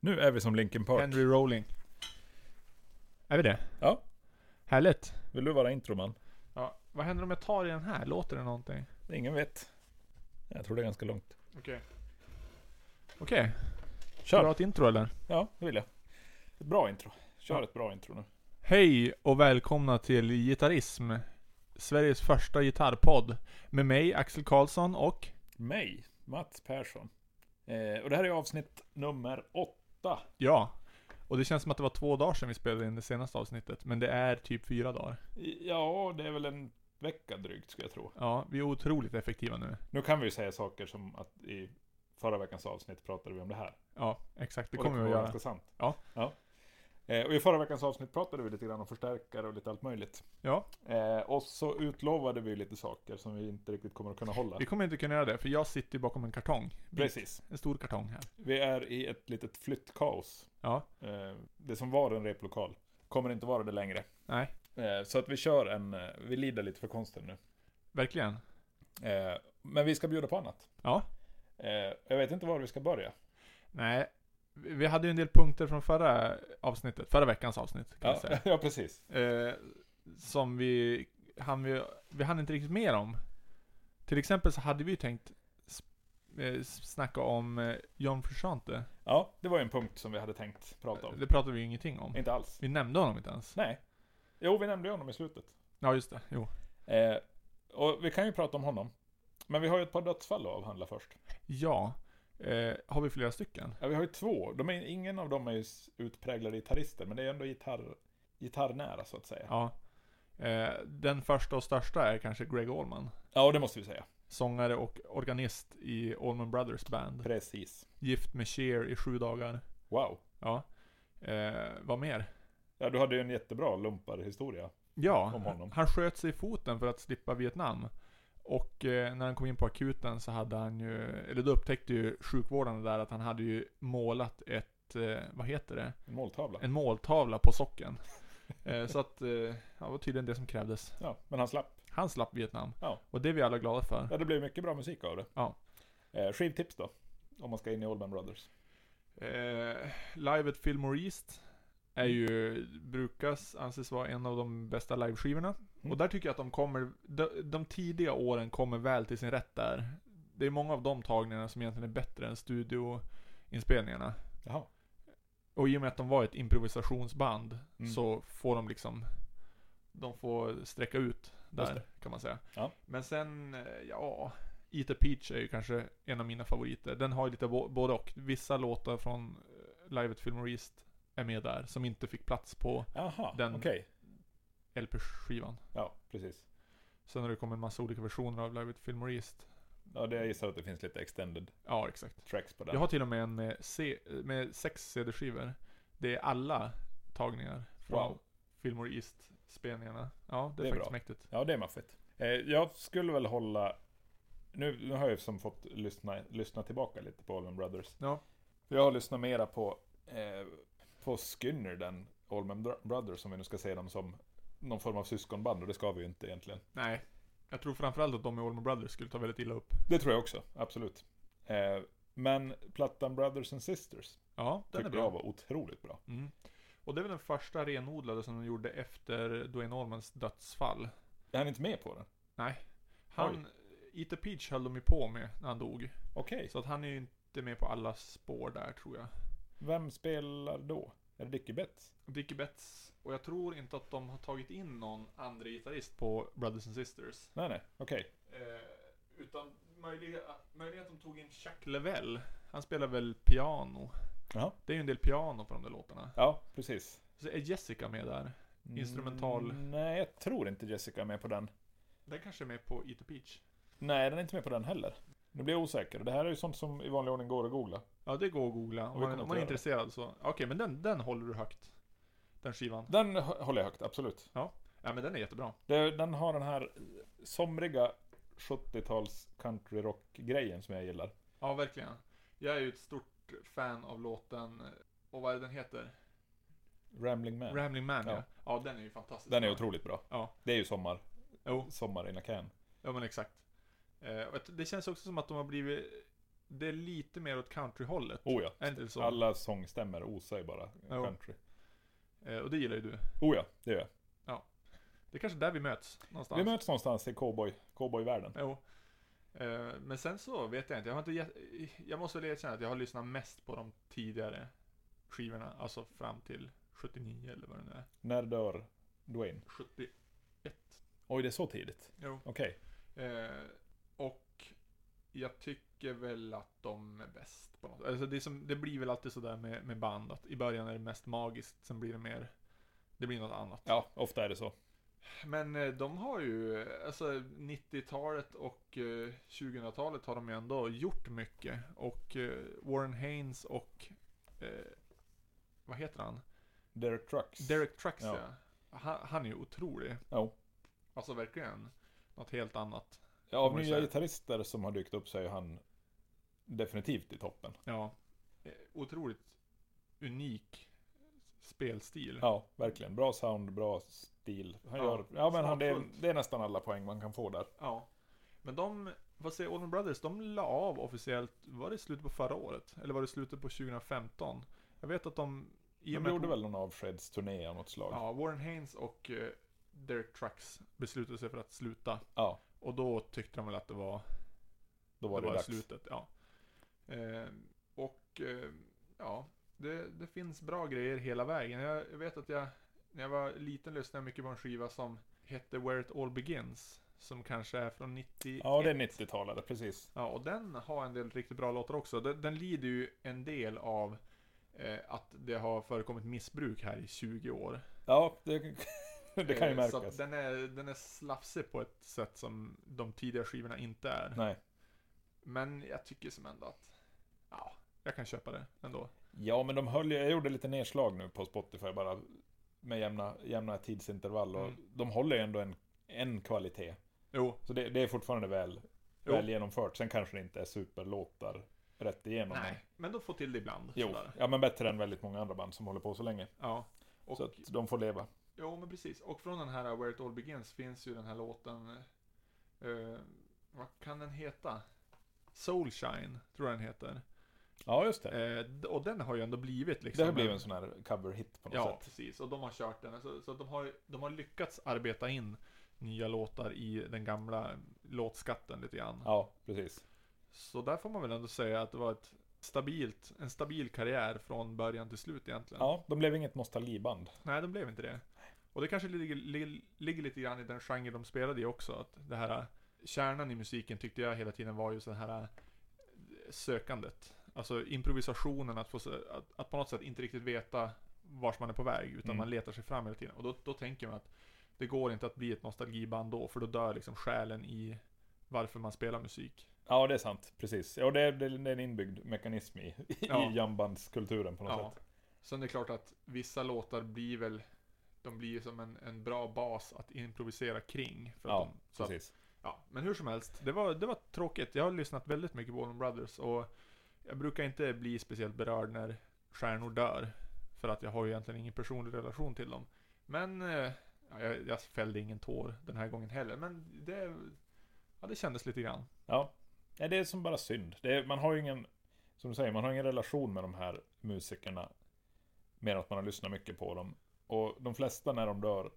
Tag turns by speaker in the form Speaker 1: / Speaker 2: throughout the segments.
Speaker 1: Nu är vi som Linkin Park.
Speaker 2: Henry Rowling. Är vi det?
Speaker 1: Ja.
Speaker 2: Härligt.
Speaker 1: Vill du vara introman?
Speaker 2: Ja. Vad händer om jag tar i den här? Låter det någonting?
Speaker 1: Ingen vet. Jag tror det är ganska långt.
Speaker 2: Okej. Okej. Ska du ha
Speaker 1: Kör!
Speaker 2: ett intro eller?
Speaker 1: Ja, det vill jag. Ett bra intro. Kör ett bra intro nu.
Speaker 2: Hej och välkomna till Gitarrism. Sveriges första gitarrpodd. Med mig, Axel Karlsson och...
Speaker 1: Mig, Mats Persson. Eh, och det här är avsnitt nummer åtta.
Speaker 2: Ja. Och det känns som att det var två dagar sedan vi spelade in det senaste avsnittet. Men det är typ fyra dagar.
Speaker 1: I- Ja, det är väl en vecka drygt ska jag tro.
Speaker 2: Ja, vi är otroligt effektiva nu.
Speaker 1: Nu kan vi ju säga saker som att i förra veckans avsnitt pratade vi om det här.
Speaker 2: Ja, exakt. Det
Speaker 1: Och
Speaker 2: kommer vi att
Speaker 1: vara
Speaker 2: göra.
Speaker 1: ganska sant.
Speaker 2: Ja.
Speaker 1: ja. Eh, och i förra veckans avsnitt pratade vi lite grann om förstärkare och lite allt möjligt.
Speaker 2: Ja.
Speaker 1: Eh, och så utlovade vi lite saker som vi inte riktigt kommer att kunna hålla.
Speaker 2: Vi kommer inte kunna göra det, för jag sitter ju bakom en kartong.
Speaker 1: Precis.
Speaker 2: En stor kartong här.
Speaker 1: Vi är i ett litet flyttkaos.
Speaker 2: Ja.
Speaker 1: Eh, det som var en replokal kommer inte vara det längre.
Speaker 2: Nej,
Speaker 1: Eh, så att vi kör en, eh, vi lider lite för konsten nu.
Speaker 2: verkligen.
Speaker 1: Eh, men vi ska bjuda på annat.
Speaker 2: Ja.
Speaker 1: Eh, jag vet inte var vi ska börja.
Speaker 2: Nej, vi vi hade ju en del punkter från förra avsnittet, förra veckans avsnitt kan jag
Speaker 1: Ja,
Speaker 2: säga.
Speaker 1: ja, precis.
Speaker 2: Eh, som vi hann, vi, vi hann inte riktigt med om. Till exempel så hade vi ju tänkt sp- eh, snacka om eh, John Frusciante.
Speaker 1: Ja, det var ju en punkt som vi hade tänkt prata om.
Speaker 2: Det pratade vi ju ingenting om.
Speaker 1: Inte alls.
Speaker 2: Vi nämnde honom inte ens.
Speaker 1: Nej. Jo, vi nämnde ju honom i slutet.
Speaker 2: Ja, just det. Jo.
Speaker 1: Eh, och vi kan ju prata om honom. Men vi har ju ett par dödsfall att avhandla först.
Speaker 2: Ja. Eh, har vi flera stycken?
Speaker 1: Ja, vi har ju två. De är, ingen av dem är ju s- utpräglade gitarrister, men det är ändå gitarr, gitarrnära så att säga. Ja.
Speaker 2: Ja. Eh, den första och största är kanske Greg Allman.
Speaker 1: det måste vi säga.
Speaker 2: Sångare och organist i Allman Brothers Band.
Speaker 1: Precis.
Speaker 2: Gift med Cher i sju dagar.
Speaker 1: Wow.
Speaker 2: Ja. Eh, vad mer?
Speaker 1: Ja, du hade ju en jättebra lumparhistoria.
Speaker 2: Ja,
Speaker 1: Om honom.
Speaker 2: han sköt sig i foten för att slippa Vietnam. Och eh, när han kom in på akuten så hade han ju, eller då upptäckte ju sjukvården där att han hade ju målat ett, eh, vad heter det?
Speaker 1: En måltavla.
Speaker 2: En måltavla på socken. eh, så att, eh, ja, det var tydligen det som krävdes.
Speaker 1: Ja, men han slapp.
Speaker 2: Han slapp Vietnam.
Speaker 1: Ja.
Speaker 2: Och det är vi alla glada för.
Speaker 1: Ja, det blev mycket bra musik av det.
Speaker 2: Ja.
Speaker 1: Eh, skivtips då? Om man ska in i Allman Brothers.
Speaker 2: Eh, live at Fillmore East är ju, brukas anses vara en av de bästa liveskivorna.
Speaker 1: Mm.
Speaker 2: Och där tycker jag att de kommer, de, de tidiga åren kommer väl till sin rätt där. Det är många av de tagningarna som egentligen är bättre än studioinspelningarna.
Speaker 1: Jaha.
Speaker 2: Och i och med att de var ett improvisationsband
Speaker 1: Mm.
Speaker 2: så får de liksom, de får sträcka ut
Speaker 1: Just
Speaker 2: där
Speaker 1: det.
Speaker 2: kan man säga.
Speaker 1: Ja.
Speaker 2: Men sen, eh, ja, Eat a Peach är ju kanske en av mina favoriter. Den har ju lite bo- både och. Vissa låtar från eh, Live at Fillmore East är med där, som inte fick plats på
Speaker 1: Jaha,
Speaker 2: Den-
Speaker 1: okej.
Speaker 2: LP-skivan.
Speaker 1: Ja, precis.
Speaker 2: Sen har det kommit en massa olika versioner av Live at Fillmore East.
Speaker 1: Ja, det jag gissar att det finns lite extended
Speaker 2: Ja, exakt.
Speaker 1: tracks på den.
Speaker 2: Jag har till och med en med, C, med sex CD-skivor. Det är alla tagningar från
Speaker 1: Wow.
Speaker 2: Fillmore East-spelningarna. Ja, det är,
Speaker 1: Det är
Speaker 2: faktiskt
Speaker 1: bra.
Speaker 2: mäktigt.
Speaker 1: Ja, det är maffigt. Eh, jag skulle väl hålla... Nu, nu har jag ju som fått lyssna, lyssna tillbaka lite på Allman Brothers.
Speaker 2: Ja.
Speaker 1: Jag har lyssnat mera på, eh, på Skinner, den Allman Bro- Brothers, som vi nu ska se dem som någon form av syskonband, och det ska vi ju inte egentligen.
Speaker 2: Nej. Jag tror framförallt att de i Allman Brothers skulle ta väldigt illa upp.
Speaker 1: Det tror jag också, absolut. Eh, men plattan Brothers and Sisters
Speaker 2: Ja, den är
Speaker 1: tyckte
Speaker 2: bra.
Speaker 1: jag var otroligt bra.
Speaker 2: Mm. Och det är väl den första renodlade som de gjorde efter Dwayne Allmans dödsfall.
Speaker 1: Jag hann inte med på den.
Speaker 2: Han, Eat a Peach höll de ju på med när han dog.
Speaker 1: Okej,
Speaker 2: Så att han är ju inte med på alla spår där tror jag.
Speaker 1: vem spelar då? Är det Dickie Betts?
Speaker 2: Dickie Betts, och jag tror inte att de har tagit in någon andra gitarrist på Brothers and Sisters.
Speaker 1: Nej, nej, okej.
Speaker 2: Eh, utan möjligen, möjligen att de tog in Chuck Level. Han spelar väl piano.
Speaker 1: Ja.
Speaker 2: Det är ju en del piano på de där låtarna.
Speaker 1: Ja, precis.
Speaker 2: Så är Jessica med där? Instrumental.
Speaker 1: Mm, nej, jag tror inte Jessica är med på den.
Speaker 2: Den kanske är med på Eat a Peach.
Speaker 1: Nej, den är inte med på den heller. Nu blir jag osäker. Det här är ju sånt som i vanlig ordning går att googla.
Speaker 2: Ja, det går att googla.
Speaker 1: vi
Speaker 2: Om man,
Speaker 1: kommer
Speaker 2: om
Speaker 1: att
Speaker 2: man är
Speaker 1: göra det.
Speaker 2: intresserad så. Okej, men den, den håller du högt. Den skivan.
Speaker 1: Den hå- håller jag högt, absolut.
Speaker 2: Ja, men den är jättebra.
Speaker 1: Det- Den har den här somriga 70-tals country rock-grejen som jag gillar.
Speaker 2: Ja, verkligen. Jag är ju ett stort fan av låten, eh, och vad är det den heter?
Speaker 1: Rambling Man.
Speaker 2: Rambling Man ja.
Speaker 1: Ja.
Speaker 2: Ja, den är ju fantastisk.
Speaker 1: den är
Speaker 2: bra.
Speaker 1: otroligt bra.
Speaker 2: Ja.
Speaker 1: Det är ju sommar.
Speaker 2: Jo.
Speaker 1: Sommar in a can.
Speaker 2: Ja men exakt. Eh, och jag tror- det känns också som att de har blivit det är lite mer åt countryhållet.
Speaker 1: Oh ja.
Speaker 2: Är det inte så?
Speaker 1: Alla sångstämmer osar ju bara
Speaker 2: Jo.
Speaker 1: country.
Speaker 2: Eh, och det gillar ju du.
Speaker 1: Oh ja, det gör jag.
Speaker 2: Det är kanske där vi möts någonstans.
Speaker 1: Vi möts någonstans i cowboy, cowboyvärlden.
Speaker 2: Jo. Eh, Men sen så vet jag inte, jag har inte gett- Jag måste väl erkänna att jag har lyssnat mest på de tidigare skivorna, alltså fram till 79 eller vad det nu är.
Speaker 1: När dör Dwayne?
Speaker 2: 71.
Speaker 1: Oj, det är så tidigt.
Speaker 2: Jo.
Speaker 1: Okej.
Speaker 2: Eh, och jag tycker väl att de är bäst på något alltså det, är som, det blir väl alltid sådär med, med band, att i början är det mest magiskt, sen blir det mer... Det blir något annat.
Speaker 1: Ja, ofta är det så.
Speaker 2: Men eh, de har ju, eh, alltså 90-talet och eh, 2000-talet har de ju ändå gjort mycket. Och eh, Warren Haynes och, eh, vad heter han?
Speaker 1: Derek Trucks.
Speaker 2: Derek Trucks ja.
Speaker 1: Ja.
Speaker 2: Han, han är ju otrolig.
Speaker 1: Ja.
Speaker 2: Alltså verkligen. Något helt annat.
Speaker 1: Ja, av
Speaker 2: får man ju
Speaker 1: nya
Speaker 2: säga.
Speaker 1: gitarrister som har dykt upp så är ju han definitivt i toppen.
Speaker 2: Ja. Eh, Otroligt unik spelstil.
Speaker 1: Ja, verkligen. Bra sound, bra stil. Han
Speaker 2: Ja,
Speaker 1: ja, gör, ja men han, det, är,
Speaker 2: smakfullt.
Speaker 1: det är nästan alla poäng man kan få där.
Speaker 2: Ja. Men de, vad säger Allman Brothers, de la av officiellt, var det i slutet på förra året? Eller var det i slutet på 2015? Jag vet att de... i och
Speaker 1: De
Speaker 2: med
Speaker 1: gjorde
Speaker 2: att-
Speaker 1: väl någon avskedsturné av något slag. Ja.
Speaker 2: Ja, Warren Haynes och eh, Derek Trucks beslutade sig för att sluta.
Speaker 1: ja,
Speaker 2: Och då tyckte de väl att det var,
Speaker 1: då var det,
Speaker 2: var
Speaker 1: dags.
Speaker 2: slutet. Ja. Eh, och eh, ja, det, det finns bra grejer hela vägen. Jag jag vet att jag, när jag var liten lyssnade jag mycket på en skiva som hette Where It All Begins. Som kanske är från 91.
Speaker 1: Ja, det är 90-talare, precis.
Speaker 2: Ja, och den har en del riktigt bra låtar också. Den, den lider ju en del av eh, att det har förekommit missbruk här i 20 år.
Speaker 1: Ja, det, det kan ju
Speaker 2: Eh, Så att
Speaker 1: märkas.
Speaker 2: den är, den är slafsig på ett sätt som de tidiga skivorna inte är.
Speaker 1: Nej.
Speaker 2: Men jag tycker som ändå att, ja, jag kan köpa det ändå.
Speaker 1: Ja, men de höll ju, jag gjorde lite nedslag nu på Spotify bara med jämna, jämna tidsintervall och
Speaker 2: Mm.
Speaker 1: de håller ju ändå en, en kvalitet.
Speaker 2: Jo,
Speaker 1: Så det, det är fortfarande väl,
Speaker 2: Jo.
Speaker 1: väl genomfört. Sen kanske det inte är superlåtar rätt igenom. men-
Speaker 2: nej, men de får till det ibland.
Speaker 1: Jo,
Speaker 2: sådär.
Speaker 1: ja men bättre än väldigt många andra band som håller på så länge.
Speaker 2: Ja. Och,
Speaker 1: Så att de får leva.
Speaker 2: Jo, men precis. Och från den här uh, Where It All Begins finns ju den här låten, eh, vad kan den heta? Soulshine, tror jag den heter.
Speaker 1: Ja, just det.
Speaker 2: Eh, d- och den har ju ändå blivit liksom
Speaker 1: Det har blivit en sån här cover-hit på något
Speaker 2: Ja,
Speaker 1: sätt.
Speaker 2: precis. Och de har kört den. Så, så att de, har, de har lyckats arbeta in nya låtar i den gamla låtskatten lite grann.
Speaker 1: Ja, precis.
Speaker 2: Så där får man väl ändå säga att det var ett stabilt, en stabil karriär från början till slut egentligen.
Speaker 1: Ja, de blev inget nostalgiband.
Speaker 2: Nej, de blev inte det. Och det kanske ligger, ligger, ligger lite grann i den genre de spelade i också. Att det här, kärnan i musiken tyckte jag hela tiden var ju så här eh, sökandet. Alltså improvisationen, att, få, se- att, att på något sätt inte riktigt veta vart man är på väg, utan
Speaker 1: Mm.
Speaker 2: man letar sig fram hela tiden. Och då, då tänker man att det går inte att bli ett nostalgiband då, för då dör liksom själen i varför man spelar musik.
Speaker 1: Ja, det är sant. Precis. Ja, det är, det är en inbyggd mekanism i, i
Speaker 2: Ja.
Speaker 1: jambandskulturen på något
Speaker 2: Ja.
Speaker 1: sätt.
Speaker 2: Sen är det klart att vissa låtar blir väl, de blir ju som en, en bra bas att improvisera kring. För att
Speaker 1: Ja,
Speaker 2: de, så att
Speaker 1: precis.
Speaker 2: Ja, men hur som helst, det var, det var tråkigt. Jag har lyssnat väldigt mycket på Allman Brothers och jag brukar inte bli speciellt berörd när stjärnor dör. För att jag har ju egentligen ingen personlig relation till dem. Men eh, ja, jag, jag fällde ingen tår den här gången heller, men det, ja, det kändes lite grann.
Speaker 1: Ja. Nej, det är som bara synd. Det är, man har ju ingen, som du säger, man har ingen relation med de här musikerna. Mer än att man har lyssnat mycket på dem. Och de flesta när de dör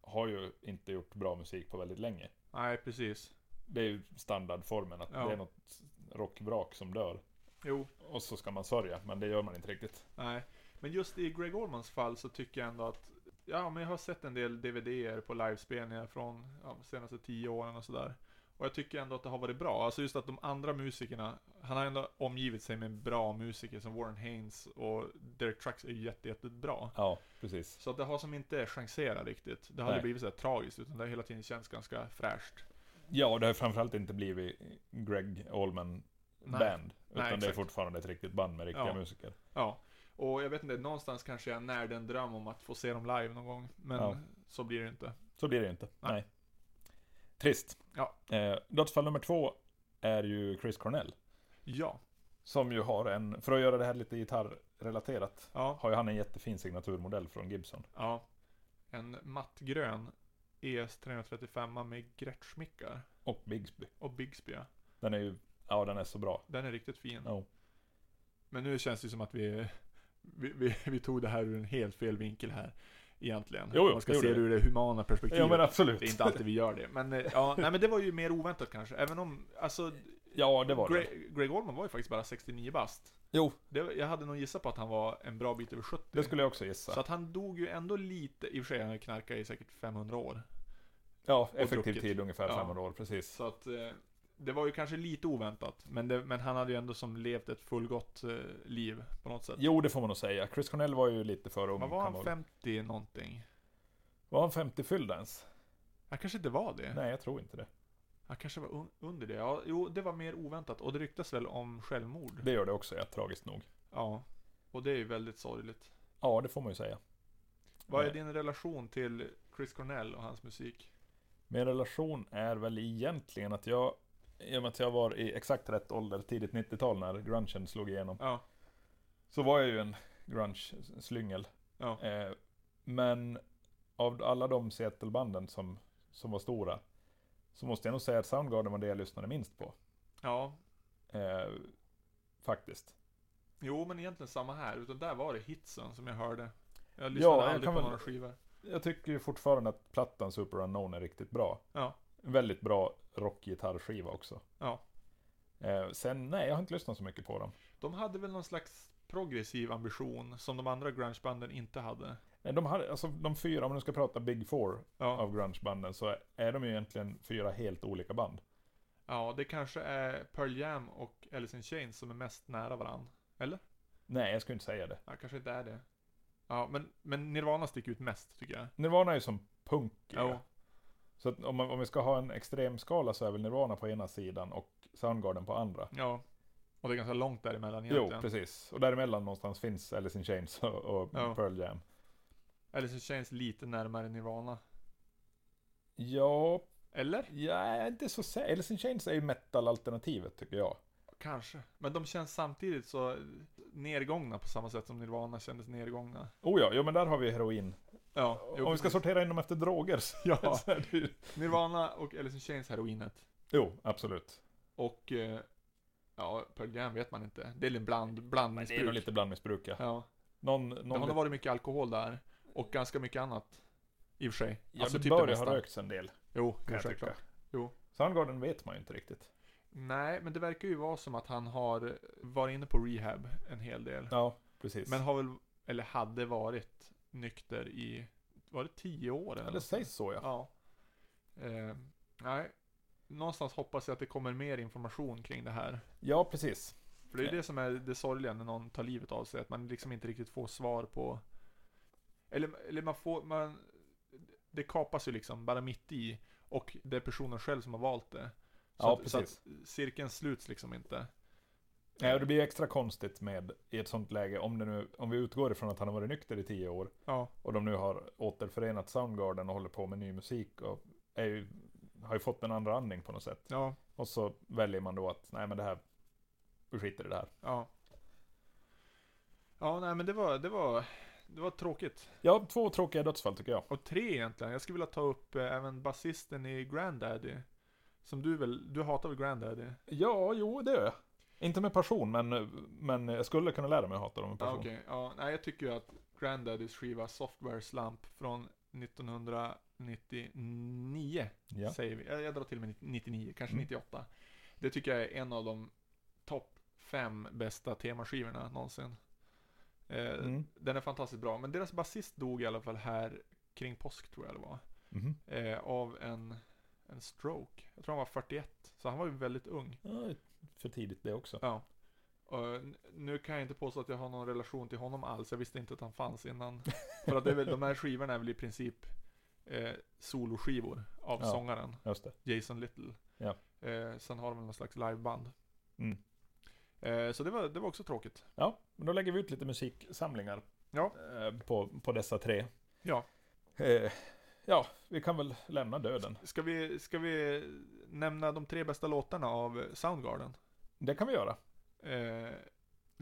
Speaker 1: har ju inte gjort bra musik på väldigt länge.
Speaker 2: Nej, precis.
Speaker 1: Det är ju standardformen, att
Speaker 2: Ja.
Speaker 1: det är något rockvrak som dör.
Speaker 2: Jo,
Speaker 1: Och så ska man sörja, men det gör man inte riktigt.
Speaker 2: nej. Men just i Greg Allmans fall så tycker jag ändå att, ja men jag har sett en del DVDer på livespelningar från ja, de senaste tio åren och sådär. Och jag tycker ändå att det har varit bra. Alltså just att de andra musikerna, han har ändå omgivit sig med bra musiker som Warren Haynes och Derek Trucks är ju jätte, jättebra.
Speaker 1: Ja, precis.
Speaker 2: Så att det har som inte chanserat riktigt. Det har
Speaker 1: Nej.
Speaker 2: aldrig blivit så här tragiskt utan det har hela tiden känts ganska fräscht.
Speaker 1: Ja, och det har framförallt inte blivit Greg Allman
Speaker 2: Nej.
Speaker 1: Band. Utan det är
Speaker 2: exakt.
Speaker 1: fortfarande ett riktigt band med riktiga
Speaker 2: Ja.
Speaker 1: musiker.
Speaker 2: Ja. Och jag vet inte, någonstans kanske jag närde en dröm om att få se dem live någon gång. Men
Speaker 1: Ja.
Speaker 2: så blir det inte.
Speaker 1: Så blir det ju inte.
Speaker 2: Nej.
Speaker 1: Nej. Trist.
Speaker 2: Ja.
Speaker 1: Eh, dödsfall nummer två är ju Chris Cornell.
Speaker 2: Ja.
Speaker 1: Som ju har en, för att göra det här lite gitarrrelaterat,
Speaker 2: Ja.
Speaker 1: har ju han en jättefin signaturmodell från Gibson.
Speaker 2: Ja. En mattgrön E ES 335 med Gretschmickar
Speaker 1: Och Bigsby.
Speaker 2: och Bigsby. ja.
Speaker 1: Den är ju Ja, den är så bra.
Speaker 2: Den är riktigt fin.
Speaker 1: Ja.
Speaker 2: Men nu känns det som att vi, vi, vi, vi tog det här ur en helt fel vinkel här. Egentligen.
Speaker 1: Jo, jo,
Speaker 2: Man ska
Speaker 1: det
Speaker 2: se det
Speaker 1: gjorde
Speaker 2: ur det humana perspektivet.
Speaker 1: Ja, men alltså- absolut.
Speaker 2: Det är inte alltid vi gör det. Men, eh, ja, nej, men det var ju mer oväntat kanske. Även om, alltså,
Speaker 1: Ja, det var det.
Speaker 2: Gre- Greg Olman var ju faktiskt bara 69 bast.
Speaker 1: Jo,
Speaker 2: Det, var- jag hade nog gissat på att han var en bra bit över 70.
Speaker 1: det skulle jag också
Speaker 2: Så
Speaker 1: gissa.
Speaker 2: att han dog ju ändå lite, i och för sig han knarkade i säkert 500 år.
Speaker 1: Ja, effektiv
Speaker 2: druckit.
Speaker 1: tid ungefär
Speaker 2: Ja.
Speaker 1: 500 år, precis.
Speaker 2: Så att eh, det var ju kanske lite oväntat. Men, det, men han hade ju ändå som levt ett fullgott eh, liv på något sätt.
Speaker 1: Jo, det får man nog säga. Chris Cornell var ju lite för ung.
Speaker 2: Vad var
Speaker 1: kan
Speaker 2: han?
Speaker 1: man-
Speaker 2: 50 någonting?
Speaker 1: Var han 50 fylld ens?
Speaker 2: Han kanske inte var det.
Speaker 1: Nej, jag tror inte det.
Speaker 2: Han kanske var un- under det. Ja, jo, det var mer oväntat. Och det ryktas väl om självmord.
Speaker 1: Det gör det också, ja, tragiskt nog.
Speaker 2: Ja. Och det är ju väldigt sorgligt.
Speaker 1: Ja, det får man ju säga. Eh,
Speaker 2: Vad är
Speaker 1: Nej.
Speaker 2: din relation till Chris Cornell och hans musik?
Speaker 1: Min relation är väl egentligen att jag, i och med att jag var i exakt rätt ålder, tidigt 90-tal när grungen slog igenom,
Speaker 2: Ja.
Speaker 1: så var jag ju en grunge-slyngel.
Speaker 2: Ja.
Speaker 1: Eh, men av alla de Seattle-banden som, som var stora, så måste jag nog säga att Soundgarden var det jag lyssnade minst på.
Speaker 2: Ja.
Speaker 1: Eh, faktiskt.
Speaker 2: Jo, men egentligen samma här. Utan där var det hitsen som jag hörde. Jag lyssnade
Speaker 1: jag
Speaker 2: aldrig
Speaker 1: kan
Speaker 2: på
Speaker 1: väl-
Speaker 2: några skivor.
Speaker 1: Jag tycker ju fortfarande att plattan Super Unknown är riktigt bra.
Speaker 2: Ja.
Speaker 1: Väldigt bra rockgitarrskiva också.
Speaker 2: Ja.
Speaker 1: Eh, sen, nej, jag har inte lyssnat så mycket på dem.
Speaker 2: De hade väl någon slags progressiv ambition som de andra grungebanden inte hade.
Speaker 1: Eh, De, har, alltså, de fyra, om du ska prata Big Four
Speaker 2: Ja.
Speaker 1: av grungebanden, så är de ju egentligen fyra helt olika band.
Speaker 2: ja, det kanske är Pearl Jam och Alice in Chains som är mest nära varann. Eller?
Speaker 1: Nej, jag skulle inte säga det.
Speaker 2: Ja, kanske inte är det. Ja, men, men Nirvana sticker ut mest tycker jag.
Speaker 1: Nirvana är ju som punk.
Speaker 2: Ja.
Speaker 1: Så att om, man- om vi ska ha en extremskala så är väl Nirvana på ena sidan och Soundgarden på andra.
Speaker 2: ja. Och det är ganska långt däremellan
Speaker 1: Jo,
Speaker 2: egentligen.
Speaker 1: precis. Och däremellan någonstans finns Alice in Chains och, och
Speaker 2: Ja.
Speaker 1: Pearl Jam.
Speaker 2: Alice in Chains lite närmare Nirvana.
Speaker 1: Ja,
Speaker 2: Eller?
Speaker 1: jag är inte så säker. Alice in Chains är ju metal-alternativet tycker jag.
Speaker 2: Kanske. Men de känns samtidigt så nedgångna på samma sätt som Nirvana kändes nedgångna.
Speaker 1: Oh ja, jo, men där har vi heroin.
Speaker 2: Ja, jo,
Speaker 1: om vi ska
Speaker 2: precis.
Speaker 1: sortera in dem efter droger så,
Speaker 2: Ja.
Speaker 1: så är det ju...
Speaker 2: Nirvana och Alice in Chains heroinet.
Speaker 1: Jo, absolut.
Speaker 2: Och eh, ja, Pearl Jam vet man inte. Det är en bland,
Speaker 1: Men det är nog
Speaker 2: blandmissbruk.
Speaker 1: lite blandmissbruk ja.
Speaker 2: Ja.
Speaker 1: Någon,
Speaker 2: Det har
Speaker 1: någon
Speaker 2: nog varit mycket alkohol där. Och ganska mycket annat. I och för sig.
Speaker 1: ja, alltså, det bör ju
Speaker 2: typ mesta.
Speaker 1: ha rökts en del,
Speaker 2: Jo,
Speaker 1: kan jag
Speaker 2: självklart.
Speaker 1: tycka.
Speaker 2: Jo.
Speaker 1: Soundgarden vet man ju inte riktigt.
Speaker 2: Nej, men det verkar ju vara som att han har varit inne på rehab en hel del.
Speaker 1: Ja, precis.
Speaker 2: Men har väl, eller hade varit nykter i, var det tio år?
Speaker 1: ja,
Speaker 2: Eller
Speaker 1: det
Speaker 2: något
Speaker 1: sägs så ja.
Speaker 2: Ja. Eh, nej. Någonstans hoppas jag att det kommer mer information kring det här.
Speaker 1: Ja, precis.
Speaker 2: För det är ju det som är det sorgliga när någon tar livet av sig, att man liksom inte riktigt får svar på... Eller, eller man får, man... Det kapas ju liksom bara mitt i, och det är personen själv som har valt det. Så
Speaker 1: Ja,
Speaker 2: att, så
Speaker 1: precis.
Speaker 2: att cirkeln sluts liksom inte.
Speaker 1: Nej, och det blir extra konstigt med i ett sånt läge om, det nu, om vi utgår ifrån att han har varit nykter i tio år
Speaker 2: Ja,
Speaker 1: och de nu har återförenat Soundgarden och håller på med ny musik och är ju, har ju fått en andra andning på något sätt.
Speaker 2: ja,
Speaker 1: Och så väljer man då att nej men det här, vi skiter i det här.
Speaker 2: ja. Ja, nej men det var, det var, det var tråkigt.
Speaker 1: Ja, två tråkiga dödsfall tycker jag.
Speaker 2: Och tre egentligen, jag skulle vilja ta upp eh, även basisten i Grandaddy. Som du väl, du hatar väl Grandaddy?
Speaker 1: Ja, jo det gör jag. Inte med passion, men, men jag skulle kunna lära mig att hata dem med
Speaker 2: Ja,
Speaker 1: passion.
Speaker 2: okej. Ja, nej, jag tycker ju att Granddaddy's skiva Software Slump från 1999,
Speaker 1: Ja.
Speaker 2: säger vi. Jag, jag drar till med 99, kanske
Speaker 1: Mm.
Speaker 2: 98. Det tycker jag är en av de topp fem bästa temaskivorna någonsin. Eh,
Speaker 1: Mm.
Speaker 2: Den är fantastiskt bra, men deras basist dog i alla fall här kring påsk tror jag det var.
Speaker 1: Mhm.
Speaker 2: Eh, av en, en stroke. Jag tror han var 41, så han var ju väldigt ung.
Speaker 1: Ja, för tidigt det också.
Speaker 2: Ja. Och n- nu kan jag inte påstå att jag har någon relation till honom alls. Jag visste inte att han fanns innan. För att det är väl, de här skivorna är väl i princip eh, soloskivor av
Speaker 1: Ja.
Speaker 2: sångaren
Speaker 1: Just det.
Speaker 2: Jason Little.
Speaker 1: Ja.
Speaker 2: Eh, sen har de väl någon slags liveband.
Speaker 1: Mm.
Speaker 2: Eh, så det var, det var också tråkigt.
Speaker 1: Ja, men då lägger vi ut lite musiksamlingar
Speaker 2: Ja.
Speaker 1: eh, på, på dessa tre.
Speaker 2: Ja.
Speaker 1: Eh, ja, vi kan väl lämna döden.
Speaker 2: Ska vi, ska vi nämna de tre bästa låtarna av Soundgarden?
Speaker 1: Det kan vi göra.
Speaker 2: Eh, vi,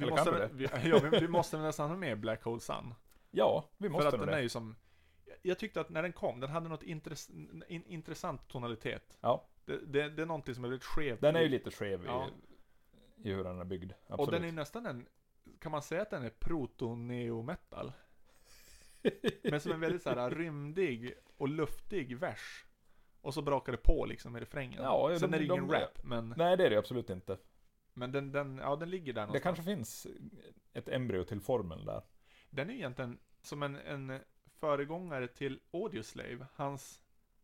Speaker 1: Eller
Speaker 2: måste,
Speaker 1: kan
Speaker 2: vi, ja, vi, vi måste nästan ha med Black Hole Sun.
Speaker 1: Ja, vi
Speaker 2: För
Speaker 1: måste
Speaker 2: att
Speaker 1: nog
Speaker 2: den
Speaker 1: det.
Speaker 2: är ju som, jag- jag tyckte att när den kom, den hade något intress, in, intressant tonalitet.
Speaker 1: Ja.
Speaker 2: Det, det, det är någonting som är väldigt skevt.
Speaker 1: Den är
Speaker 2: i-
Speaker 1: ju lite skev i
Speaker 2: Ja.
Speaker 1: i hur den är byggd.
Speaker 2: Och
Speaker 1: Absolut.
Speaker 2: den är nästan en, kan man säga att den är proto-neo-metal? Men som en väldigt så här rymdig och luftig vers. Och så brakar det på liksom i refrängen.
Speaker 1: Ja, ja,
Speaker 2: Sen
Speaker 1: de-
Speaker 2: är det ingen
Speaker 1: de-
Speaker 2: rap, men,
Speaker 1: Nej, det är det absolut inte.
Speaker 2: men den, den, ja, den ligger där
Speaker 1: Det
Speaker 2: någonstans.
Speaker 1: kanske finns ett embryo till formen där.
Speaker 2: Den är ju egentligen som en, en föregångare till Audioslave, hans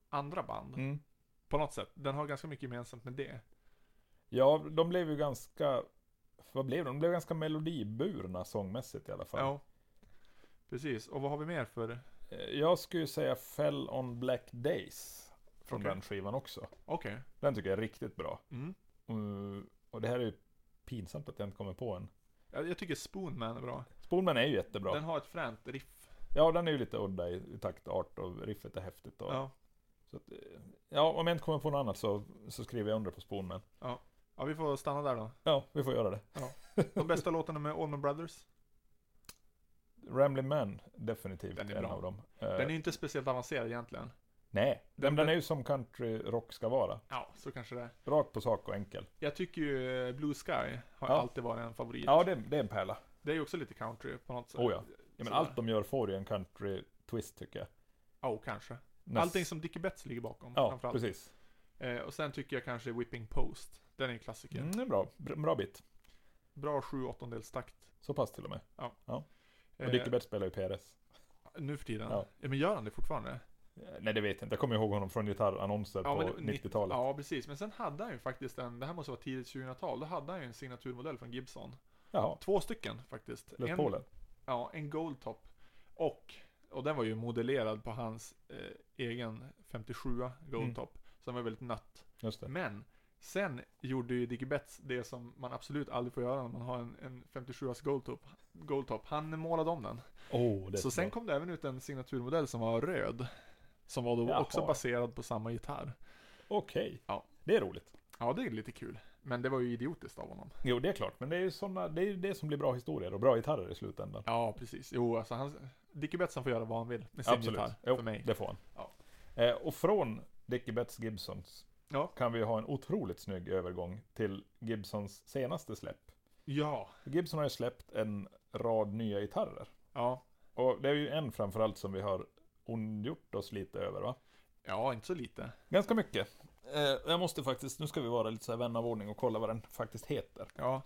Speaker 2: andra band.
Speaker 1: Mm.
Speaker 2: På något sätt. Den har ganska mycket gemensamt med det.
Speaker 1: Ja, de blev ju ganska... Vad blev de? De blev ganska melodiburna sångmässigt i alla fall.
Speaker 2: Ja. Precis, och vad har vi mer för?
Speaker 1: Eh, Jag skulle ju säga Fell on Black Days. Från
Speaker 2: Okej.
Speaker 1: den skivan också.
Speaker 2: Okej.
Speaker 1: Den tycker jag är riktigt bra.
Speaker 2: Mm.
Speaker 1: Mm, och det här är ju pinsamt att jag inte kommer på en.
Speaker 2: Jag, jag tycker Spoonman är bra.
Speaker 1: Spoolman är ju jättebra.
Speaker 2: Den har ett fränt riff.
Speaker 1: Ja, den är ju lite udda i, i taktart och riffet är häftigt. Och, ja.
Speaker 2: Ja.
Speaker 1: Så att, eh, ja, om jag inte kommer på något annat så, så skriver jag under på Spoolman.
Speaker 2: ja, vi får stanna där då.
Speaker 1: Ja, vi får göra det.
Speaker 2: De bästa låtarna med Allman Brothers.
Speaker 1: Ramblin' Man, definitivt
Speaker 2: Den är
Speaker 1: en
Speaker 2: bra.
Speaker 1: av dem.
Speaker 2: Den är
Speaker 1: Eh,
Speaker 2: ju inte speciellt avancerad egentligen.
Speaker 1: Nej, den,
Speaker 2: den-
Speaker 1: den är ju som country rock ska vara.
Speaker 2: Ja, så kanske det är.
Speaker 1: Rakt på sak och enkel.
Speaker 2: Jag tycker ju eh, Blue Sky har
Speaker 1: Ja.
Speaker 2: alltid varit en favorit.
Speaker 1: Ja, det, det är en pärla.
Speaker 2: Det är ju också lite country på något sätt.
Speaker 1: Oh ja. ja men
Speaker 2: Sådär.
Speaker 1: allt de gör får ju en country twist tycker jag.
Speaker 2: Ja, och kanske.
Speaker 1: Näst-
Speaker 2: Allting som Dickie Betts ligger bakom.
Speaker 1: Ja,
Speaker 2: framförallt.
Speaker 1: precis.
Speaker 2: Eh, och sen tycker jag kanske Whipping Post. Den är en klassiker.
Speaker 1: Mm, det är bra. Br- bra bit.
Speaker 2: Bra sju åttondels takt.
Speaker 1: Så pass till och med.
Speaker 2: Eh,
Speaker 1: Och Dickie Bett spelar ju PRS.
Speaker 2: Nu för tiden.
Speaker 1: Ja.
Speaker 2: Ja. men gör han det fortfarande?
Speaker 1: Eh, Nej, det vet jag inte. Jag kommer ihåg honom från gitarrannonser
Speaker 2: Ja,
Speaker 1: på
Speaker 2: men det-
Speaker 1: 90-talet.
Speaker 2: Ja, precis. Men sen hade han ju faktiskt en, det här måste vara tidigt 2000-tal, då hade han ju en signaturmodell från Gibson.
Speaker 1: Jaha,
Speaker 2: Två stycken faktiskt.
Speaker 1: Les
Speaker 2: En-
Speaker 1: Paulen.
Speaker 2: Ja, en Goldtop. Och, och den var ju modellerad på hans eh, egen 57 Goldtop.
Speaker 1: Mm.
Speaker 2: Så den var väldigt nött.
Speaker 1: Just det.
Speaker 2: Men sen gjorde ju Dickie Betts det som man absolut aldrig får göra när man har en, en 57as Goldtop. Goldtop. Han målade om den.
Speaker 1: Oh, det är
Speaker 2: Så sen
Speaker 1: bra.
Speaker 2: kom det även ut en signaturmodell som var röd. Som var då
Speaker 1: Jaha.
Speaker 2: också baserad på samma gitarr.
Speaker 1: Okej.
Speaker 2: Ja.
Speaker 1: Det är roligt.
Speaker 2: Ja, det är lite kul. Men det var ju idiotiskt av honom.
Speaker 1: Jo, det är klart. Men det är ju såna, det, är ju det som blir bra historier och bra gitarrer i slutändan.
Speaker 2: Ja, precis. Jo, alltså han... Dickie Betts han får göra vad han vill med sin gitarr.
Speaker 1: Jo,
Speaker 2: För mig.
Speaker 1: det får han.
Speaker 2: Ja.
Speaker 1: Eh, och från Dickie Betts Gibsons
Speaker 2: Ja.
Speaker 1: kan vi ha en otroligt snygg övergång till Gibsons senaste släpp.
Speaker 2: Ja.
Speaker 1: Gibson har ju släppt en rad nya gitarrer.
Speaker 2: Ja.
Speaker 1: Och det är ju en framförallt som vi har ondgjort oss lite över va?
Speaker 2: Ja, inte så lite.
Speaker 1: Ganska mycket. Eh, jag måste faktiskt, nu ska vi vara lite så här vän av ordning och kolla vad den faktiskt heter.
Speaker 2: Ja.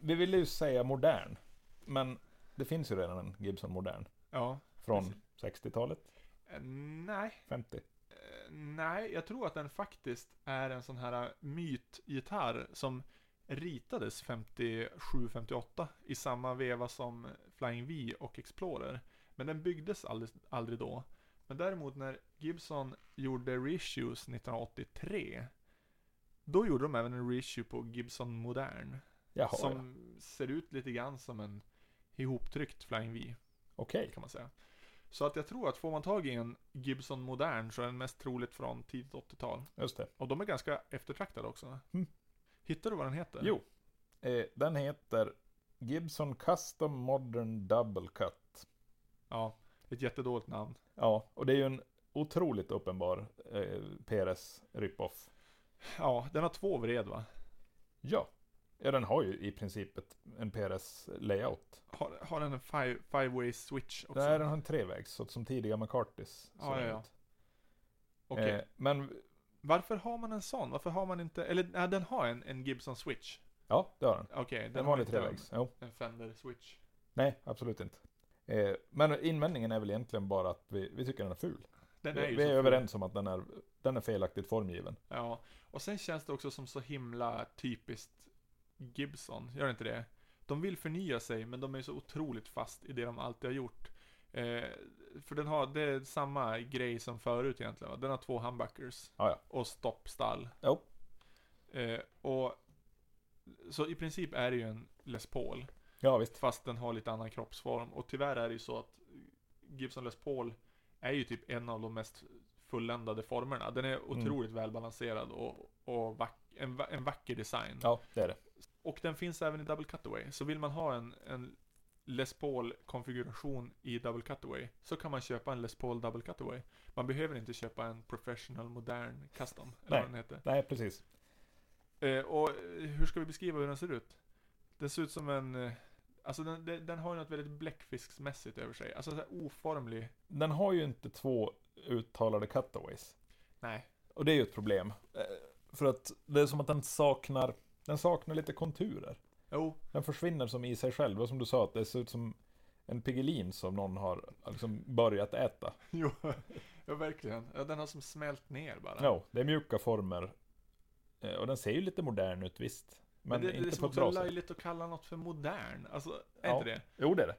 Speaker 1: Vi ville ju säga modern, men det finns ju redan en Gibson modern.
Speaker 2: Ja.
Speaker 1: Från 60-talet?
Speaker 2: Eh, Nej.
Speaker 1: 50?
Speaker 2: Eh, Nej, jag tror att den faktiskt är en sån här mytgitarr som ritades 57-58 i samma veva som Flying V och Explorer. Men den byggdes aldrig, aldrig då. Men däremot när Gibson gjorde reissues 1983 då gjorde de även en reissue på Gibson Modern.
Speaker 1: Jaha, ja.
Speaker 2: som ser ut lite grann som en ihoptryckt Flying V.
Speaker 1: okej.
Speaker 2: kan man säga. Så att jag tror att får man tag i en Gibson modern så är den mest troligt från tidigt 80-tal.
Speaker 1: Just det.
Speaker 2: Och de är ganska eftertraktade också.
Speaker 1: Mm.
Speaker 2: Hittar du vad den heter?
Speaker 1: Jo, eh, den heter Gibson Custom Modern Double Cut.
Speaker 2: Ja, ett jättedåligt namn.
Speaker 1: Ja, och det är ju en otroligt uppenbar eh, PRS rip-off.
Speaker 2: Ja, den har två vred va?
Speaker 1: Ja. ja, den har ju i princip ett, en PRS-layout.
Speaker 2: Har, har den en five, five way switch också?
Speaker 1: Nej, den har en trevägs, så som tidiga McCartys.
Speaker 2: Ja, ja, ja.
Speaker 1: ut.
Speaker 2: Okej.
Speaker 1: Eh, men
Speaker 2: Varför har man en sån? Varför har man inte, eller nej, den har en, en Gibson switch.
Speaker 1: ja, det har den.
Speaker 2: Okej,
Speaker 1: Den
Speaker 2: har
Speaker 1: vanlig
Speaker 2: inte en-
Speaker 1: trevägs. Jo.
Speaker 2: En Fender switch.
Speaker 1: Nej, absolut inte. Eh, men invändningen är väl egentligen bara att vi, vi tycker den är ful.
Speaker 2: Den är
Speaker 1: Vi,
Speaker 2: ju
Speaker 1: vi
Speaker 2: så
Speaker 1: är
Speaker 2: ful.
Speaker 1: överens om att den är, den är felaktigt formgiven.
Speaker 2: Ja, och sen känns det också som så himla typiskt Gibson, gör det inte det? De vill förnya sig, men de är så otroligt fast i det de alltid har gjort. Eh, för den har, det är samma grej som förut egentligen, va? Den har två humbuckers.
Speaker 1: Ja, ja.
Speaker 2: Och stoppstall.
Speaker 1: Jo.
Speaker 2: Eh, och så i princip är det ju en Les Paul,
Speaker 1: Ja, visst.
Speaker 2: fast den har lite annan kroppsform. Och tyvärr är det ju så att Gibson Les Paul är ju typ en av de mest fulländade formerna. Den
Speaker 1: Mm.
Speaker 2: är otroligt välbalanserad och, och vack, en, va- en vacker design.
Speaker 1: Ja, det är det.
Speaker 2: Och den finns även i Double Cutaway. Så vill man ha en, en Les Paul-konfiguration i Double Cutaway så kan man köpa en Les Paul Double Cutaway. Man behöver inte köpa en Professional Modern Custom, eller
Speaker 1: Nej.
Speaker 2: vad den heter.
Speaker 1: Nej, precis.
Speaker 2: Eh, och eh, hur ska vi beskriva hur den ser ut? Den ser ut som en... eh, Alltså den, den, den har ju något väldigt bläckfisksmässigt över sig. Alltså så här oformlig.
Speaker 1: Den har ju inte två uttalade cutaways.
Speaker 2: Nej.
Speaker 1: Och det är ju ett problem. Eh, För att det är som att den saknar, den saknar lite konturer.
Speaker 2: Jo,
Speaker 1: Den försvinner som i sig själv. Och som du sa, att det ser ut som en pigelin som någon har liksom börjat äta.
Speaker 2: jo. ja, verkligen. Ja, den har som smält ner bara.
Speaker 1: Ja, det är mjuka former. Eh, Och den ser ju lite modern ut visst. Men,
Speaker 2: det, det är
Speaker 1: inte
Speaker 2: som
Speaker 1: på ett
Speaker 2: också
Speaker 1: bra sätt.
Speaker 2: löjligt att kalla något för modern. Alltså, är
Speaker 1: Ja.
Speaker 2: inte det?
Speaker 1: Jo, det är det.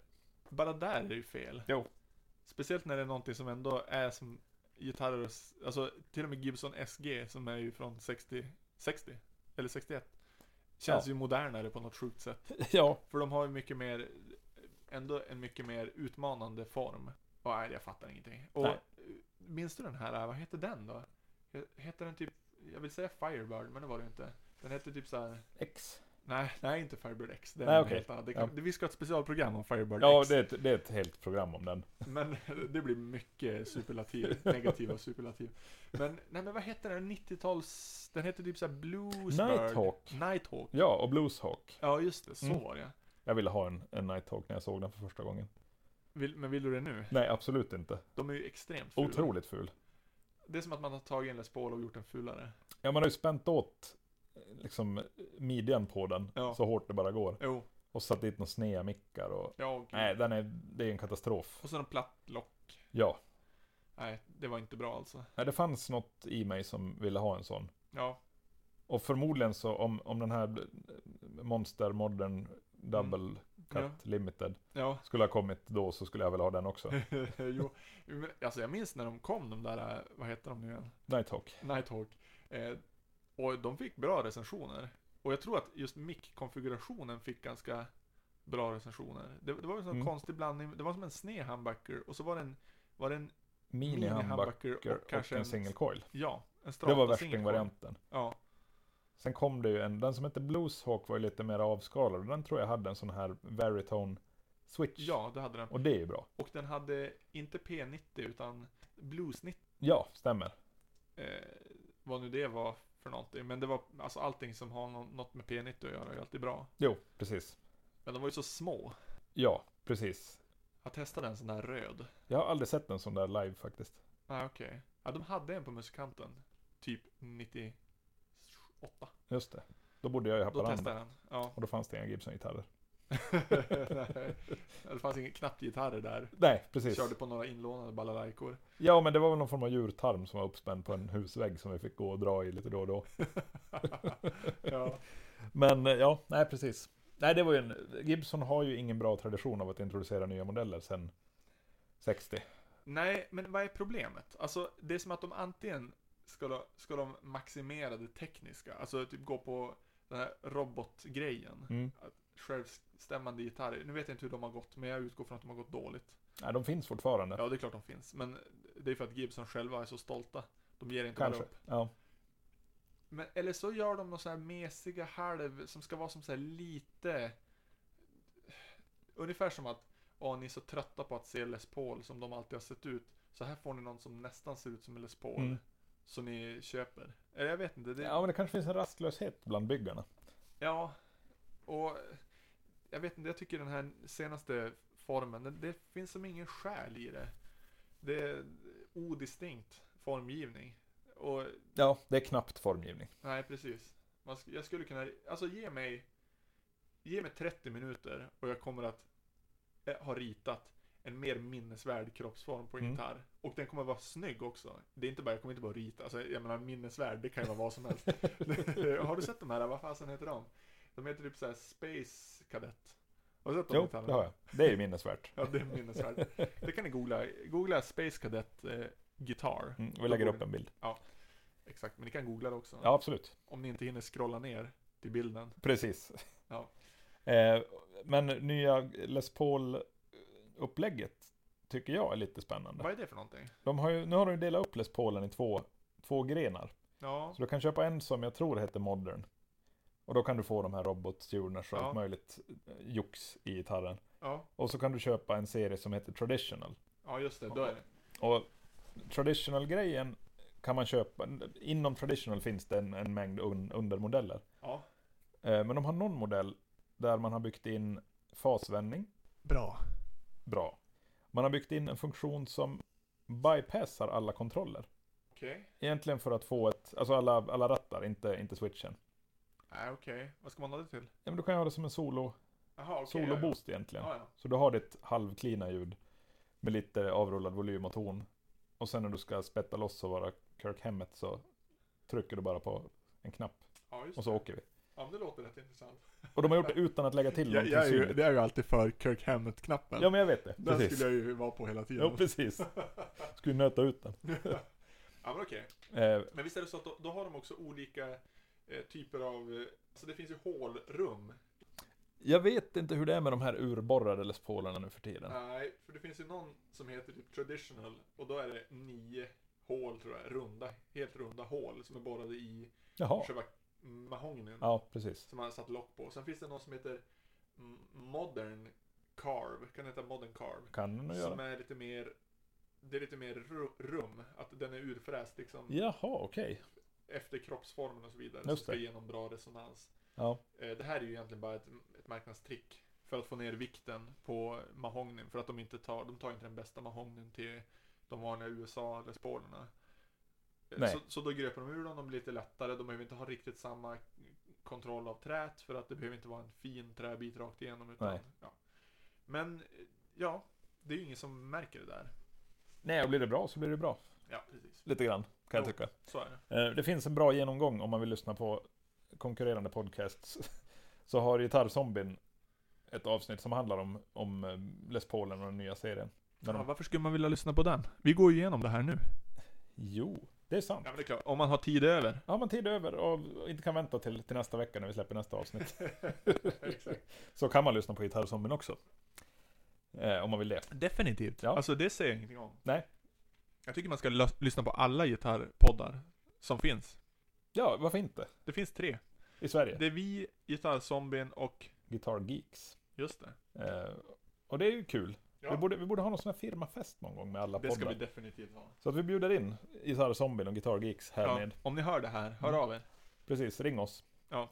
Speaker 2: Bara där är det ju fel.
Speaker 1: Jo.
Speaker 2: Speciellt när det är någonting som ändå är som gitarrer, och s- alltså till och med Gibson SG som är ju från 60, 60 eller 61. Känns
Speaker 1: Ja.
Speaker 2: ju modernare på något sjukt sätt.
Speaker 1: Ja,
Speaker 2: För de har ju mycket mer, ändå en mycket mer utmanande form. Och nej, jag fattar ingenting. Och
Speaker 1: Nej.
Speaker 2: minns du den här, äh, vad heter den då? He- Heter den typ, jag vill säga Firebird, men det var det ju inte. Den heter typ så här.
Speaker 1: X.
Speaker 2: nej, nej inte Firebird X. Det är
Speaker 1: Nej,
Speaker 2: en
Speaker 1: okej.
Speaker 2: helt annan. Det kan, Vi ska ha ett specialprogram om Firebird
Speaker 1: Ja,
Speaker 2: X.
Speaker 1: det är, ett, det är ett helt program om den.
Speaker 2: Men det blir mycket superlativ, negativa superlativ. Men, nej men vad heter den? 90-tals, den heter typ såhär Bluesbird.
Speaker 1: Nighthawk.
Speaker 2: Nighthawk.
Speaker 1: Ja, och Blueshawk.
Speaker 2: Ja, just det. Så
Speaker 1: Mm.
Speaker 2: var det
Speaker 1: Jag ville ha en, en Nighthawk när jag såg den för första gången.
Speaker 2: vill, Men vill du det nu?
Speaker 1: Nej, absolut inte.
Speaker 2: De är ju extremt fula.
Speaker 1: Otroligt ful.
Speaker 2: Det är som att man har tagit en Les Paul och gjort den fulare.
Speaker 1: Ja, man har ju spänt åt eh, liksom midjan på den
Speaker 2: Ja.
Speaker 1: så hårt det bara går.
Speaker 2: Jo,
Speaker 1: Och satt dit några snea mickar och...
Speaker 2: ja och,
Speaker 1: Nej, den är, det är en katastrof.
Speaker 2: och så en platt lock.
Speaker 1: Ja.
Speaker 2: Nej, det var inte bra alltså.
Speaker 1: Nej, det fanns något i mig som ville ha en sån.
Speaker 2: Ja,
Speaker 1: Och förmodligen så om, om den här eh, Monster Modern Double Cut
Speaker 2: Ja.
Speaker 1: Limited
Speaker 2: ja.
Speaker 1: skulle ha kommit då så skulle jag väl ha den också.
Speaker 2: jo, men, alltså jag minns när de kom de där, eh, vad heter de nu igen?
Speaker 1: Nighthawk.
Speaker 2: Nighthawk. Eh, och de fick bra recensioner. Och jag tror att just mic-konfigurationen fick ganska bra recensioner. Det, det var en sån
Speaker 1: Mm.
Speaker 2: konstig blandning, det var som en sned humbucker och så var det en, var det en
Speaker 1: Mini humbucker
Speaker 2: mini-humbucker och,
Speaker 1: och,
Speaker 2: kanske
Speaker 1: en single coil.
Speaker 2: Ja, en
Speaker 1: Det var
Speaker 2: strata single coil.
Speaker 1: värstingvarianten.
Speaker 2: Ja,
Speaker 1: Sen kom det ju en, den som hette Blueshawk var ju lite mer avskalad och den tror jag hade en sån här Veritone switch.
Speaker 2: ja, det hade den.
Speaker 1: Och det är ju bra.
Speaker 2: Och den hade inte P90 utan Blues-90,
Speaker 1: Ja, stämmer.
Speaker 2: eh, vad nu det var för någonting. Men det var, alltså allting som har nå- något med P90 att göra är alltid bra.
Speaker 1: Jo, precis.
Speaker 2: Men de var ju så små.
Speaker 1: Ja, precis.
Speaker 2: Jag testade en sån där röd.
Speaker 1: Jag har aldrig sett en sån där live faktiskt.
Speaker 2: Nej, okej. Ja, de hade en på musikanten. Typ 98.
Speaker 1: Just det. Då bodde jag i
Speaker 2: Då
Speaker 1: Haparanda.
Speaker 2: testade jag den. Ja.
Speaker 1: Och då fanns det inga Gibson-gitarrer.
Speaker 2: Nej, det fanns ingen, knappt gitarrer där.
Speaker 1: Nej, precis.
Speaker 2: Körde på några inlånade balalaikor.
Speaker 1: Ja, men det var väl någon form av djurtarm som var uppspänd på en husvägg som vi fick gå och dra i lite då och då.
Speaker 2: ja.
Speaker 1: Men eh, ja, nej precis. Nej, det var ju en... Gibson har ju ingen bra tradition av att introducera nya modeller sen 60.
Speaker 2: Nej, men vad är problemet? Alltså, det är som att de antingen ska, de- ska de maximera det tekniska. Alltså, typ gå på den här robotgrejen.
Speaker 1: Mm.
Speaker 2: Självstämmande gitarrer. Nu vet jag inte hur de har gått, men jag utgår från att de har gått dåligt.
Speaker 1: Nej, de finns fortfarande.
Speaker 2: Ja, det är klart de finns. Men det är för att Gibson själva är så stolta. De ger inte
Speaker 1: Kanske.
Speaker 2: bara upp.
Speaker 1: Ja.
Speaker 2: Men, eller så gör de några så här mesiga halv som ska vara som så här lite... Ungefär som att åh, ni är så trötta på att se Les Paul som de alltid har sett ut. Så här får ni någon som nästan ser ut som en Les Paul.
Speaker 1: Mm.
Speaker 2: Som ni köper. Eller jag vet inte. Det,
Speaker 1: ja,
Speaker 2: ja.
Speaker 1: men det kanske finns en rastlöshet bland byggarna.
Speaker 2: Och jag vet inte, jag tycker den här senaste formen, det, det finns som ingen själ i det. Det är odistinkt formgivning. Och
Speaker 1: Ja, det är knappt formgivning.
Speaker 2: Nej, precis. Man sk- jag skulle kunna, alltså ge mig, ge mig 30 minuter och jag kommer att eh, ha ritat en mer minnesvärd kroppsform på en
Speaker 1: Mm.
Speaker 2: gitarr. Och den kommer vara snygg också. Det är inte bara, jag kommer inte bara rita, alltså jag menar minnesvärd, det kan ju vara vad som helst. Har du sett de här, vad fasen heter de? De heter typ såhär Space Cadet. Har du sett de
Speaker 1: Jo,
Speaker 2: gitarrerna?
Speaker 1: det har jag. Det är ju minnesvärt.
Speaker 2: Ja, det är minnesvärt. Det kan ni googla, googla Space Cadet eh, Guitar.
Speaker 1: Mm, vi lägger upp en bild.
Speaker 2: Exakt, men ni kan googla det också.
Speaker 1: Ja, absolut.
Speaker 2: Om ni inte hinner scrolla ner till bilden.
Speaker 1: Precis.
Speaker 2: Ja.
Speaker 1: Eh, men nya Les Paul-upplägget tycker jag är lite spännande.
Speaker 2: Vad är det för någonting?
Speaker 1: De har ju, nu har de ju delat upp Les Paulen i två, två grenar.
Speaker 2: Ja,
Speaker 1: Så du kan köpa en som jag tror heter Modern. Och då kan du få de här robottuners och
Speaker 2: Ja.
Speaker 1: allt möjligt eh, jox i gitarren.
Speaker 2: ja,
Speaker 1: Och så kan du köpa en serie som heter Traditional.
Speaker 2: ja just det, då är det.
Speaker 1: Och traditional-grejen kan man köpa, inom traditional finns det en, en mängd un, undermodeller.
Speaker 2: Ja.
Speaker 1: Eh, men de har någon modell där man har byggt in fasvändning,
Speaker 2: Bra.
Speaker 1: bra. Man har byggt in en funktion som bypassar alla kontroller.
Speaker 2: Okej.
Speaker 1: Egentligen för att få ett, alltså alla, alla rattar, inte, inte switchen.
Speaker 2: Nej, okej. Vad ska man ha det till?
Speaker 1: Ja, men du kan göra det som en solo,
Speaker 2: Jaha, okej.
Speaker 1: solo
Speaker 2: ja,
Speaker 1: boost egentligen.
Speaker 2: ja. Ja, ja.
Speaker 1: Så du har ditt halvklina ljud med lite avrullad volym och ton. Och sen när du ska spätta loss och vara Kirk Hammett så trycker du bara på en knapp
Speaker 2: ja, just
Speaker 1: och så
Speaker 2: det.
Speaker 1: åker vi.
Speaker 2: Ja, men det låter rätt intressant.
Speaker 1: Och de har gjort det utan att lägga till någonting synligt.
Speaker 2: det är ju alltid för Kirk Hammett-knappen.
Speaker 1: Ja men jag vet det,
Speaker 2: Den
Speaker 1: precis.
Speaker 2: skulle jag ju vara på hela tiden.
Speaker 1: Ja precis. Skulle nöta ut den.
Speaker 2: ja, men okej.
Speaker 1: Eh,
Speaker 2: Men visst är det så att då, då har de också olika eh, typer av... eh, Alltså det finns ju hålrum.
Speaker 1: jag vet inte hur det är med de här urborrade Les Paulerna nu för tiden.
Speaker 2: Nej, för det finns ju någon som heter typ traditional och då är det nio hål tror jag, runda, helt runda hål som är borrade i
Speaker 1: Jaha.
Speaker 2: själva mahognyn
Speaker 1: Ja, precis.
Speaker 2: som man har satt lock på. Sen finns det någon som heter mm, modern carve, kan det heta modern carve?
Speaker 1: Kan den nog
Speaker 2: Som
Speaker 1: göra.
Speaker 2: är lite mer, det är lite mer ru- rum, att den är urfräst liksom
Speaker 1: Jaha, okej.
Speaker 2: efter kroppsformen och så vidare.
Speaker 1: Just
Speaker 2: som ska
Speaker 1: det.
Speaker 2: ge någon bra resonans.
Speaker 1: Ja.
Speaker 2: Eh, Det här är ju egentligen bara ett, ett marknadstrick för att få ner vikten på mahognyn för att de inte tar, de tar inte den bästa mahognyn till de vanliga USA eller spårerna.
Speaker 1: Nej.
Speaker 2: Så, så då gröper de ur dem, de blir lite lättare, de behöver inte ha riktigt samma kontroll av träet för att det behöver inte vara en fin träbit rakt igenom. Utan,
Speaker 1: Nej.
Speaker 2: ja. Men eh, ja, det är ju ingen som märker det där.
Speaker 1: Nej, och blir det bra så blir det bra.
Speaker 2: Ja, precis.
Speaker 1: Lite grann, kan jag
Speaker 2: Jo.
Speaker 1: tycka.
Speaker 2: Så är det.
Speaker 1: Eh, Det finns en bra genomgång om man vill lyssna på konkurrerande podcasts. Så har Gitarrzombien ett avsnitt som handlar om, om eh, Les Paulen och den nya serien. När de-
Speaker 2: varför skulle man vilja lyssna på den? Vi går ju igenom det här nu.
Speaker 1: Jo, det är sant.
Speaker 2: Ja, men det är klart. Om man har tid över.
Speaker 1: Har man tid över och inte kan vänta till, till nästa vecka när vi släpper nästa avsnitt
Speaker 2: Exakt.
Speaker 1: så kan man lyssna på Gitarrzombien också. Eh, om man vill det.
Speaker 2: Definitivt.
Speaker 1: Ja.
Speaker 2: Alltså det säger jag ingenting om.
Speaker 1: Nej.
Speaker 2: Jag tycker man ska lö- lyssna på alla gitarrpoddar som finns.
Speaker 1: Ja, varför inte?
Speaker 2: Det finns tre.
Speaker 1: I Sverige.
Speaker 2: Det är vi, Gitarrzombien och...
Speaker 1: Guitar Geeks.
Speaker 2: Just det.
Speaker 1: Eh, och det är ju kul.
Speaker 2: Ja.
Speaker 1: Vi, borde, vi borde ha någon sån här firmafest någon gång med alla
Speaker 2: Det ska
Speaker 1: poddar.
Speaker 2: vi definitivt ha.
Speaker 1: Så att vi bjuder in Gitarrzombien och Guitar Geeks härmed.
Speaker 2: Ja, om ni hör det här, hör
Speaker 1: Mm.
Speaker 2: av er.
Speaker 1: Precis, ring oss.
Speaker 2: Ja.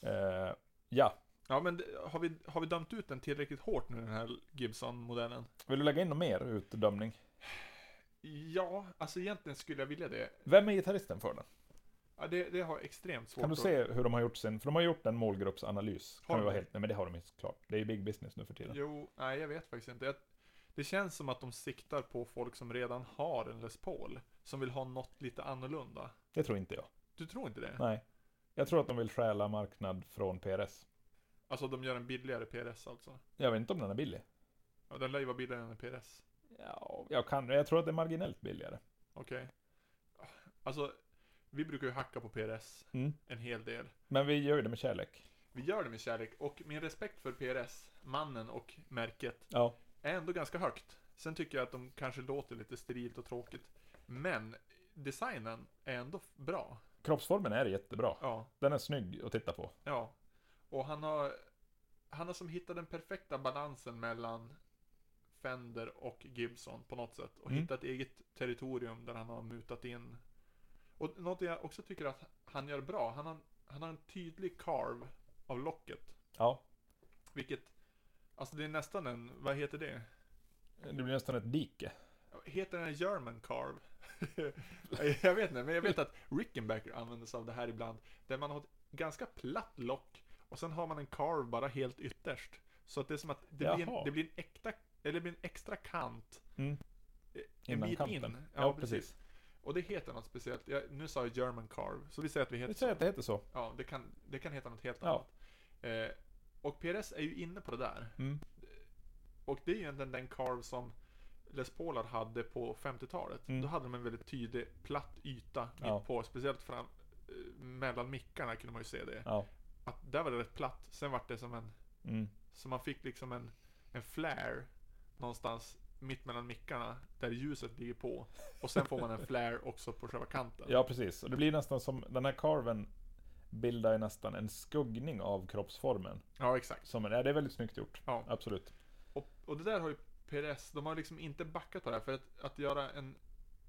Speaker 1: Eh, ja.
Speaker 2: Ja men det- har vi, har vi dömt ut den tillräckligt hårt nu den här Gibson-modellen?
Speaker 1: Vill du lägga in någon mer utdömning?
Speaker 2: Ja, alltså egentligen skulle jag vilja det.
Speaker 1: Vem är gitarristen för den?
Speaker 2: Ja, det, det har extremt svårt
Speaker 1: Kan du se hur de har gjort sin, för de har gjort en målgruppsanalys.
Speaker 2: Har
Speaker 1: Kan vi
Speaker 2: de
Speaker 1: vara
Speaker 2: det?
Speaker 1: helt, nej men det har de ju såklart. Det är ju big business nu för tiden.
Speaker 2: Jo, nej jag vet faktiskt inte. Jag, det känns som att de siktar på folk som redan har en Les Paul. Som vill ha något lite annorlunda.
Speaker 1: Det tror inte jag.
Speaker 2: Du tror inte det?
Speaker 1: Nej. Jag tror att de vill stjäla marknad från PRS.
Speaker 2: Alltså de gör en billigare PRS alltså.
Speaker 1: Jag vet inte om den är billig.
Speaker 2: Ja, den lär ju vara billigare än en PRS.
Speaker 1: Ja, jag, kan, jag tror att det är marginellt billigare.
Speaker 2: Okej. Alltså, vi brukar ju hacka på PRS
Speaker 1: Mm.
Speaker 2: en hel del.
Speaker 1: Men vi gör ju det med kärlek.
Speaker 2: Vi gör det med kärlek och min respekt för PRS, mannen och märket,
Speaker 1: Ja.
Speaker 2: är ändå ganska högt. Sen tycker jag att de kanske låter lite sterilt och tråkigt. Men designen är ändå f- bra.
Speaker 1: Kroppsformen är jättebra.
Speaker 2: Ja.
Speaker 1: Den är snygg att titta på.
Speaker 2: Ja. Och han har, han har som hittat den perfekta balansen mellan Fender och Gibson på något sätt. Och
Speaker 1: Mm.
Speaker 2: hittat ett eget territorium där han har mutat in. Och något jag också tycker att han gör bra, han har, han har en tydlig carve av locket.
Speaker 1: Ja.
Speaker 2: Vilket, alltså det är nästan en, vad heter det?
Speaker 1: Det blir nästan ett dike.
Speaker 2: Heter den German carve? jag vet inte, men jag vet att Rickenbacker använder sig av det här ibland. Där man har ett ganska platt lock och sen har man en carve bara helt ytterst. Så att det är som att det, blir en,
Speaker 1: Jaha.
Speaker 2: det blir en äkta, eller det blir en extra kant.
Speaker 1: Mm.
Speaker 2: eh, En
Speaker 1: Innan
Speaker 2: bit
Speaker 1: kanten.
Speaker 2: in. Ja,
Speaker 1: Ja,
Speaker 2: precis. Och det heter något speciellt. Jag, nu sa jag German carve, så vi säger att vi heter
Speaker 1: Vi säger att det heter så.
Speaker 2: Ja, det kan, det kan heta något helt
Speaker 1: Ja.
Speaker 2: annat. Eh, och PRS är ju inne på det där.
Speaker 1: Mm.
Speaker 2: Och det är ju egentligen den carve som Les Paular hade på 50-talet.
Speaker 1: Mm.
Speaker 2: Då hade de en väldigt tydlig platt yta mitt
Speaker 1: Ja.
Speaker 2: på. Speciellt fram, eh, mellan mickarna kunde man ju se det.
Speaker 1: Ja.
Speaker 2: Att där var det rätt platt. Sen var det som en,
Speaker 1: Mm.
Speaker 2: så man fick liksom en, en flare någonstans mitt mellan mickarna där ljuset ligger på. Och sen får man en flare också på själva kanten.
Speaker 1: Ja, precis. Och det blir nästan som, den här karven bildar ju nästan en skuggning av kroppsformen.
Speaker 2: ja exakt.
Speaker 1: Som, ja, det är väldigt snyggt gjort.
Speaker 2: Ja.
Speaker 1: Absolut.
Speaker 2: Och, och det där har ju PRS, de har liksom inte backat på det här. För att, att göra en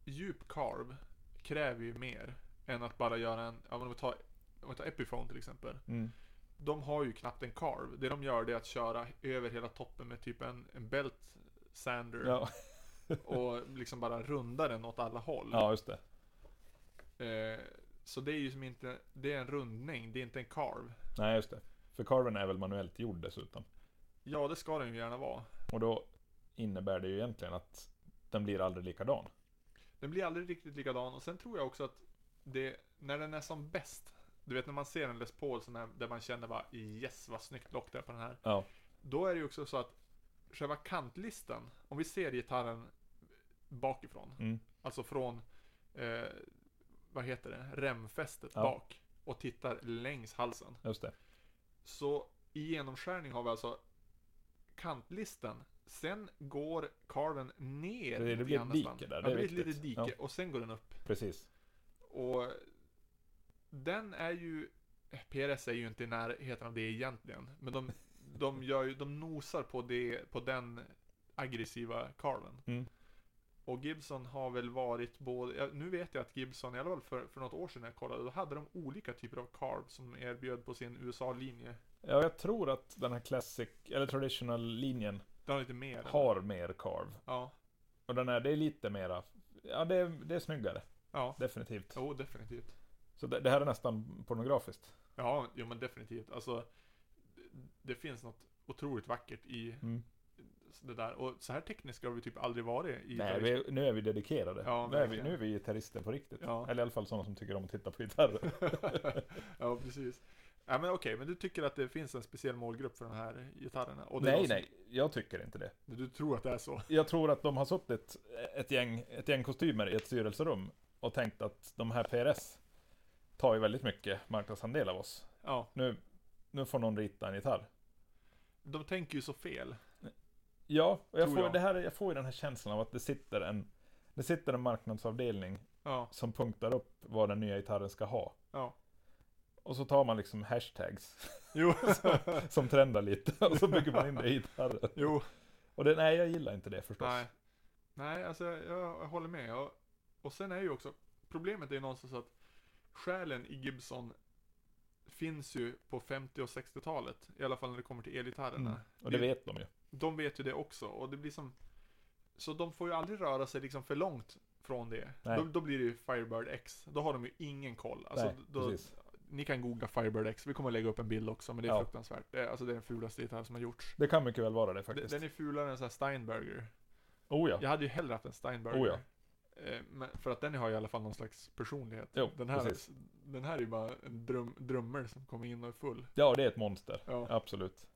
Speaker 2: djup carve kräver ju mer än att bara göra en, ja men om vi tar, om vi tar Epiphone till exempel.
Speaker 1: Mm.
Speaker 2: De har ju knappt en carve. Det de gör det är att köra över hela toppen med typ en, en belt sander
Speaker 1: Ja.
Speaker 2: och liksom bara runda den åt alla håll.
Speaker 1: ja, just det.
Speaker 2: Eh, så det är ju som inte, det är en rundning, det är inte en carve.
Speaker 1: Nej, just det. För carven är väl manuellt gjord dessutom.
Speaker 2: Ja, det ska den ju gärna vara.
Speaker 1: Och då innebär det ju egentligen att den blir aldrig likadan.
Speaker 2: Den blir aldrig riktigt likadan och sen tror jag också att det, när den är som bäst, du vet när man ser en Les Paul sån här, där man känner bara yes vad snyggt lock det är på den här.
Speaker 1: Ja.
Speaker 2: Då är det ju också så att själva kantlistan, om vi ser gitarren bakifrån,
Speaker 1: Mm.
Speaker 2: alltså från, eh, vad heter det, remfästet
Speaker 1: Ja.
Speaker 2: bak och tittar längs halsen.
Speaker 1: Just det.
Speaker 2: Så i genomskärning har vi alltså kantlisten. Sen går karven ner.
Speaker 1: Det- det
Speaker 2: lite
Speaker 1: blir
Speaker 2: grann
Speaker 1: ett dike
Speaker 2: nästan.
Speaker 1: där,
Speaker 2: Ja,
Speaker 1: det
Speaker 2: det
Speaker 1: är
Speaker 2: blir ett litet
Speaker 1: viktigt.
Speaker 2: dike och sen går den upp.
Speaker 1: Precis.
Speaker 2: Och den är ju... PRS är ju inte i närheten av det egentligen. Men de, de, gör ju, de nosar på, det, på den aggressiva karven.
Speaker 1: Mm.
Speaker 2: Och Gibson har väl varit både, ja, nu vet jag att Gibson, i alla fall för, för något år sedan när jag kollade, då hade de olika typer av carv som erbjöd på sin USA-linje.
Speaker 1: Ja, jag tror att den här classic, eller traditional-linjen
Speaker 2: Den har lite mer.
Speaker 1: har mer carv.
Speaker 2: Ja,
Speaker 1: Och den här, det är lite mera, ja det är, det är snyggare,
Speaker 2: ja.
Speaker 1: definitivt.
Speaker 2: Jo, definitivt.
Speaker 1: Så det, det här är nästan pornografiskt.
Speaker 2: Ja, jo men definitivt. Alltså, det- det finns något otroligt vackert i
Speaker 1: Mm.
Speaker 2: det där. Och så här tekniska har vi typ aldrig varit i
Speaker 1: Nej,
Speaker 2: gitarrist-
Speaker 1: vi, nu är vi dedikerade.
Speaker 2: Ja,
Speaker 1: nu, är vi,
Speaker 2: verkligen.
Speaker 1: nu är vi gitarrister på riktigt.
Speaker 2: Ja.
Speaker 1: Eller i alla fall sådana som tycker om att titta på gitarrer.
Speaker 2: ja, precis. Ja, men okej, men du tycker att det finns en speciell målgrupp för de här gitarrerna? Och det är
Speaker 1: nej,
Speaker 2: de som-
Speaker 1: nej, jag tycker inte det.
Speaker 2: Du tror att det är så?
Speaker 1: Jag tror att de har suttit ett gäng, ett gäng kostymer i ett styrelserum och tänkt att de här PRS tar ju väldigt mycket marknadsandel av oss.
Speaker 2: Ja,
Speaker 1: Nu, nu får någon rita en gitarr.
Speaker 2: de tänker ju så fel.
Speaker 1: Ja, och jag
Speaker 2: Tror
Speaker 1: får,
Speaker 2: jag.
Speaker 1: Det här, jag får ju den här känslan av att det sitter en det sitter en marknadsavdelning
Speaker 2: Ja,
Speaker 1: som punktar upp vad den nya gitarren ska ha.
Speaker 2: ja.
Speaker 1: Och så tar man liksom hashtags
Speaker 2: Jo,
Speaker 1: som trendar lite och så bygger man in det i gitarren.
Speaker 2: jo.
Speaker 1: Och det, nej, jag gillar inte det förstås.
Speaker 2: Nej. Nej, alltså jag, jag håller med. Och, och sen är ju också, problemet är ju någonstans att själen i Gibson finns ju på 50 och 60-talet. I alla fall när det kommer till elgitarrerna.
Speaker 1: Mm. Och det vet de ju.
Speaker 2: De vet ju det också och det blir som Så de får ju aldrig röra sig liksom för långt från det.
Speaker 1: Nej.
Speaker 2: Då, då blir det ju Firebird X. Då har de ju ingen koll. Alltså,
Speaker 1: Nej,
Speaker 2: då,
Speaker 1: precis.
Speaker 2: ni kan googla Firebird X, vi kommer lägga upp en bild också men det är
Speaker 1: Ja.
Speaker 2: fruktansvärt. Det är, alltså det är den fulaste gitarr som har gjorts.
Speaker 1: Det kan mycket väl vara det
Speaker 2: Den
Speaker 1: faktiskt.
Speaker 2: den är fulare än så här Steinberger.
Speaker 1: Oh ja.
Speaker 2: Jag hade ju hellre haft en Steinberger.
Speaker 1: Oh ja.
Speaker 2: Eh, Men för att den har i alla fall någon slags personlighet.
Speaker 1: Jo,
Speaker 2: den, här,
Speaker 1: precis.
Speaker 2: den här är ju bara en dröm, drömmer som kommer in och är full.
Speaker 1: ja, det är ett monster.
Speaker 2: Ja.
Speaker 1: Absolut.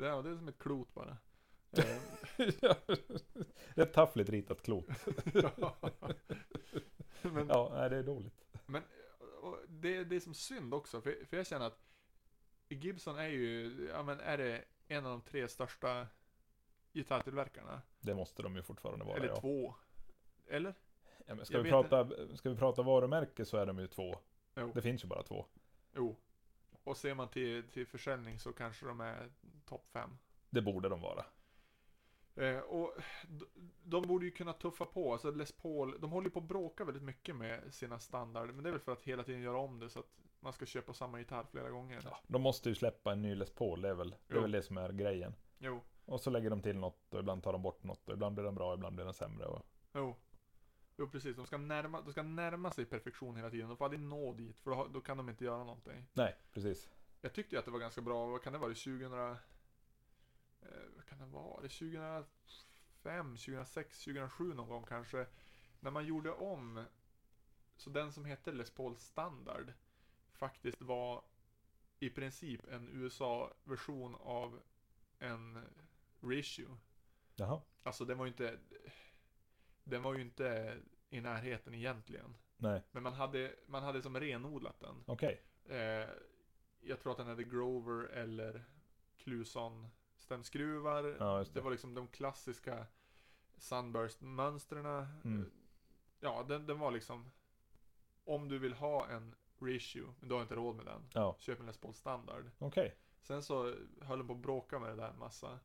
Speaker 2: Det, är, det är som ett klot bara. Eh,
Speaker 1: det är ett taffligt ritat klot.
Speaker 2: Mm. ja. Men,
Speaker 1: Ja, nej, det är dåligt.
Speaker 2: men och det, det är som synd också, för, för jag känner att Gibson är ju, ja men är det en av de tre största gitarrtillverkarna?
Speaker 1: Det måste de ju fortfarande vara.
Speaker 2: Eller
Speaker 1: ja.
Speaker 2: två? Eller?
Speaker 1: Ja, men ska,
Speaker 2: Jag
Speaker 1: vi
Speaker 2: vet
Speaker 1: prata, ska vi prata varumärke så är de ju två.
Speaker 2: Jo.
Speaker 1: Det finns ju bara två.
Speaker 2: Jo. Och ser man till, till försäljning så kanske de är topp fem.
Speaker 1: Det borde de vara.
Speaker 2: Eh, och d- de borde ju kunna tuffa på. Alltså Les Paul, de håller ju på att bråka väldigt mycket med sina standarder. Men det är väl för att hela tiden göra om det så att man ska köpa samma gitarr flera gånger.
Speaker 1: Ja, de måste ju släppa en ny Les Paul, det är, väl, det är
Speaker 2: Jo.
Speaker 1: väl det som är grejen.
Speaker 2: Jo,
Speaker 1: Och så lägger de till något och ibland tar de bort något och ibland blir den bra och ibland blir den sämre. Och...
Speaker 2: jo. Jo, precis. De ska, närma, de ska närma sig perfektion hela tiden. De får aldrig nå dit, för då, har- då kan de inte göra någonting.
Speaker 1: Nej, precis.
Speaker 2: Jag tyckte ju att det var ganska bra. Vad kan det vara? Det 2000... Eh, vad kan det vara? Det 2005, 2006, 2007 någon gång kanske. När man gjorde om. Så den som hette Les Paul Standard faktiskt var i princip en USA-version av en reissue.
Speaker 1: Jaha.
Speaker 2: Alltså den var ju inte... Den var ju inte i närheten egentligen.
Speaker 1: Nej,
Speaker 2: Men man hade, man hade som renodlat den.
Speaker 1: okej.
Speaker 2: Eh, jag tror att den hade Grover eller Cluson stämskruvar.
Speaker 1: Ja, just
Speaker 2: det
Speaker 1: det.
Speaker 2: var liksom de klassiska Sunburst-mönstren. Eh,
Speaker 1: Mm.
Speaker 2: Ja, den, den var liksom... Om du vill ha en reissue, men du har inte råd med den,
Speaker 1: Ja,
Speaker 2: köp en Les Paul Standard.
Speaker 1: okej.
Speaker 2: Sen så höll de på att bråka med det där en massa.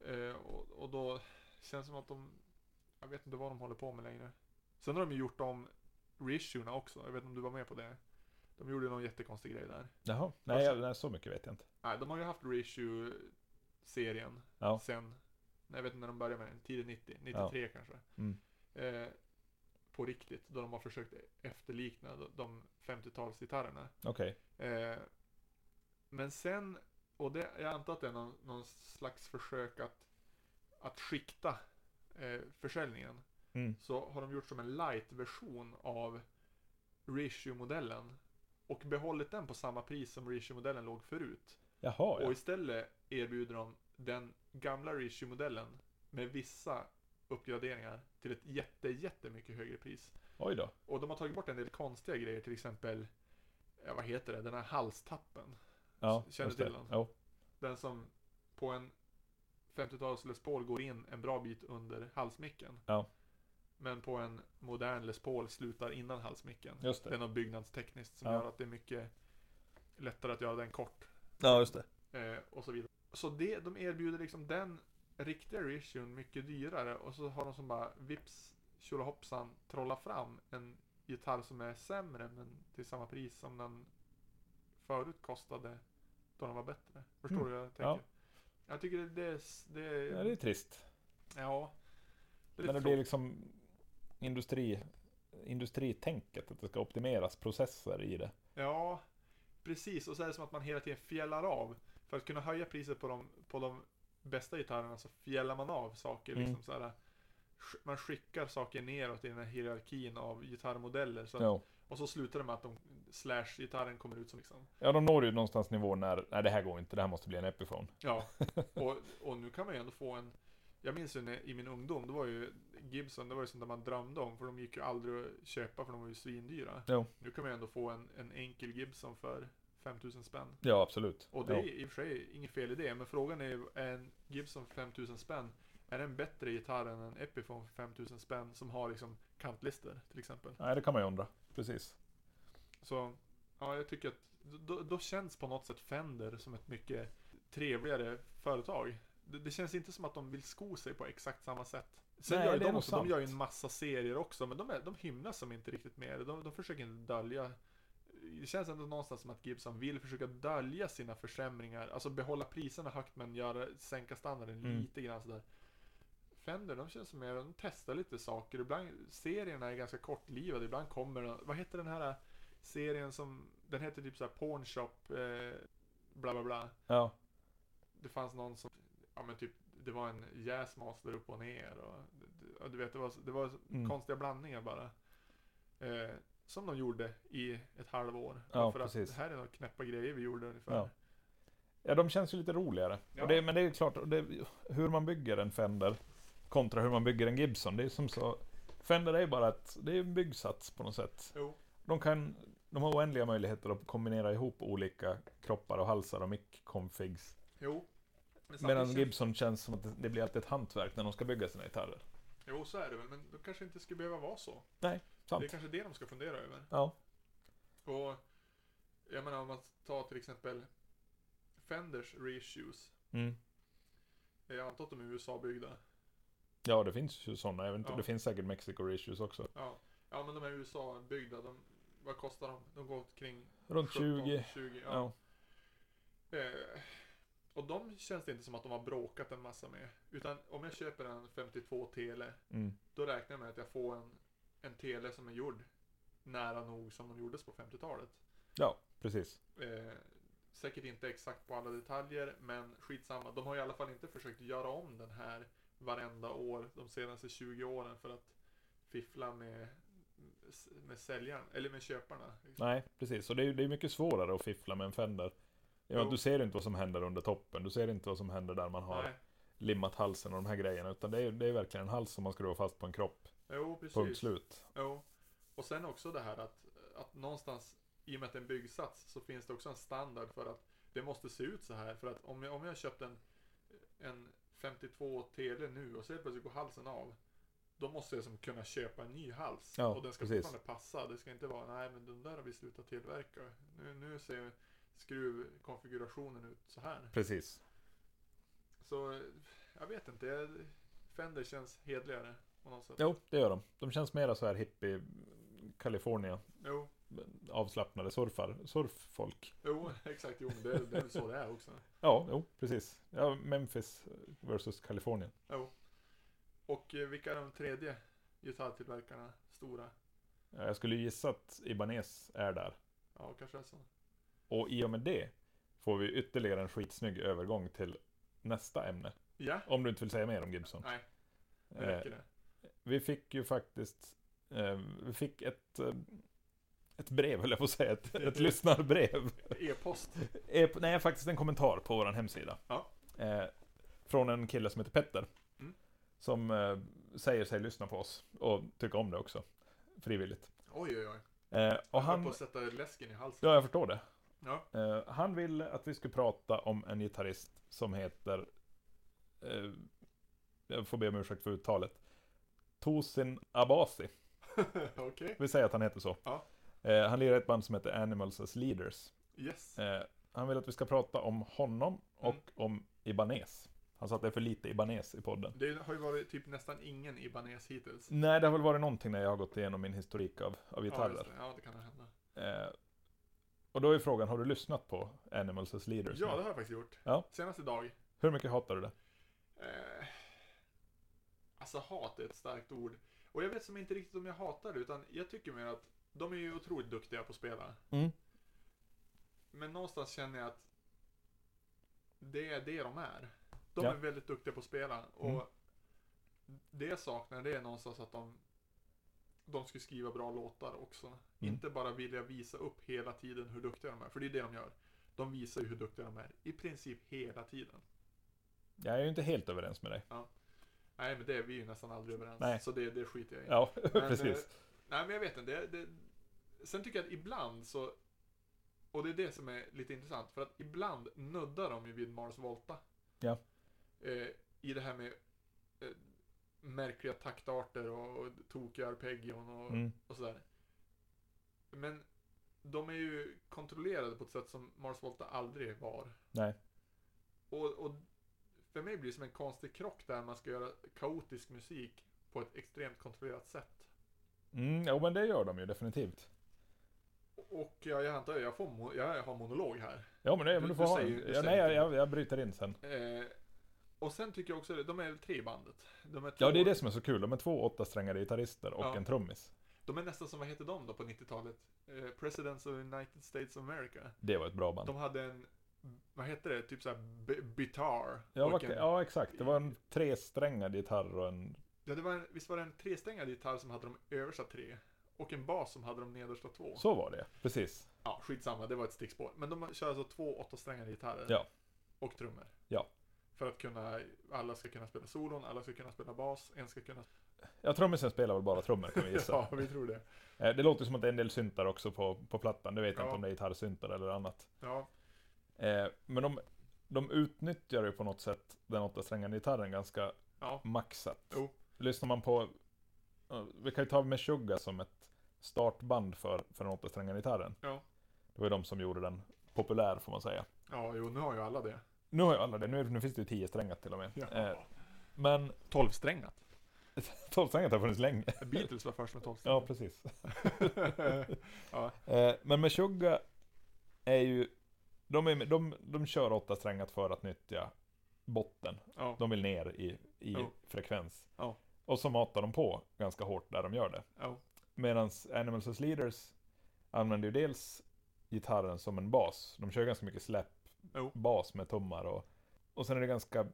Speaker 2: Eh, och, och då känns det som att de... Jag vet inte vad de håller på med längre. Sen har de ju gjort om reissuerna också. Jag vet inte om du var med på det. De gjorde någon jättekonstig grej där.
Speaker 1: Jaha, nej,
Speaker 2: Alltså-
Speaker 1: jag, nej så mycket vet jag inte.
Speaker 2: Nej, de har ju haft reissue-serien
Speaker 1: Ja.
Speaker 2: sen, nej, jag vet inte när de började med den, tidigt 90, 93 kanske.
Speaker 1: Mm.
Speaker 2: Eh, på riktigt, då de har försökt efterlikna de- de 50-talsgitarrerna.
Speaker 1: Okej.
Speaker 2: Eh, men sen, och det, jag antar att det är någon, någon slags försök att, att skikta eh, försäljningen.
Speaker 1: Mm.
Speaker 2: Så har de gjort som en light-version av reissue-modellen. Och behållit den på samma pris som reissue-modellen låg förut.
Speaker 1: Jaha,
Speaker 2: Och
Speaker 1: ja.
Speaker 2: istället erbjuder de den gamla reissue-modellen med vissa uppgraderingar till ett jätte, jättemycket högre pris.
Speaker 1: Oj då.
Speaker 2: Och de har tagit bort en del konstiga grejer, till exempel, ja, vad heter det, den här halstappen.
Speaker 1: Ja,
Speaker 2: Känner
Speaker 1: just det.
Speaker 2: till den.
Speaker 1: Jo.
Speaker 2: Den som på en 50-tals Les Paul går in en bra bit under halsmicken.
Speaker 1: Ja.
Speaker 2: Men på en modern Les Paul slutar innan halsmicken.
Speaker 1: Just
Speaker 2: Det
Speaker 1: det.
Speaker 2: är något byggnadstekniskt som
Speaker 1: Ja.
Speaker 2: gör att det är mycket lättare att göra den kort.
Speaker 1: Ja, just det.
Speaker 2: Eh, och så vidare. Så det, de erbjuder liksom den riktiga reissuen mycket dyrare och så har de som bara vips tjolahoppsan trolla fram en gitarr som är sämre men till samma pris som den förut kostade då den var bättre. Förstår
Speaker 1: Mm.
Speaker 2: du hur jag tänker?
Speaker 1: Ja.
Speaker 2: Jag tycker det, det, är s- det,
Speaker 1: Ja, det är trist.
Speaker 2: ja. Det
Speaker 1: Men
Speaker 2: är
Speaker 1: det
Speaker 2: lite
Speaker 1: blir
Speaker 2: tråkigt.
Speaker 1: liksom industri, industritänket, att det ska optimeras processer i det.
Speaker 2: Ja, precis. Och så är det som att man hela tiden fjällar av. För att kunna höja priset på de, på de bästa gitarrerna så fjällar man av saker.
Speaker 1: Mm.
Speaker 2: Liksom så här, sk- man skickar saker neråt i den här hierarkin av gitarrmodeller. Så att,
Speaker 1: Jo.
Speaker 2: Och så slutar det med att de, slash-gitarren kommer ut som liksom.
Speaker 1: Ja, de når ju någonstans nivån när, nej det här går inte, det här måste bli en Epiphone.
Speaker 2: Ja, och, och nu kan man ju ändå få en jag minns ju när, i min ungdom, det var ju Gibson, det var ju sånt där man drömde om för de gick ju aldrig att köpa för de var ju svindyra.
Speaker 1: Jo.
Speaker 2: Nu kan man ju ändå få en, en enkel Gibson för 5000 spänn.
Speaker 1: Ja, absolut.
Speaker 2: Och det är
Speaker 1: Jo.
Speaker 2: i och för sig inget fel i det, men frågan är ju, är en Gibson för 5000 spänn, är den bättre gitarr än en Epiphone för 5000 spänn som har liksom kantlister till exempel?
Speaker 1: Nej, det kan man ju undra. Precis.
Speaker 2: Så, ja jag tycker att då, då känns på något sätt Fender som ett mycket trevligare företag. Det, det känns inte som att de vill sko sig på exakt samma sätt. Sen
Speaker 1: Nej,
Speaker 2: gör ju
Speaker 1: det är
Speaker 2: de
Speaker 1: nog
Speaker 2: också, de
Speaker 1: sant.
Speaker 2: gör ju en massa serier också, men de, är, de hymlar som inte riktigt med det. De, de försöker inte dölja det känns ändå någonstans som att Gibson vill försöka dölja sina försämringar, alltså behålla priserna högt men göra, sänka standarden
Speaker 1: Mm.
Speaker 2: lite grann sådär. Fender, de känns som mer, de testar lite saker, ibland, serierna är ganska kortlivade, ibland kommer de, vad heter den här äh, serien som, den heter typ såhär Pawn Shop, eh, bla bla bla.
Speaker 1: Ja,
Speaker 2: Det fanns någon som, ja men typ, det var en jazzmaster upp och ner och, och du vet, det var, det var
Speaker 1: Mm.
Speaker 2: konstiga blandningar bara. Eh, som de gjorde i ett halvår.
Speaker 1: Ja,
Speaker 2: för
Speaker 1: precis.
Speaker 2: att det här är några knäppa grejer vi gjorde ungefär.
Speaker 1: Ja. ja de känns ju lite roligare.
Speaker 2: Ja.
Speaker 1: Och det, men det är klart, och det, hur man bygger en Fender kontra hur man bygger en Gibson. Det är som så, Fender är ju bara ett, det är en byggsats på något sätt.
Speaker 2: Jo,
Speaker 1: De, kan, de har oändliga möjligheter att kombinera ihop olika kroppar och halsar och mic-configs.
Speaker 2: jo. Men
Speaker 1: Medan
Speaker 2: samtidigt-
Speaker 1: Gibson känns som att det blir alltid ett hantverk när de ska bygga sina gitarrer.
Speaker 2: Jo, så är det väl, men det kanske inte skulle behöva vara så. Det är
Speaker 1: Sant?
Speaker 2: kanske det de ska fundera över.
Speaker 1: Ja.
Speaker 2: Och jag menar om man tar till exempel Fenders reissues.
Speaker 1: Mm.
Speaker 2: Jag antar att de är USA-byggda.
Speaker 1: Ja, det finns ju sådana. Jag vet inte,
Speaker 2: Ja.
Speaker 1: Det finns säkert Mexico issues också.
Speaker 2: Ja. ja, men de är USA-byggda. De, vad kostar de? De går kring
Speaker 1: Runt 20.
Speaker 2: 20 ja.
Speaker 1: Ja.
Speaker 2: Eh, och de känns det inte som att de har bråkat en massa med. Utan om jag köper en 52 Tele,
Speaker 1: Mm.
Speaker 2: då räknar jag med att jag får en, en Tele som är gjord nära nog som de gjordes på 50-talet.
Speaker 1: ja, precis.
Speaker 2: Eh, säkert inte exakt på alla detaljer, men skitsamma. De har i alla fall inte försökt göra om den här varenda år de senaste 20 åren för att fiffla med, med säljaren, eller med köparna. liksom.
Speaker 1: Nej, precis. Och det är, det är mycket svårare att fiffla med en Fender. Ja,
Speaker 2: Jo.
Speaker 1: du ser inte vad som händer under toppen. Du ser inte vad som händer där man har
Speaker 2: Nej.
Speaker 1: limmat halsen och de här grejerna. Utan det är, det är verkligen en hals som man skruvar fast på en kropp.
Speaker 2: Jo, precis.
Speaker 1: Punkt slut.
Speaker 2: Jo. Och sen också det här att, att någonstans, i och med att det är en byggsats, så finns det också en standard för att det måste se ut så här. För att om jag, om jag köpt en, en 52 Tele nu och så helt plötsligt går halsen av. Då måste jag som kunna köpa en ny hals.
Speaker 1: Ja,
Speaker 2: och den ska
Speaker 1: precis.
Speaker 2: fortfarande passa. Det ska inte vara, nej men den där har vi slutat tillverka. Nu, nu ser skruvkonfigurationen ut så här.
Speaker 1: Precis.
Speaker 2: Så eh, jag vet inte. Jag, Fender känns hedligare på något sätt.
Speaker 1: Jo, det gör de. De känns mera så här hippie Kalifornien.
Speaker 2: Jo,
Speaker 1: Avslappnade surfar, surffolk.
Speaker 2: jo exakt. Jo, men det, det är väl så det är också.
Speaker 1: Ja, jo, precis. Ja, Memphis versus Kalifornien.
Speaker 2: Jo. Och eh, vilka är de tredje gitarrtillverkarna? Stora?
Speaker 1: Ja, Jag skulle ju gissa att Ibanez är där.
Speaker 2: Ja, kanske är så.
Speaker 1: Och i och med det får vi ytterligare en skitsnygg övergång till nästa ämne.
Speaker 2: Ja,
Speaker 1: Om du inte vill säga mer om Gibson.
Speaker 2: nej, det
Speaker 1: Eh,
Speaker 2: räcker det.
Speaker 1: vi fick ju faktiskt eh, Vi fick ett eh, Ett brev, höll jag på att säga. Ett, ett lyssnarbrev.
Speaker 2: E-post.
Speaker 1: Eh, p- Nej, faktiskt en kommentar på vår hemsida.
Speaker 2: Ja.
Speaker 1: Eh, från en kille som heter Petter.
Speaker 2: Mm.
Speaker 1: Som eh, säger sig lyssna på oss och tycka om det också. Frivilligt.
Speaker 2: Oj, oj, oj.
Speaker 1: Eh, och
Speaker 2: Jag höll på
Speaker 1: han,
Speaker 2: att sätta läsken i halsen.
Speaker 1: ja, jag förstår det.
Speaker 2: Ja.
Speaker 1: Eh, han vill att vi skulle prata om en gitarrist som heter... Eh, jag får be om ursäkt för uttalet. Tosin Abasi.
Speaker 2: Okej.
Speaker 1: Vi säger att han heter så.
Speaker 2: Ja.
Speaker 1: Eh, han lirar i ett band som heter Animals as Leaders.
Speaker 2: Yes.
Speaker 1: Eh, han vill att vi ska prata om honom och
Speaker 2: Mm.
Speaker 1: om Ibanez. Han sa att det är för lite Ibanez i podden.
Speaker 2: Det har ju varit typ nästan ingen Ibanez hittills.
Speaker 1: Nej, det har väl varit någonting när jag har gått igenom min historik av, av
Speaker 2: Ja, just
Speaker 1: gitarrer.
Speaker 2: det. ja, det kan hända.
Speaker 1: eh, och då är frågan, har du lyssnat på Animals as Leaders?
Speaker 2: Ja, det
Speaker 1: nu?
Speaker 2: har jag faktiskt gjort.
Speaker 1: Ja.
Speaker 2: Senast idag.
Speaker 1: Hur mycket hatar du det?
Speaker 2: Eh, alltså hat är ett starkt ord. Och jag vet som inte riktigt om jag hatar det, utan jag tycker mer att de är ju otroligt duktiga på att spela.
Speaker 1: Mm.
Speaker 2: Men någonstans känner jag att det är det de är. De
Speaker 1: Ja.
Speaker 2: är väldigt duktiga på att spela. Och
Speaker 1: Mm.
Speaker 2: det jag saknar det är någonstans att de, de ska skriva bra låtar också.
Speaker 1: Mm.
Speaker 2: Inte bara vilja visa upp hela tiden hur duktiga de är. För det är det de gör. De visar ju hur duktiga de är. I princip hela tiden.
Speaker 1: Jag är ju inte helt överens med dig.
Speaker 2: Nej men det är vi ju nästan aldrig överens.
Speaker 1: Nej.
Speaker 2: Så det, det skiter jag i.
Speaker 1: Ja,
Speaker 2: Men,
Speaker 1: precis.
Speaker 2: eh, nej men jag vet inte. Det, det, sen tycker jag att ibland så, och det är det som är lite intressant, för att ibland nuddar de ju vid Mars Volta.
Speaker 1: Ja.
Speaker 2: Eh, I det här med eh, märkliga taktarter och, och tokiga arpeggion och,
Speaker 1: Mm.
Speaker 2: och sådär. Men de är ju kontrollerade på ett sätt som Mars Volta aldrig var.
Speaker 1: Nej.
Speaker 2: Och, och för mig blir det som en konstig krock där man ska göra kaotisk musik på ett extremt kontrollerat sätt.
Speaker 1: Mm, jo, men det gör de ju definitivt.
Speaker 2: Och jag, jag antar jag, får mo- jag har monolog här.
Speaker 1: Ja, men, det,
Speaker 2: Du-
Speaker 1: men du
Speaker 2: du
Speaker 1: får ha
Speaker 2: säger- du
Speaker 1: en. Ja,
Speaker 2: säger
Speaker 1: nej, jag,
Speaker 2: inte.
Speaker 1: jag, jag bryter in sen.
Speaker 2: Eh, och sen tycker jag också, de är väl tre i bandet. De är, två,
Speaker 1: Ja, det är det som är så kul. De är två åttasträngade gitarrister och
Speaker 2: Ja.
Speaker 1: en trummis.
Speaker 2: de är nästan som, vad heter de då på 90-talet? Eh, Presidents of United States of America.
Speaker 1: Det var ett bra band.
Speaker 2: De hade en, vad heter det, typ såhär b- bitar.
Speaker 1: Ja,
Speaker 2: Och
Speaker 1: vad-
Speaker 2: en-
Speaker 1: ja, exakt. Det var en tresträngad gitarr och en...
Speaker 2: ja, det var en, visst var det en tresträngad gitarr som hade de översta tre? Och en bas som hade de nedersta två.
Speaker 1: Så var det, precis.
Speaker 2: Ja, skitsamma, det var ett stickspår. Men de kör alltså två åttasträngade gitarrer.
Speaker 1: Ja.
Speaker 2: Och trummor.
Speaker 1: Ja.
Speaker 2: För att kunna, alla ska kunna spela solon, alla ska kunna spela bas, en ska kunna...
Speaker 1: Ja, trummisen spelar väl bara trummor kan vi gissa.
Speaker 2: Ja, vi tror det.
Speaker 1: Eh, Det låter som att det är en del syntar också på, på plattan. Det vet jag
Speaker 2: Ja.
Speaker 1: inte om det är gitarrsyntar eller annat.
Speaker 2: Ja,
Speaker 1: Eh, Men de, de utnyttjar ju på något sätt den åttasträngade gitarren ganska
Speaker 2: ja,
Speaker 1: maxat.
Speaker 2: Jo.
Speaker 1: Lyssnar man på... eh, Vi kan ju ta Meshuggah som ett startband för, för den åttasträngade gitarren.
Speaker 2: Ja.
Speaker 1: Det var ju de som gjorde den populär får man säga.
Speaker 2: ja, jo, nu har ju alla det.
Speaker 1: Nu har ju alla det, nu, nu finns det ju tio strängat till och med. Eh,
Speaker 2: Ja.
Speaker 1: Men
Speaker 2: Tolvsträngat.
Speaker 1: tolvsträngat har funnits länge.
Speaker 2: Beatles var först med
Speaker 1: Ja,
Speaker 2: tolvsträngat.
Speaker 1: precis.
Speaker 2: ja,
Speaker 1: Eh, men Meshuggah är ju... De, är, de, de kör åtta strängat för att nyttja botten.
Speaker 2: ja,
Speaker 1: De vill ner i, i
Speaker 2: Ja.
Speaker 1: frekvens.
Speaker 2: Ja.
Speaker 1: Och så matar de på ganska hårt där de gör det.
Speaker 2: ja,
Speaker 1: Medan Animals as Leaders använder ju dels gitarren som en bas. De kör ganska mycket
Speaker 2: Jo.
Speaker 1: släppbas med tummar och... Och sen är det ganska...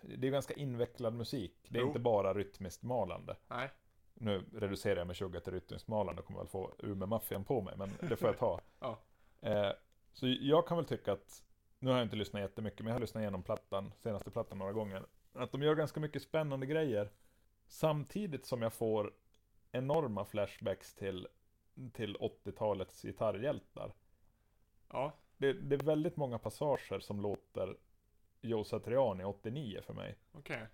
Speaker 1: Det är ganska invecklad musik. Det är
Speaker 2: Jo.
Speaker 1: inte bara rytmiskt malande.
Speaker 2: nej,
Speaker 1: Nu reducerar jag med sugar till rytmismalande och kommer väl få Umeå-maffian på mig, men det får jag ta.
Speaker 2: Ja.
Speaker 1: eh, så jag kan väl tycka att, nu har jag inte lyssnat jättemycket, men jag har lyssnat igenom plattan, senaste plattan några gånger, att de gör ganska mycket spännande grejer, samtidigt som jag får enorma flashbacks till, till 80-talets gitarrhjältar.
Speaker 2: ja,
Speaker 1: Det, det är väldigt många passager som låter Joe Satriani 89 för mig.
Speaker 2: okej.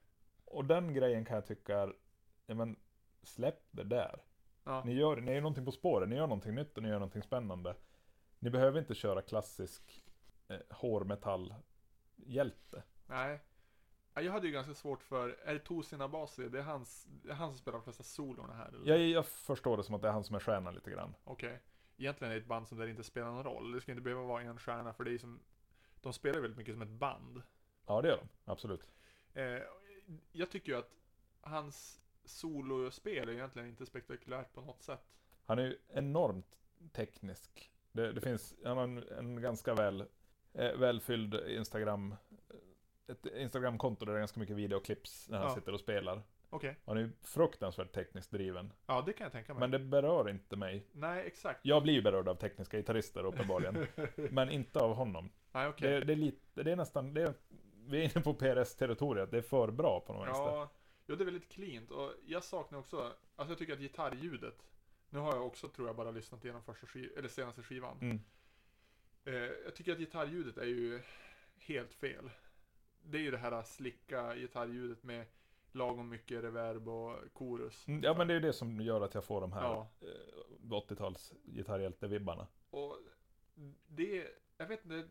Speaker 1: Och den grejen kan jag tycka är, ja men släpp det där.
Speaker 2: Ja.
Speaker 1: Ni gör ni är ju någonting på spåren, ni gör någonting nytt och ni gör någonting spännande. Ni behöver inte köra klassisk eh, hårmetallhjälte.
Speaker 2: Nej. Ja, Jag hade ju ganska svårt för Ertosin Abasi, det är han det är han som spelar de flesta solorna här. eller?
Speaker 1: Jag, jag förstår det som att det är han som är stjärnan lite grann.
Speaker 2: Okej. Egentligen är det ett band som där det inte spelar någon roll. Det ska inte behöva vara en stjärna för det är som... De spelar ju väldigt mycket som ett band.
Speaker 1: Ja, det gör de. Absolut.
Speaker 2: Eh, jag tycker ju att hans solospel är egentligen inte spektakulärt på något sätt.
Speaker 1: Han är ju enormt teknisk. Det, det finns, han har en, en ganska väl, eh, välfylld Instagram, eh, ett Instagramkonto där det är ganska mycket videoklipps när han
Speaker 2: Ja.
Speaker 1: sitter och spelar.
Speaker 2: Okej.
Speaker 1: Han är ju fruktansvärt tekniskt driven.
Speaker 2: Ja, det kan jag tänka mig.
Speaker 1: Men det berör inte mig.
Speaker 2: Nej, exakt.
Speaker 1: Jag blir ju berörd av tekniska gitarrister uppenbarligen. men inte av honom.
Speaker 2: Nej, okej.
Speaker 1: Det, det är lite, det är nästan, det är, vi är inne på PRS-territoriet. Det är för bra på något vänster.
Speaker 2: Ja, ja, det är väldigt cleant. Och jag saknar också... Alltså jag tycker att gitarrljudet... Nu har jag också, tror jag, bara lyssnat igenom första skiv, eller senaste skivan.
Speaker 1: Mm.
Speaker 2: Eh, jag tycker att gitarrljudet är ju helt fel. Det är ju det här slicka gitarrljudet med lagom mycket reverb och chorus.
Speaker 1: Mm, Ja men det är ju det som gör att jag får de här
Speaker 2: Ja.
Speaker 1: eh, 80-tals gitarrhjälte-vibbarna.
Speaker 2: Och det, jag vet inte,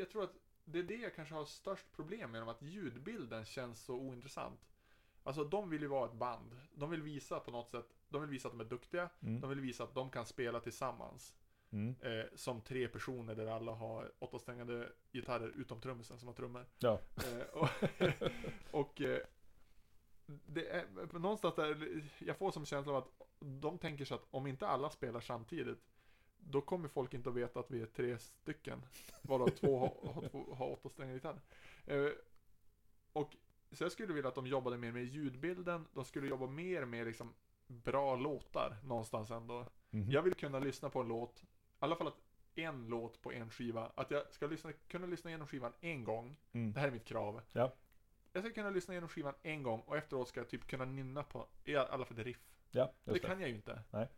Speaker 2: jag tror att det är det jag kanske har störst problem med, att ljudbilden känns så ointressant. Alltså de vill ju vara ett band, de vill visa på något sätt, de vill visa att de är duktiga, de
Speaker 1: Mm.
Speaker 2: vill visa att de kan spela tillsammans.
Speaker 1: Mm.
Speaker 2: Eh, som tre personer där alla har åttasträngade gitarrer utom trummisen som har trummor.
Speaker 1: Ja.
Speaker 2: Eh, och och eh, det är, på någonstans där, jag får som känsla av att de tänker sig att om inte alla spelar samtidigt, då kommer folk inte att veta att vi är tre stycken, varav två har, har, två- har åttasträngade gitarrer. Eh, och så jag skulle vilja att de jobbade mer med ljudbilden, de skulle jobba mer med liksom bra låtar någonstans ändå.
Speaker 1: Mhm.
Speaker 2: Jag vill kunna lyssna på en låt, i alla fall att en låt på en skiva, att jag ska lyssna, kunna lyssna igenom skivan en gång,
Speaker 1: Mm.
Speaker 2: det här är mitt krav.
Speaker 1: Ja.
Speaker 2: Jag ska kunna lyssna igenom skivan en gång och efteråt ska jag typ kunna nynna på i alla fall ett riff.
Speaker 1: Ja,
Speaker 2: Det,
Speaker 1: just det.
Speaker 2: kan jag ju inte.
Speaker 1: Nej.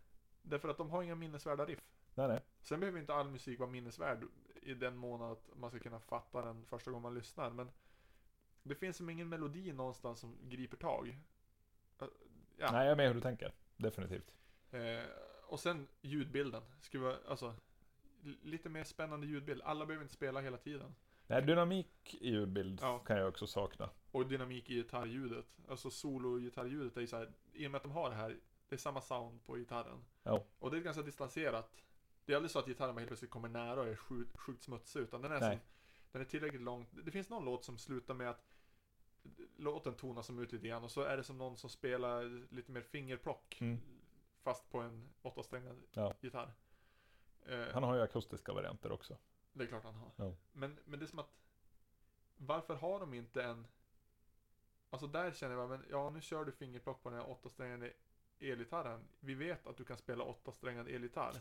Speaker 2: Därför att de har inga minnesvärda riff.
Speaker 1: Nej, nej.
Speaker 2: Sen behöver inte all musik vara minnesvärd i den mån att man ska kunna fatta den första gången man lyssnar, men det finns som ingen melodi någonstans som griper tag. Ja.
Speaker 1: nej, jag är med hur du tänker. Definitivt.
Speaker 2: Eh, och sen ljudbilden. Skulle vara, alltså, l- lite mer spännande ljudbild. Alla behöver inte spela hela tiden.
Speaker 1: Nej, dynamik i ljudbild
Speaker 2: Ja.
Speaker 1: kan jag också sakna.
Speaker 2: Och dynamik i gitarrljudet. Alltså solo-gitarrljudet är ju så här, i och med att de har det här, det är samma sound på gitarren.
Speaker 1: Ja.
Speaker 2: Och det är ganska distanserat. Det är aldrig så att gitarren bara helt plötsligt kommer nära och är sjukt, sjukt smutsig, utan den är,
Speaker 1: Nej.
Speaker 2: som, den är tillräckligt lång. Det finns någon låt som slutar med att låten tonas som ut lite grann och så är det som någon som spelar lite mer fingerplock.
Speaker 1: Mm.
Speaker 2: Fast på en åttasträngad
Speaker 1: Ja.
Speaker 2: gitarr. Eh,
Speaker 1: Han har ju akustiska varianter också.
Speaker 2: Det är klart han har.
Speaker 1: Ja.
Speaker 2: Men, men det är som att Varför har de inte en Alltså där känner jag men ja nu kör du fingerplock på den här åttasträngade elgitarren. Vi vet att du kan spela åttasträngad elgitarr.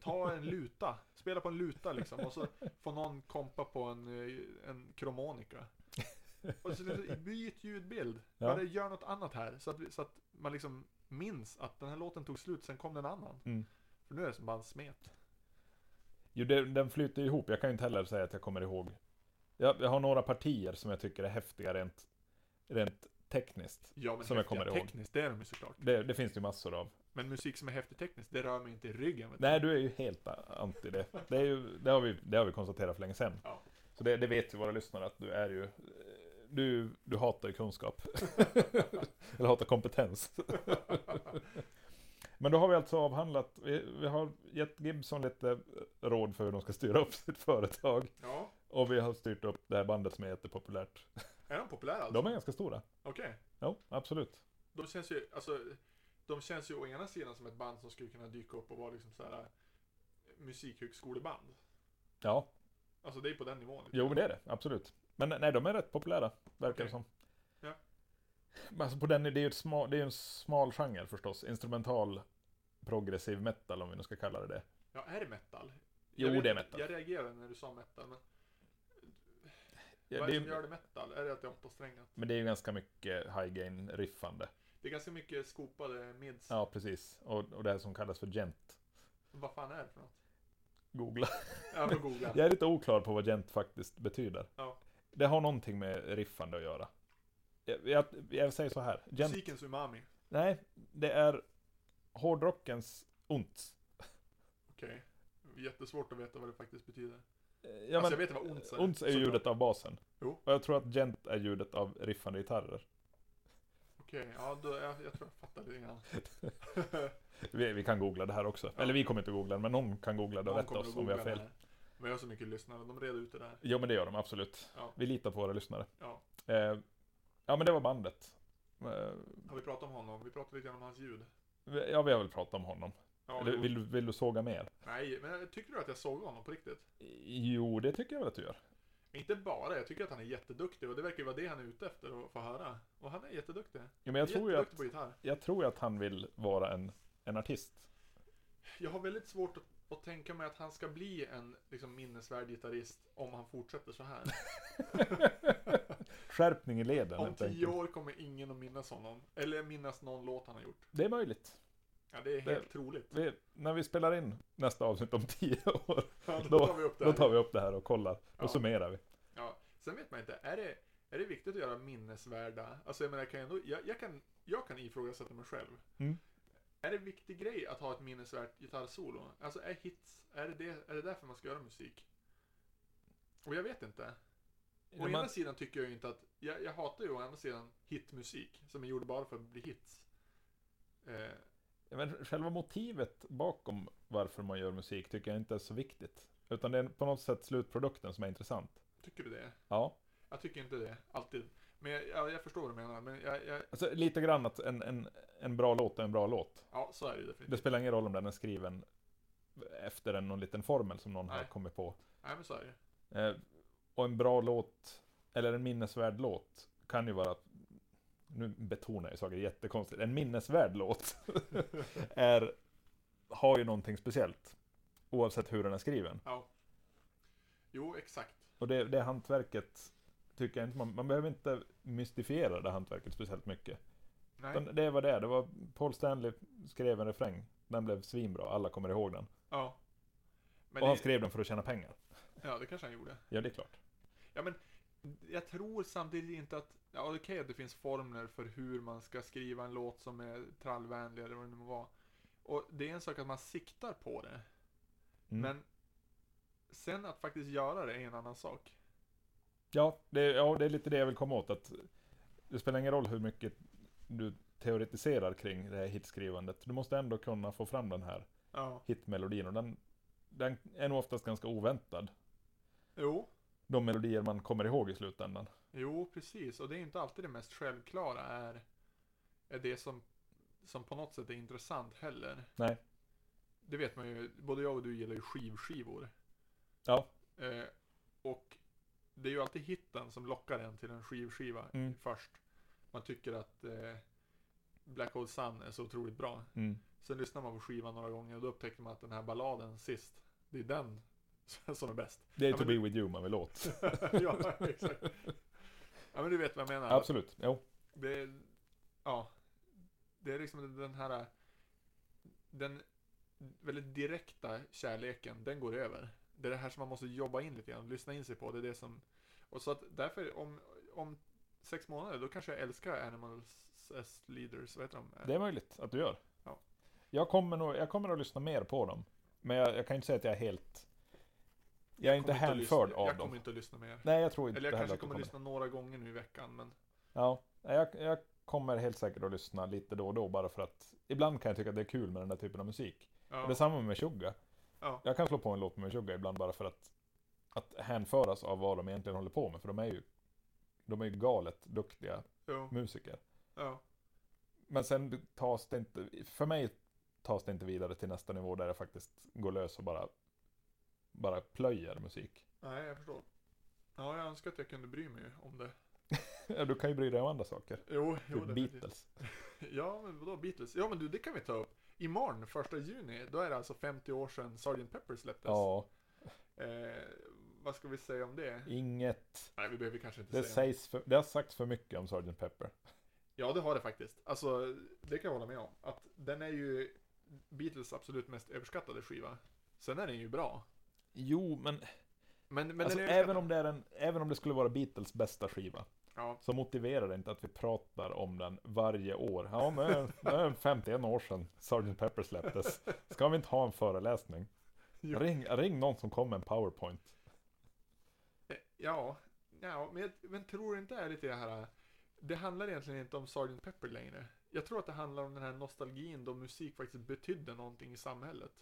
Speaker 2: Ta en luta, spela på en luta liksom och så får någon kompa på en, eh, en kromonika. Och så liksom, byt ljudbild.
Speaker 1: Ja.
Speaker 2: Bara gör något annat här så att, vi- så att man liksom minns att den här låten tog slut, sen kom den en annan.
Speaker 1: Mm.
Speaker 2: För nu är det som bara en smet.
Speaker 1: Jo, det, den flyter ju ihop. Jag kan ju inte heller säga att jag kommer ihåg. Jag, jag har några partier som jag tycker är häftiga rent, rent tekniskt.
Speaker 2: Ja men
Speaker 1: Som jag
Speaker 2: häftiga
Speaker 1: kommer ihåg.
Speaker 2: tekniskt, det är de ju såklart.
Speaker 1: Det, det finns det ju massor av.
Speaker 2: Men musik som är häftig tekniskt, det rör mig inte i ryggen. Vet du.
Speaker 1: Nej, du är ju helt anti det. Det, är ju, det, har, vi, det har vi konstaterat för länge sedan.
Speaker 2: Ja.
Speaker 1: Så det, det vet ju våra lyssnare att du är ju... eh, Du, du hatar ju kunskap. Eller hatar kompetens. Men då har vi alltså avhandlat, vi, vi har gett Gibson lite råd för hur de ska styra upp sitt företag.
Speaker 2: Ja,
Speaker 1: Och vi har styrt upp det här bandet som är jättepopulärt.
Speaker 2: är de populära alltså?
Speaker 1: De är ganska stora.
Speaker 2: Okej.
Speaker 1: Jo, absolut.
Speaker 2: De känns ju, alltså, de känns ju å ena sidan som ett band som skulle kunna dyka upp och vara liksom så här musikhögskoleband.
Speaker 1: Ja,
Speaker 2: Alltså det är på den nivån.
Speaker 1: jo men det är det, absolut. Men nej, de är rätt populära, verkar
Speaker 2: Okej.
Speaker 1: det som.
Speaker 2: Ja.
Speaker 1: Men Alltså på den, det är ju ett smal, det är ju en smal genre förstås. Instrumental progressiv metal om vi nu ska kalla det det.
Speaker 2: Ja, är det metal?
Speaker 1: Jo,
Speaker 2: Jag vet
Speaker 1: det är
Speaker 2: inte,
Speaker 1: metal.
Speaker 2: Jag reagerade när du sa metal, men
Speaker 1: Ja,
Speaker 2: vad är
Speaker 1: det
Speaker 2: det som
Speaker 1: är,
Speaker 2: gör det metal? Är det att det är åttasträngat?
Speaker 1: men det är ju ganska mycket high gain riffande.
Speaker 2: Det är ganska mycket skopade mids.
Speaker 1: Ja, precis. Och, och det här som kallas för gent.
Speaker 2: Vad fan är det för något?
Speaker 1: Googla.
Speaker 2: Jag får googla.
Speaker 1: Jag är lite oklar på vad gent faktiskt betyder.
Speaker 2: Ja.
Speaker 1: Det har någonting med riffande att göra. Jag, jag, jag säger så här. Gent
Speaker 2: Musikens umami.
Speaker 1: Nej, det är hårdrockens ont.
Speaker 2: Okej. Jättesvårt att veta vad det faktiskt betyder.
Speaker 1: Ja,
Speaker 2: alltså jag
Speaker 1: men,
Speaker 2: vet att det var Onts.
Speaker 1: Ons är ju ljudet av basen.
Speaker 2: Jo.
Speaker 1: Och jag tror att gent är ljudet av riffande gitarrer.
Speaker 2: Okej, ja då, jag, jag tror jag fattar lite grann.
Speaker 1: Vi, vi kan googla det här också.
Speaker 2: Ja.
Speaker 1: Eller vi kommer inte googla det, men någon kan googla det och
Speaker 2: Någon
Speaker 1: rätta
Speaker 2: kommer att
Speaker 1: oss om vi har
Speaker 2: googla
Speaker 1: fel.
Speaker 2: det här. Men jag har så mycket lyssnare, de reder ut det där.
Speaker 1: Jo men det gör de absolut.
Speaker 2: Ja.
Speaker 1: Vi litar på våra lyssnare.
Speaker 2: Ja.
Speaker 1: Eh, ja men det var bandet. Eh,
Speaker 2: Har vi pratat om honom? Vi pratade lite grann om hans ljud.
Speaker 1: vi- ja vi har väl pratat om honom.
Speaker 2: Ja,
Speaker 1: Eller,
Speaker 2: jo.
Speaker 1: vill, du- vill du såga mer?
Speaker 2: Nej, men tycker du att jag såg honom på riktigt?
Speaker 1: Jo det tycker jag väl att du gör.
Speaker 2: Inte bara, jag tycker att han är jätteduktig och det verkar ju vara det han är ute efter att få höra. Och han är jätteduktig.
Speaker 1: Ja, men jag, tror ju att,
Speaker 2: jätteduktig på gitarr.
Speaker 1: jag tror ju att han vill vara en, en artist.
Speaker 2: Jag har väldigt svårt att, att tänka mig att han ska bli en liksom, minnesvärd gitarrist om han fortsätter så här.
Speaker 1: Skärpning i leden
Speaker 2: Om
Speaker 1: helt
Speaker 2: tio
Speaker 1: enkelt.
Speaker 2: år kommer ingen att minnas honom. Eller minnas någon låt han har gjort.
Speaker 1: Det är möjligt.
Speaker 2: Ja, det är helt troligt.
Speaker 1: Vi, när vi spelar in nästa avsnitt om tio år,
Speaker 2: Ja, då,
Speaker 1: Då-
Speaker 2: tar vi upp det
Speaker 1: då
Speaker 2: här.
Speaker 1: tar vi upp det här och kollar.
Speaker 2: Ja.
Speaker 1: Och summerar vi.
Speaker 2: Ja, sen vet man inte, är det, är det viktigt att göra minnesvärda? Alltså jag menar, jag kan jag, ändå, jag, jag, kan, jag kan ifrågasätta mig själv.
Speaker 1: Mm.
Speaker 2: Är det en viktig grej att ha ett minnesvärt gitarrsolo? Alltså är hits, är det, det, är det därför man ska göra musik? Och jag vet inte. Å
Speaker 1: Man-
Speaker 2: ena sidan tycker jag ju inte att, jag, jag hatar ju å andra sidan hitmusik som är gjord bara för att bli hits. Eh,
Speaker 1: Ja, Men själva motivet bakom varför man gör musik tycker jag inte är så viktigt. Utan det är på något sätt slutprodukten som är intressant.
Speaker 2: tycker du det?
Speaker 1: Ja,
Speaker 2: Jag tycker inte det, alltid. Men jag, jag, jag förstår vad du menar, men jag, jag,
Speaker 1: alltså lite grann att en, en, en bra låt är en bra låt.
Speaker 2: ja så är det ju
Speaker 1: Det
Speaker 2: definitivt.
Speaker 1: spelar ingen roll om den är skriven efter en någon liten formel som någon har
Speaker 2: Nej.
Speaker 1: kommit på.
Speaker 2: Nej men så är det ju.
Speaker 1: Eh, och en bra låt, eller en minnesvärd låt, kan ju vara... Nu betonar jag ju saker jättekonstigt. En minnesvärd låt är, har ju någonting speciellt. Oavsett hur den är skriven.
Speaker 2: Ja. Jo, exakt.
Speaker 1: Och det, det hantverket tycker jag inte man, man behöver inte mystifiera det hantverket speciellt mycket.
Speaker 2: Nej.
Speaker 1: Men det var det, är. det var Paul Stanley skrev en refräng. Den blev svinbra, alla kommer ihåg den.
Speaker 2: Ja. Men
Speaker 1: och han
Speaker 2: det,
Speaker 1: skrev den för att tjäna pengar.
Speaker 2: ja, det kanske han gjorde.
Speaker 1: Ja, det är klart.
Speaker 2: Ja, men jag tror samtidigt inte att... Ja, okej att det finns formler för hur man ska skriva en låt som är trallvänlig eller vad det nu må vara. Och det är en sak att man siktar på det.
Speaker 1: Mm.
Speaker 2: Men sen att faktiskt göra det är en annan sak.
Speaker 1: Ja, det, ja, det är lite det jag vill komma åt. Att det spelar ingen roll hur mycket du teoretiserar kring det här hitskrivandet. Du måste ändå kunna få fram den här
Speaker 2: Ja.
Speaker 1: hitmelodin. Och den, den är nog oftast ganska oväntad.
Speaker 2: Jo.
Speaker 1: De melodier man kommer ihåg i slutändan.
Speaker 2: Jo, precis. Och det är inte alltid det mest självklara är, är det som, som på något sätt är intressant heller.
Speaker 1: Nej.
Speaker 2: Det vet man ju, både jag och du gillar ju skivskivor.
Speaker 1: Ja.
Speaker 2: Eh, och det är ju alltid hitten som lockar en till en skivskiva
Speaker 1: Mm.
Speaker 2: först. Man tycker att eh, Black Hole Sun är så otroligt bra.
Speaker 1: Mm.
Speaker 2: Sen lyssnar man på skivan några gånger och då upptäcker man att den här balladen sist, det är den som är bäst.
Speaker 1: Det är
Speaker 2: Ja,
Speaker 1: To
Speaker 2: men-
Speaker 1: Be With You man vill åt.
Speaker 2: ja, exakt. Ja, men du vet vad jag menar.
Speaker 1: Absolut, jo.
Speaker 2: Det är, ja. Det är liksom den här, den väldigt direkta kärleken, den går över. Det är det här som man måste jobba in lite grann, lyssna in sig på. Det är det som, och så att därför om, om sex månader, då kanske jag älskar Animals as Leaders, vad heter de?
Speaker 1: Det är möjligt att du gör.
Speaker 2: Ja.
Speaker 1: Jag, kommer nog, jag kommer att lyssna mer på dem. Men jag, jag kan inte säga att jag är helt... Jag är inte
Speaker 2: Kommer att lyssna-
Speaker 1: hänförd av
Speaker 2: Jag
Speaker 1: dem.
Speaker 2: kommer inte att lyssna mer.
Speaker 1: Nej, jag tror inte
Speaker 2: Eller jag
Speaker 1: heller
Speaker 2: kanske
Speaker 1: att du
Speaker 2: kommer att lyssna några gånger nu i veckan, men
Speaker 1: Ja, nej, jag, jag kommer helt säkert att lyssna lite då och då bara för att ibland kan jag tycka att det är kul med den där typen av musik.
Speaker 2: ja.
Speaker 1: Det är samma med Meshuggah.
Speaker 2: Ja.
Speaker 1: Jag kan slå på en låt med Meshuggah ibland bara för att, att hänföras av vad de egentligen håller på med. För de är ju, de är ju galet duktiga
Speaker 2: Jo,
Speaker 1: musiker.
Speaker 2: ja.
Speaker 1: Men sen tas det inte, för mig tas det inte vidare till nästa nivå där jag faktiskt går lös och bara, bara plöjer musik.
Speaker 2: Nej, jag förstår. Ja, jag önskar att jag kunde bry mig om det.
Speaker 1: Du kan ju bry dig om andra saker.
Speaker 2: Jo, jo
Speaker 1: Typ
Speaker 2: definitivt.
Speaker 1: Beatles.
Speaker 2: Ja, men vadå Beatles? Ja, men du, det kan vi ta upp. Imorgon, första juni, då är det alltså 50 år sedan Sgt. Pepper släpptes.
Speaker 1: Ja,
Speaker 2: Eh, vad ska vi säga om det?
Speaker 1: inget.
Speaker 2: Nej, vi behöver kanske inte
Speaker 1: Det,
Speaker 2: säga.
Speaker 1: sägs för, det har sagts för mycket om Sgt. Pepper.
Speaker 2: Ja, det har det faktiskt. Alltså, det kan jag hålla med om. Att den är ju Beatles absolut mest överskattade skiva. Sen är den ju bra.
Speaker 1: Jo, men,
Speaker 2: Men, men
Speaker 1: alltså,
Speaker 2: den är
Speaker 1: även, om det är en, även om det skulle vara Beatles bästa skiva,
Speaker 2: Ja,
Speaker 1: så motiverar det inte att vi pratar om den varje år. Ja, men det är 51 år sedan Sgt. Pepper släpptes. Ska vi inte ha en föreläsning?
Speaker 2: Jo.
Speaker 1: Ring, ring någon som kom med en powerpoint.
Speaker 2: Eh, Ja, ja men, jag- men tror inte det är lite det här. eh, Det handlar egentligen inte om Sgt. Pepper längre. Jag tror att det handlar om den här nostalgin då musik faktiskt betydde någonting i samhället.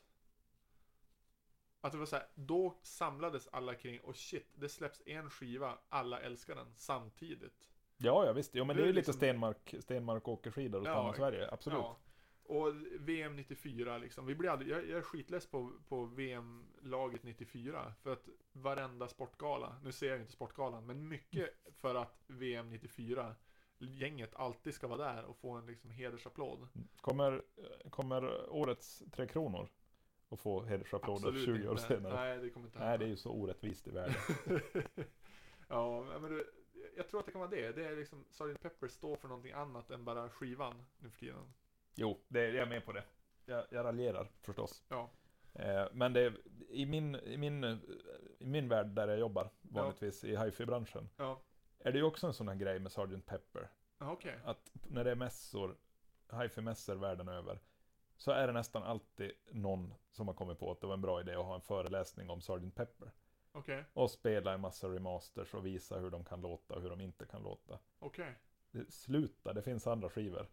Speaker 2: Att det var så här, då samlades alla kring och shit, det släpps en skiva, alla älskar den samtidigt.
Speaker 1: Ja, ja visst. Jo, men
Speaker 2: Det
Speaker 1: det
Speaker 2: är
Speaker 1: är ju lite
Speaker 2: liksom-
Speaker 1: Stenmark, Stenmark åker skidor och
Speaker 2: Ja,
Speaker 1: stannar i Sverige. Absolut.
Speaker 2: Ja. Och VM 94 liksom. Vi blir aldrig, jag, jag är skitless på, på VM-laget 94. För att varenda sportgala, nu ser jag inte sportgalan, men mycket för att VM 94 gänget alltid ska vara där och få en liksom hedersapplåd.
Speaker 1: Kommer, kommer årets Tre Kronor att få hedersapplåder 20 år
Speaker 2: inte.
Speaker 1: senare? Nej.
Speaker 2: Nej, det kommer inte
Speaker 1: det är ju så orättvist i världen.
Speaker 2: ja, men du, jag tror att det kan vara det. Det är liksom, Sgt. Pepper står för någonting annat än bara skivan nu för tiden.
Speaker 1: jo, det, jag är med på det. Jag, jag raljerar förstås.
Speaker 2: Ja.
Speaker 1: Eh, men det, är- i, min, i, min, eh, i min värld där jag jobbar vanligtvis i hifi-branschen
Speaker 2: Ja,
Speaker 1: är det ju också en sån här grej med Sgt. Pepper.
Speaker 2: Ja, okej.
Speaker 1: Att när det är mässor, hifi-mässor världen över, så är det nästan alltid någon som har kommit på att det var en bra idé att ha en föreläsning om Sgt. Pepper.
Speaker 2: Okej,
Speaker 1: Och spela en massa remasters och visa hur de kan låta och hur de inte kan låta.
Speaker 2: okej.
Speaker 1: Det- Sluta, det finns andra skivor.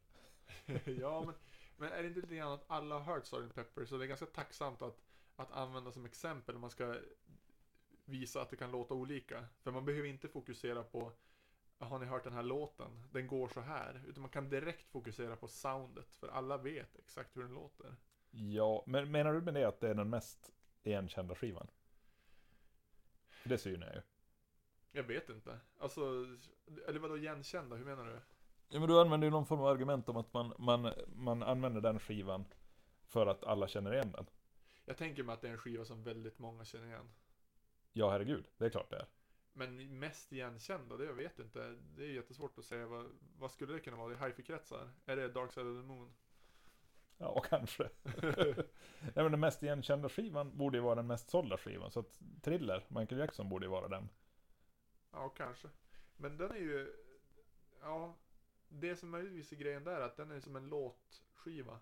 Speaker 2: ja, men, men är det inte lite grann att alla har hört Sgt. Pepper så det är ganska tacksamt att, att använda som exempel när man ska visa att det kan låta olika. För man behöver inte fokusera på har ni hört den här låten? Den går så här. Utan man kan direkt fokusera på soundet. För alla vet exakt hur den låter.
Speaker 1: Ja, men menar du med det att det är den mest igenkända skivan? Det synar jag ju.
Speaker 2: Jag vet inte. Alltså, eller vadå igenkända? Hur menar du?
Speaker 1: Ja, men du använder ju någon form av argument om att man, man, man använder den skivan för att alla känner igen den.
Speaker 2: Jag tänker mig att det är en skiva som väldigt många känner igen.
Speaker 1: Ja, herregud, det är klart det är.
Speaker 2: Men mest igenkända, det jag vet inte. Det är jättesvårt att säga. Vad, vad skulle det kunna vara? Det är hifi-kretsar. Är det Dark Side of the Moon?
Speaker 1: Ja, kanske. Nej, men den mest igenkända skivan borde ju vara den mest sålda skivan. Så att Thriller, Michael Jackson, borde ju vara den.
Speaker 2: Ja, kanske. Men den är ju... Ja. Det som möjligtvis är grejen där är att den är som en låtskiva.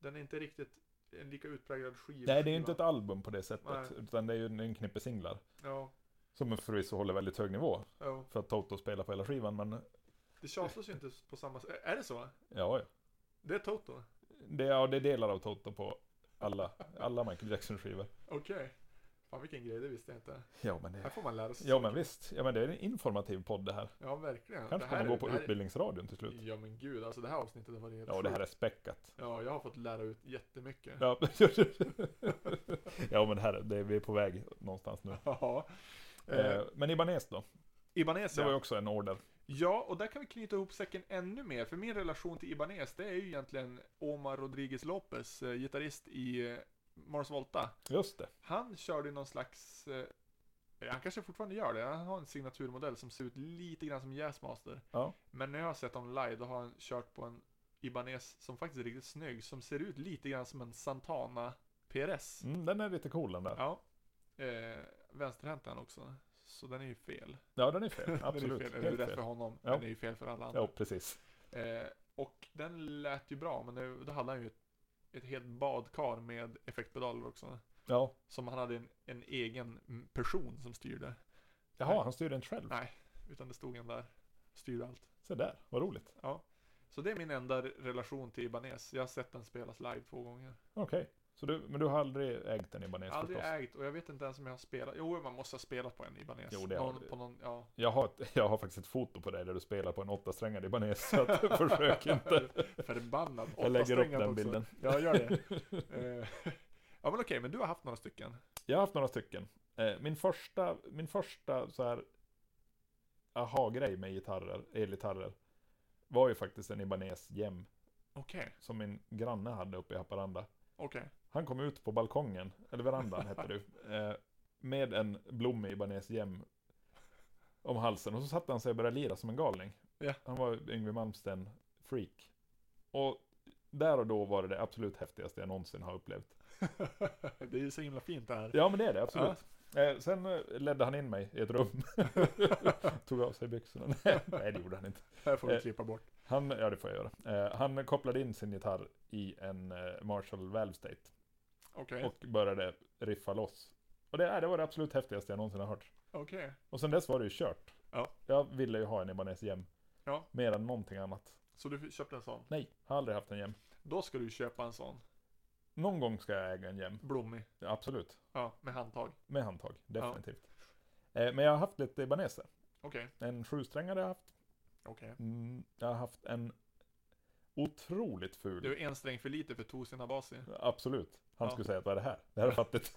Speaker 2: Den är inte riktigt en lika utpräglad skiva.
Speaker 1: Nej, det är ju inte ett album på det sättet.
Speaker 2: Nej.
Speaker 1: Utan det är ju en knippe singlar.
Speaker 2: Ja,
Speaker 1: Som förvisso håller väldigt hög nivå.
Speaker 2: ja.
Speaker 1: För att Toto spelar på hela skivan, men ja,
Speaker 2: Det tjatas ju inte på samma sätt. Är det så?
Speaker 1: ja.
Speaker 2: Det är Toto?
Speaker 1: Det, ja, det är delar av Toto på alla, alla Michael Jackson-skivor.
Speaker 2: Okej. Fan vilken grej, det visste jag inte.
Speaker 1: Ja, men det
Speaker 2: Här får man lära sig.
Speaker 1: Ja, men visst. Ja, men det är en informativ podd det här.
Speaker 2: ja verkligen.
Speaker 1: Kanske
Speaker 2: Det här
Speaker 1: kommer gå
Speaker 2: är-
Speaker 1: på
Speaker 2: det här är-
Speaker 1: Utbildningsradion till slut.
Speaker 2: Ja men gud, alltså det här avsnittet har varit helt
Speaker 1: Ja, det här
Speaker 2: sjukt.
Speaker 1: är späckat.
Speaker 2: Ja, jag har fått lära ut jättemycket.
Speaker 1: Ja, ja men här, det, vi är på väg någonstans nu.
Speaker 2: Ja. Eh,
Speaker 1: Eh, men Ibanez då?
Speaker 2: Ibanez
Speaker 1: Det var ju
Speaker 2: ja.
Speaker 1: också en order.
Speaker 2: ja, och där kan vi knyta ihop säcken ännu mer, för min relation till Ibanez, det är ju egentligen Omar Rodriguez Lopez, eh, gitarrist i eh, Mars Volta.
Speaker 1: Just det.
Speaker 2: Han körde ju någon slags, eh, han kanske fortfarande gör det, han har en signaturmodell som ser ut lite grann som Jazzmaster.
Speaker 1: Ja.
Speaker 2: Men när jag har sett honom live, då har han kört på en Ibanez som faktiskt är riktigt snygg, som ser ut lite grann som en Santana PRS.
Speaker 1: Mm, den är lite cool den där.
Speaker 2: Ja. Eh, vänsterhänt är han också. Så den är ju fel.
Speaker 1: Ja, den är fel.
Speaker 2: den är
Speaker 1: Absolut.
Speaker 2: fel. Eller
Speaker 1: Helt
Speaker 2: rätt för
Speaker 1: fel.
Speaker 2: honom.
Speaker 1: Ja.
Speaker 2: Den är ju fel för alla andra.
Speaker 1: Ja, precis.
Speaker 2: Eh, och den lät ju bra, men det, då hade han ju ett, ett helt badkar med effektpedaler också.
Speaker 1: Ja.
Speaker 2: Som han hade en, en egen mm, person som styrde.
Speaker 1: Jaha, han styrde inte själv.
Speaker 2: Nej. Utan det stod en där. Styrde allt.
Speaker 1: Se där, vad roligt.
Speaker 2: Så det är min enda relation till Ibanez. Jag har sett den spelas live två gånger.
Speaker 1: Okej, så du, men du har aldrig ägt en Ibanez
Speaker 2: Aldrig
Speaker 1: förstås?
Speaker 2: ägt och jag vet inte ens om jag har spelat. Jo, man måste ha spelat på en Ibanez.
Speaker 1: Jo, det har
Speaker 2: någon,
Speaker 1: du.
Speaker 2: på någon, ja.
Speaker 1: Jag har, ett, jag har faktiskt ett foto på dig där du spelar på en åttasträngad Ibanez, så att försök inte.
Speaker 2: Förbannad.
Speaker 1: Jag lägger upp
Speaker 2: Åtta strängar
Speaker 1: den
Speaker 2: också.
Speaker 1: bilden.
Speaker 2: Ja, gör det. Eh, ja, men okej, men du har haft några stycken.
Speaker 1: Jag har haft några stycken. Eh, Min första, min första så här aha-grej med gitarrer, elgitarrer, var ju faktiskt en Ibanez Gem
Speaker 2: Okej,
Speaker 1: som min granne hade uppe i Haparanda.
Speaker 2: okej.
Speaker 1: Han kom ut på balkongen, eller verandan hette det, eh, med en blommig Ibanez gem om halsen. Och så satte han sig och började lira som en galning.
Speaker 2: Ja.
Speaker 1: Han var Yngwie Malmsteen-freak. Och där och då var det det absolut häftigaste jag någonsin har upplevt.
Speaker 2: det är ju så himla fint det här.
Speaker 1: Ja, men det är det, absolut. Eh, sen eh, ledde han in mig i ett rum, tog av sig byxorna. Nej, det gjorde han inte.
Speaker 2: här får vi
Speaker 1: Eh.
Speaker 2: klippa bort.
Speaker 1: Han, ja, det får jag göra. Eh, han kopplade in sin gitarr i en eh, Marshall Valve State.
Speaker 2: Okej.
Speaker 1: och började riffa loss. Och det, är- det var det absolut häftigaste jag någonsin har hört.
Speaker 2: Okej.
Speaker 1: Och sen dess var det ju kört.
Speaker 2: Ja.
Speaker 1: Jag ville ju ha en Ibanez jäm.
Speaker 2: Ja.
Speaker 1: Mer än någonting annat.
Speaker 2: Så du köpte en sån.
Speaker 1: Nej, har aldrig haft en jäm.
Speaker 2: Då ska du köpa en sån.
Speaker 1: Någon gång ska jag äga en jäm.
Speaker 2: Blommig.
Speaker 1: Ja, absolut.
Speaker 2: Ja, med handtag.
Speaker 1: Med handtag, definitivt. Eh, men jag har haft lite Ibanezer.
Speaker 2: Okej.
Speaker 1: En sjusträngare har jag haft.
Speaker 2: Okej.
Speaker 1: Mm, jag har haft en otroligt ful.
Speaker 2: Du är en sträng för lite för Tosin Abasi.
Speaker 1: Absolut. Han
Speaker 2: Ja.
Speaker 1: skulle säga att vad är det här? Det här är fattigt.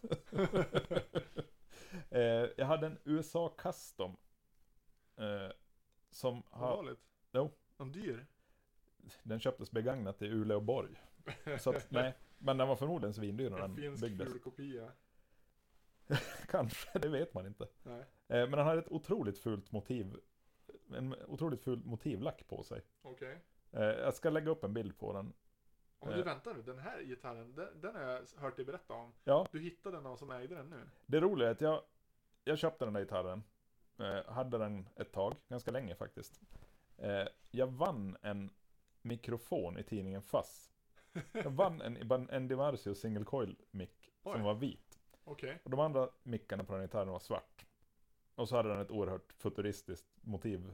Speaker 1: eh, jag hade en USA Custom. Eh, som har,
Speaker 2: Allvarligt.
Speaker 1: Jo.
Speaker 2: En dyr.
Speaker 1: den köptes begagnat i Uleåborg. Så att, nej, men den var förmodligen svindyr när
Speaker 2: En
Speaker 1: den
Speaker 2: finsk
Speaker 1: byggdes.
Speaker 2: ful kopia.
Speaker 1: Kanske, det vet man inte.
Speaker 2: Nej.
Speaker 1: Eh, men han hade ett otroligt fult motiv. En otroligt ful motivlack på sig.
Speaker 2: Okej.
Speaker 1: Eh, jag ska lägga upp en bild på den.
Speaker 2: Ja, Men du
Speaker 1: Eh.
Speaker 2: vänta nu, den här gitarren, den, den har jag hört dig berätta om.
Speaker 1: Ja.
Speaker 2: Du hittade någon som ägde den nu.
Speaker 1: Det roliga är att jag, jag köpte den där gitarren. Eh, hade den ett tag, ganska länge faktiskt. Eh, jag vann en mikrofon i tidningen Fass. Jag vann en, Iban- en Dimarzio single coil mick
Speaker 2: Oj.
Speaker 1: som var vit.
Speaker 2: Okej.
Speaker 1: Och de andra mickarna på den gitarren var svart. Och så hade den ett oerhört futuristiskt motiv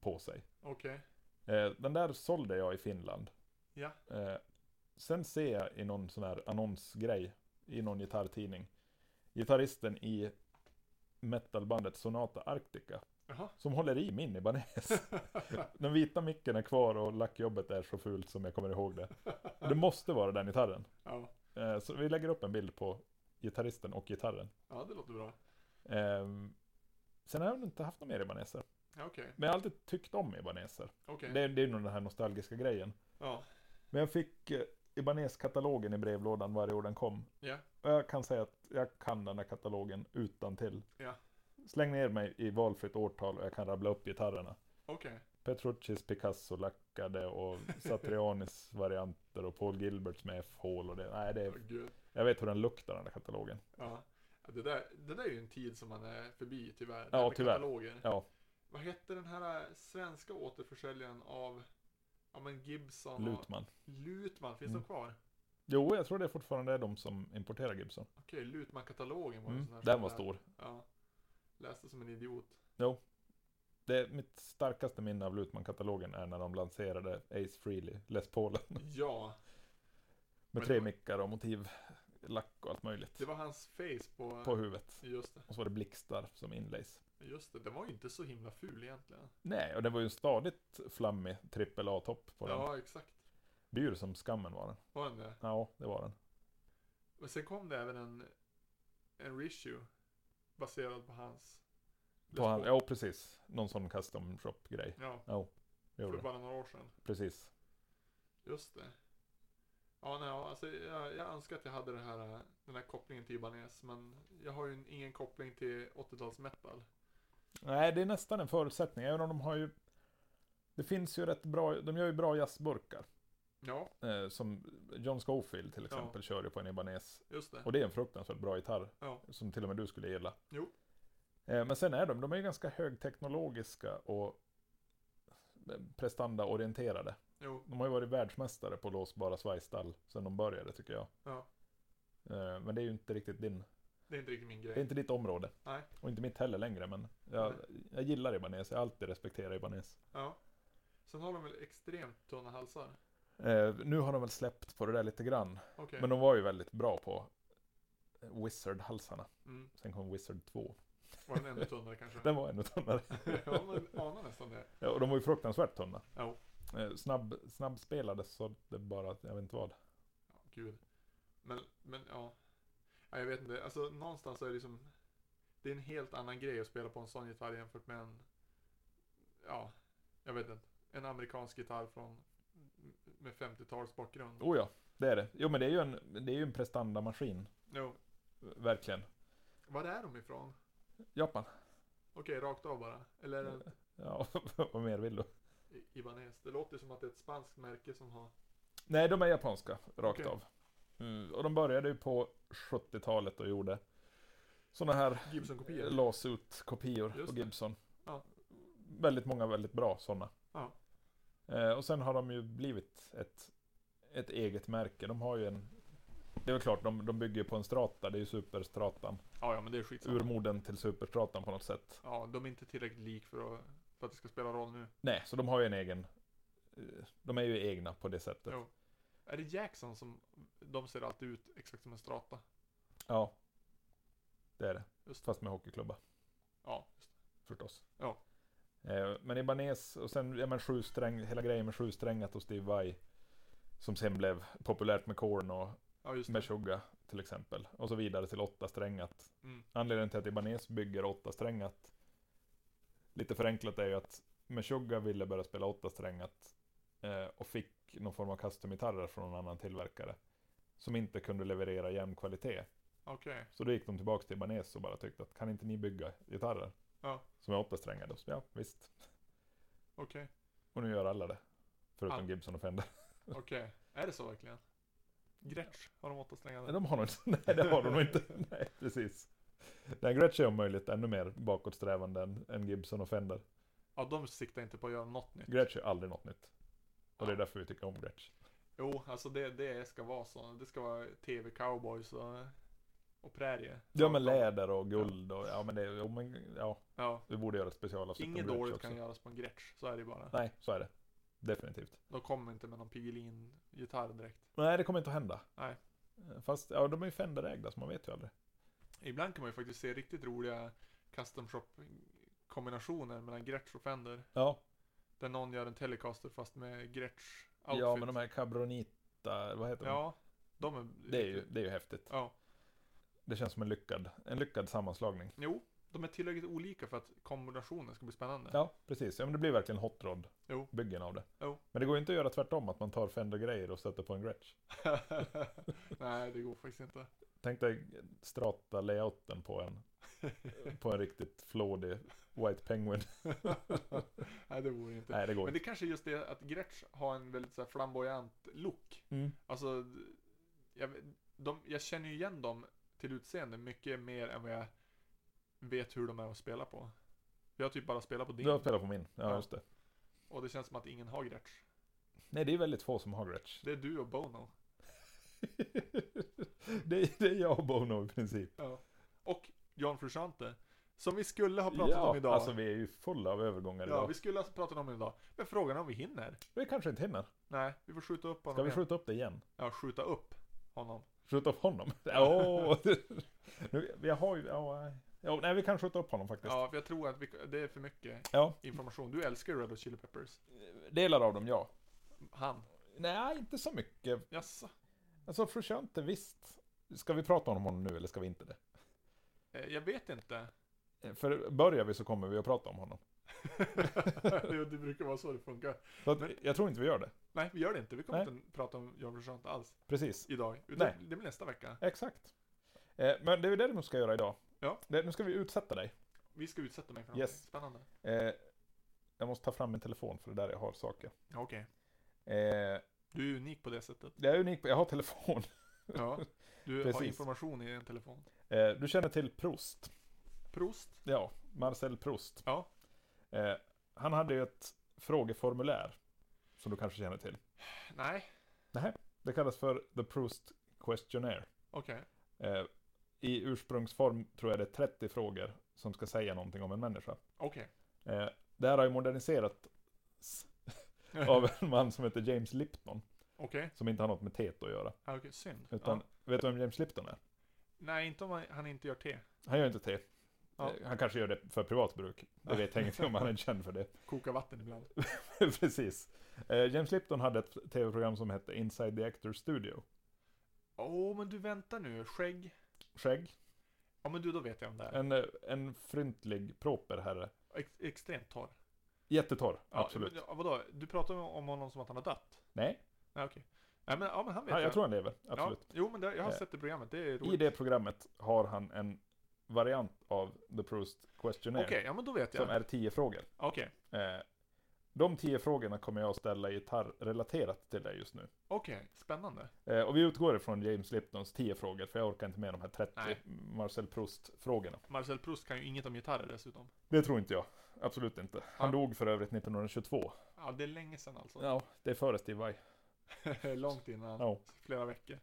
Speaker 1: på sig.
Speaker 2: Okej.
Speaker 1: Eh, den där sålde jag i Finland.
Speaker 2: Ja.
Speaker 1: Eh, sen ser jag i någon sån här annonsgrej i någon gitarrtidning gitarristen i metalbandet Sonata Arctica
Speaker 2: Jaha.
Speaker 1: som håller i min Ibanez. Den vita micken är kvar och lackjobbet är så fult som jag kommer ihåg det. Det måste vara den gitarren.
Speaker 2: Ja.
Speaker 1: Eh, så vi lägger upp en bild på gitarristen och gitarren.
Speaker 2: ja, det låter bra.
Speaker 1: Eh, sen har jag inte haft några mer Ibanezer.
Speaker 2: Ja, Okej.
Speaker 1: Men jag har alltid tyckt om Ibanezer.
Speaker 2: Okej.
Speaker 1: Det, är- det är nog den här nostalgiska grejen.
Speaker 2: Ja.
Speaker 1: Men jag fick eh, Ibanez-katalogen i brevlådan varje år den kom.
Speaker 2: Ja.
Speaker 1: Och jag kan säga att jag kan den här katalogen utan till.
Speaker 2: Ja.
Speaker 1: Släng ner mig i valfritt årtal och jag kan rabbla upp gitarrerna.
Speaker 2: Okej.
Speaker 1: Petruccis Picasso lackade och Satrianis varianter och Paul Gilberts med F-hål och det. Nej, det är,
Speaker 2: Åh, Gud.
Speaker 1: jag vet hur den luktar den där katalogen.
Speaker 2: Ja. Ja, Det där, det där är ju en tid som man är förbi tyvärr.
Speaker 1: Ja,
Speaker 2: Det här med
Speaker 1: tyvärr.
Speaker 2: Kataloger.
Speaker 1: Ja,
Speaker 2: Vad hette den här eh, svenska återförsäljaren av ja, men Gibson och
Speaker 1: Lutman.
Speaker 2: Lutman? Finns
Speaker 1: Mm.
Speaker 2: de kvar?
Speaker 1: Jo, jag tror det fortfarande är de som importerar Gibson.
Speaker 2: Okej, Lutman-katalogen var en
Speaker 1: Mm.
Speaker 2: sån här
Speaker 1: Den
Speaker 2: som
Speaker 1: var
Speaker 2: jag-
Speaker 1: stor.
Speaker 2: Ja. Läste som en idiot.
Speaker 1: Det är mitt starkaste minne av Lutman-katalogen är när de lanserade Ace Frehley, Les Paulen.
Speaker 2: Ja.
Speaker 1: Med
Speaker 2: Men
Speaker 1: tre
Speaker 2: det var-
Speaker 1: mickar och motiv, lack och allt möjligt.
Speaker 2: Det var hans face på...
Speaker 1: På huvudet.
Speaker 2: Just det.
Speaker 1: Och så var det blixtar som inlays.
Speaker 2: Just det. Den var ju inte så himla ful egentligen.
Speaker 1: Nej, och det var ju en stadigt flammig trippel A-topp på den.
Speaker 2: Ja, exakt.
Speaker 1: Dyr som skammen var den.
Speaker 2: Var den det?
Speaker 1: Ja, det var den.
Speaker 2: Men sen kom det även en... En reissue. Baserad på hans...
Speaker 1: På han, ja, precis. Någon sån custom shop-grej.
Speaker 2: Ja,
Speaker 1: Det
Speaker 2: för
Speaker 1: Gjorde det.
Speaker 2: bara några år sedan.
Speaker 1: Precis.
Speaker 2: Just det. Ja, nej, ja, alltså, jag, jag önskar att jag hade det här, eh, den här kopplingen till Ibanez, men jag har ju en- ingen koppling till 80-tals metal.
Speaker 1: Nej, det är nästan en förutsättning. Även om de har ju... Det finns ju rätt bra... De gör ju bra jazzburkar.
Speaker 2: Ja,
Speaker 1: Eh, som John Scofield till
Speaker 2: Ja.
Speaker 1: exempel kör ju på en Ibanez.
Speaker 2: just det.
Speaker 1: Och det är en fruktansvärt bra gitarr.
Speaker 2: Ja.
Speaker 1: Som till och med du skulle gilla.
Speaker 2: Jo.
Speaker 1: Eh, Men sen är de, de är ju ganska högteknologiska och prestandaorienterade.
Speaker 2: Jo,
Speaker 1: De har ju varit världsmästare på låsbara svajstall sedan de började tycker jag.
Speaker 2: Ja.
Speaker 1: Eh, Men det är ju inte riktigt din,
Speaker 2: det är inte riktigt min
Speaker 1: det är
Speaker 2: grej.
Speaker 1: inte ditt område.
Speaker 2: Nej.
Speaker 1: Och inte mitt heller längre, men jag, jag gillar Ibanez, jag har alltid respekterat Ibanez.
Speaker 2: Ja. Sen har de väl extremt tunna halsar.
Speaker 1: Eh, Nu har de väl släppt på det där lite grann,
Speaker 2: Okej.
Speaker 1: men de var ju väldigt bra på Wizard-halsarna.
Speaker 2: Mm.
Speaker 1: Sen kom Wizard 2.
Speaker 2: Var den ännu tunnare kanske?
Speaker 1: Den var ännu tunnare.
Speaker 2: ja, man anar nästan det.
Speaker 1: Ja, och de var ju fruktansvärt tunna.
Speaker 2: Ja.
Speaker 1: Eh, Snabb, snabbspelades så det bara, jag vet inte vad.
Speaker 2: Ja, gud. Men, men ja. ja. Jag vet inte, alltså någonstans så är det liksom. Det är en helt annan grej att spela på en sån gitarr jämfört med en, ja, jag vet inte. En amerikansk gitarr från, med 50-tals bakgrund.
Speaker 1: Oh ja, det är det. Jo men det är ju en, det är ju en prestandamaskin.
Speaker 2: Jo.
Speaker 1: Verkligen.
Speaker 2: Var är de ifrån?
Speaker 1: Japan.
Speaker 2: Okej, rakt av bara. Eller är det en
Speaker 1: Ja, vad mer vill du?
Speaker 2: I- Ibanez? Det låter som att det är ett spanskt märke som har,
Speaker 1: Nej, de är japanska, rakt
Speaker 2: Okej.
Speaker 1: av. Mm, och de började ju på 70-talet och gjorde sådana här
Speaker 2: Gibson-kopior.
Speaker 1: lawsuit-kopior
Speaker 2: Just
Speaker 1: på
Speaker 2: det.
Speaker 1: Gibson.
Speaker 2: Ja.
Speaker 1: Väldigt många väldigt bra sådana.
Speaker 2: Ja.
Speaker 1: Eh, och sen har de ju blivit ett, ett eget märke. De har ju en Det är väl klart, de, de bygger ju på en strata, det är ju superstratan.
Speaker 2: Ja, ja, men det är skitsamma.
Speaker 1: Urmoden till superstratan på något sätt.
Speaker 2: Ja, de är inte tillräckligt lik för att, för att det ska spela roll nu.
Speaker 1: Nej, så de har ju en egen... eh, De är ju egna på det sättet.
Speaker 2: Jo. Är det Jackson som... De ser alltid ut exakt som en strata.
Speaker 1: Ja. Det är det.
Speaker 2: Just
Speaker 1: Fast med hockeyklubba,
Speaker 2: Ja, just det.
Speaker 1: förstås.
Speaker 2: Ja.
Speaker 1: Eh, men Ibanez, och sen ja, men sju sträng, hela grejen med sjusträngat och Steve Vai. Som sen blev populärt med Korn och
Speaker 2: Ja, just
Speaker 1: med
Speaker 2: det.
Speaker 1: Suga till exempel. Och så vidare till åtta strängat.
Speaker 2: Mm.
Speaker 1: Anledningen till att Ibanez bygger åtta strängat lite förenklat är ju att Meshuggah ville börja spela åtta strängat eh, och fick någon form av custom-gitarrer från någon annan tillverkare som inte kunde leverera jämn kvalitet.
Speaker 2: Okej.
Speaker 1: Så då gick de tillbaka till Ibanez och bara tyckte att kan inte ni bygga gitarrer
Speaker 2: Ja.
Speaker 1: som är åtta strängade? Och så, ja, visst.
Speaker 2: Okej.
Speaker 1: Och nu gör alla det. Förutom
Speaker 2: Ah.
Speaker 1: Gibson och Fender.
Speaker 2: Okej. Är det så verkligen? Gretsch, har de åtta strängar där?
Speaker 1: De har nog inte, nej det har de nog inte. Nej, precis. Nej, Gretsch är om möjligt ännu mer bakåtsträvande än, än Gibson och Fender.
Speaker 2: Ja, de siktar inte på att göra något nytt.
Speaker 1: Gretsch gör aldrig något nytt. Och det är
Speaker 2: Ja.
Speaker 1: därför vi tycker om Gretsch.
Speaker 2: Jo, alltså det, det ska vara så. Det ska vara tv-cowboys och, och prärie.
Speaker 1: Ja men läder och guld och ja men det, jo, men, ja,
Speaker 2: Ja.
Speaker 1: vi borde göra ett specialavsnitt om
Speaker 2: Inget
Speaker 1: Gretsch
Speaker 2: dåligt
Speaker 1: också.
Speaker 2: kan göras på en Gretsch, så är det bara.
Speaker 1: Nej, så är det. Definitivt.
Speaker 2: De kommer inte med någon Piggelin-gitarr direkt.
Speaker 1: Nej, det kommer inte att hända.
Speaker 2: Nej.
Speaker 1: Fast, ja de är ju Fender-ägda så man vet ju aldrig.
Speaker 2: Ibland kan man ju faktiskt se riktigt roliga custom shop-kombinationer mellan Gretsch och Fender.
Speaker 1: Ja,
Speaker 2: Där någon gör en Telecaster fast med Gretsch outfit.
Speaker 1: ja men de här Cabronita, vad heter de?
Speaker 2: Ja, de är...
Speaker 1: Det är, ju, det är ju häftigt.
Speaker 2: Ja.
Speaker 1: Det känns som en lyckad, en lyckad sammanslagning.
Speaker 2: Jo, de är tillräckligt olika för att kombinationen ska bli spännande.
Speaker 1: Ja, precis. Ja, men det blir verkligen hot rod
Speaker 2: Jo.
Speaker 1: byggen av det.
Speaker 2: Jo.
Speaker 1: Men det går ju inte att göra tvärtom, att man tar Fender-grejer och sätter på en Gretsch.
Speaker 2: Nej, det går faktiskt inte.
Speaker 1: Tänk dig strata-layouten på en, på en riktigt flådig White Penguin.
Speaker 2: Nej, det vore inte.
Speaker 1: Nej, det går
Speaker 2: Men
Speaker 1: inte.
Speaker 2: det kanske är just det att Gretsch har en väldigt så här flamboyant look.
Speaker 1: Mm.
Speaker 2: Alltså, jag, vet- de, jag känner ju igen dem till utseende mycket mer än vad jag vet hur de är att spela på. Jag har typ bara spelat på din.
Speaker 1: Du har spelat på min, ja,
Speaker 2: Ja.
Speaker 1: just det.
Speaker 2: Och det känns som att ingen har Gretsch.
Speaker 1: Nej, det är väldigt få som har Gretsch.
Speaker 2: Det är du och Bono.
Speaker 1: det, är, det är jag och Bono i princip.
Speaker 2: Och John Frusciante. Som vi skulle ha pratat
Speaker 1: ja,
Speaker 2: om idag.
Speaker 1: alltså vi är ju fulla av övergångar
Speaker 2: ja,
Speaker 1: idag.
Speaker 2: vi skulle ha pratat om det idag. Men frågan är om vi hinner.
Speaker 1: Vi kanske inte hinner.
Speaker 2: Nej, vi får skjuta upp honom
Speaker 1: Ska vi
Speaker 2: igen.
Speaker 1: skjuta upp det igen?
Speaker 2: Ja, skjuta upp honom.
Speaker 1: Skjuta upp honom? Åh! Nu, vi har ju... ja, nej. Jo, nej, vi kan skjuta upp honom faktiskt.
Speaker 2: Ja, för jag tror att vi, det är för mycket
Speaker 1: Ja.
Speaker 2: information. Du älskar ju Red Hot Chili Peppers.
Speaker 1: Delar av dem, ja.
Speaker 2: Han.
Speaker 1: Nej, inte så mycket.
Speaker 2: Jaså?
Speaker 1: Alltså, Frusciante, visst. Ska vi prata om honom nu eller ska vi inte det? Eh,
Speaker 2: Eh, Jag vet inte.
Speaker 1: För börjar vi så kommer vi att prata om honom.
Speaker 2: Jo, det brukar vara så det funkar.
Speaker 1: Så att,
Speaker 2: Men-
Speaker 1: jag tror inte vi gör det.
Speaker 2: Nej, vi gör det inte. Vi kommer
Speaker 1: Nej.
Speaker 2: inte prata om John Frusciante alls
Speaker 1: Precis.
Speaker 2: idag. Utan
Speaker 1: Nej.
Speaker 2: Det blir nästa vecka.
Speaker 1: Exakt. Eh, men det är det du ska göra idag.
Speaker 2: Ja.
Speaker 1: Det, nu ska vi utsätta dig.
Speaker 2: Vi ska utsätta mig för något
Speaker 1: Yes.
Speaker 2: spännande.
Speaker 1: Eh, jag måste ta fram min telefon för det är där jag har saker.
Speaker 2: Ja, Okej.
Speaker 1: Eh,
Speaker 2: Du är unik på det sättet.
Speaker 1: det är unikt, jag har telefon.
Speaker 2: Ja. Du har
Speaker 1: Precis.
Speaker 2: information i en telefon.
Speaker 1: Eh, du känner till Proust?
Speaker 2: Prost.
Speaker 1: Ja, Marcel Proust.
Speaker 2: Ja.
Speaker 1: Eh, han hade ju ett frågeformulär som du kanske känner till.
Speaker 2: Nej.
Speaker 1: Det kallas för The Proust Questionnaire.
Speaker 2: Okej.
Speaker 1: Eh, I ursprungsform tror jag det är 30 frågor som ska säga någonting om en människa.
Speaker 2: Okej.
Speaker 1: Eh, det här har ju moderniserats av en man som heter James Lipton,
Speaker 2: Okej.
Speaker 1: som inte har något med teet att göra.
Speaker 2: Ja, Okej, synd.
Speaker 1: Utan,
Speaker 2: Ja.
Speaker 1: vet du vem James Lipton är?
Speaker 2: Nej, inte om han- han inte gör te.
Speaker 1: Han gör inte te.
Speaker 2: Ja.
Speaker 1: Eh, Han kanske gör det för privat bruk. Det vet jag ingenting om, han är inte känd för det.
Speaker 2: Koka vatten ibland.
Speaker 1: Precis. Eh, James Lipton hade ett tv-program som hette Inside the Actors Studio.
Speaker 2: Åh, men du väntar nu. Skägg.
Speaker 1: Skägg.
Speaker 2: Ja, men du, då vet jag om det är.
Speaker 1: En, eh, en fryntlig, proper herre.
Speaker 2: Ex- extremt torr.
Speaker 1: Jättetorr,
Speaker 2: Ja,
Speaker 1: absolut.
Speaker 2: men, Ja, vadå? Du pratar om honom som att han har dött?
Speaker 1: Nej,
Speaker 2: Nej, okej. Nej, men, ja, men han vet
Speaker 1: han, jag tror han lever. Absolut.
Speaker 2: Ja, jo, men det, jag har
Speaker 1: Eh,
Speaker 2: sett det programmet. Det är
Speaker 1: I
Speaker 2: roligt.
Speaker 1: det programmet har han en variant av The Proust
Speaker 2: Okej,
Speaker 1: Questionnaire.
Speaker 2: ja men då vet jag.
Speaker 1: Som är tio frågor.
Speaker 2: Okej,
Speaker 1: Eh, de tio frågorna kommer jag att ställa gitarrrelaterat till dig just nu.
Speaker 2: okej. Spännande.
Speaker 1: Eh, och vi utgår ifrån James Liptons 10 frågor, för jag orkar inte med de här 30
Speaker 2: Nej.
Speaker 1: Marcel Proust-frågorna.
Speaker 2: Marcel Proust kan ju inget om gitarrer dessutom.
Speaker 1: Det tror inte jag. Absolut inte. Han
Speaker 2: Ja.
Speaker 1: dog för övrigt 1922.
Speaker 2: Ja, det är länge sedan alltså.
Speaker 1: Ja, det är före Steve Vai.
Speaker 2: Långt innan.
Speaker 1: Ja.
Speaker 2: Flera veckor.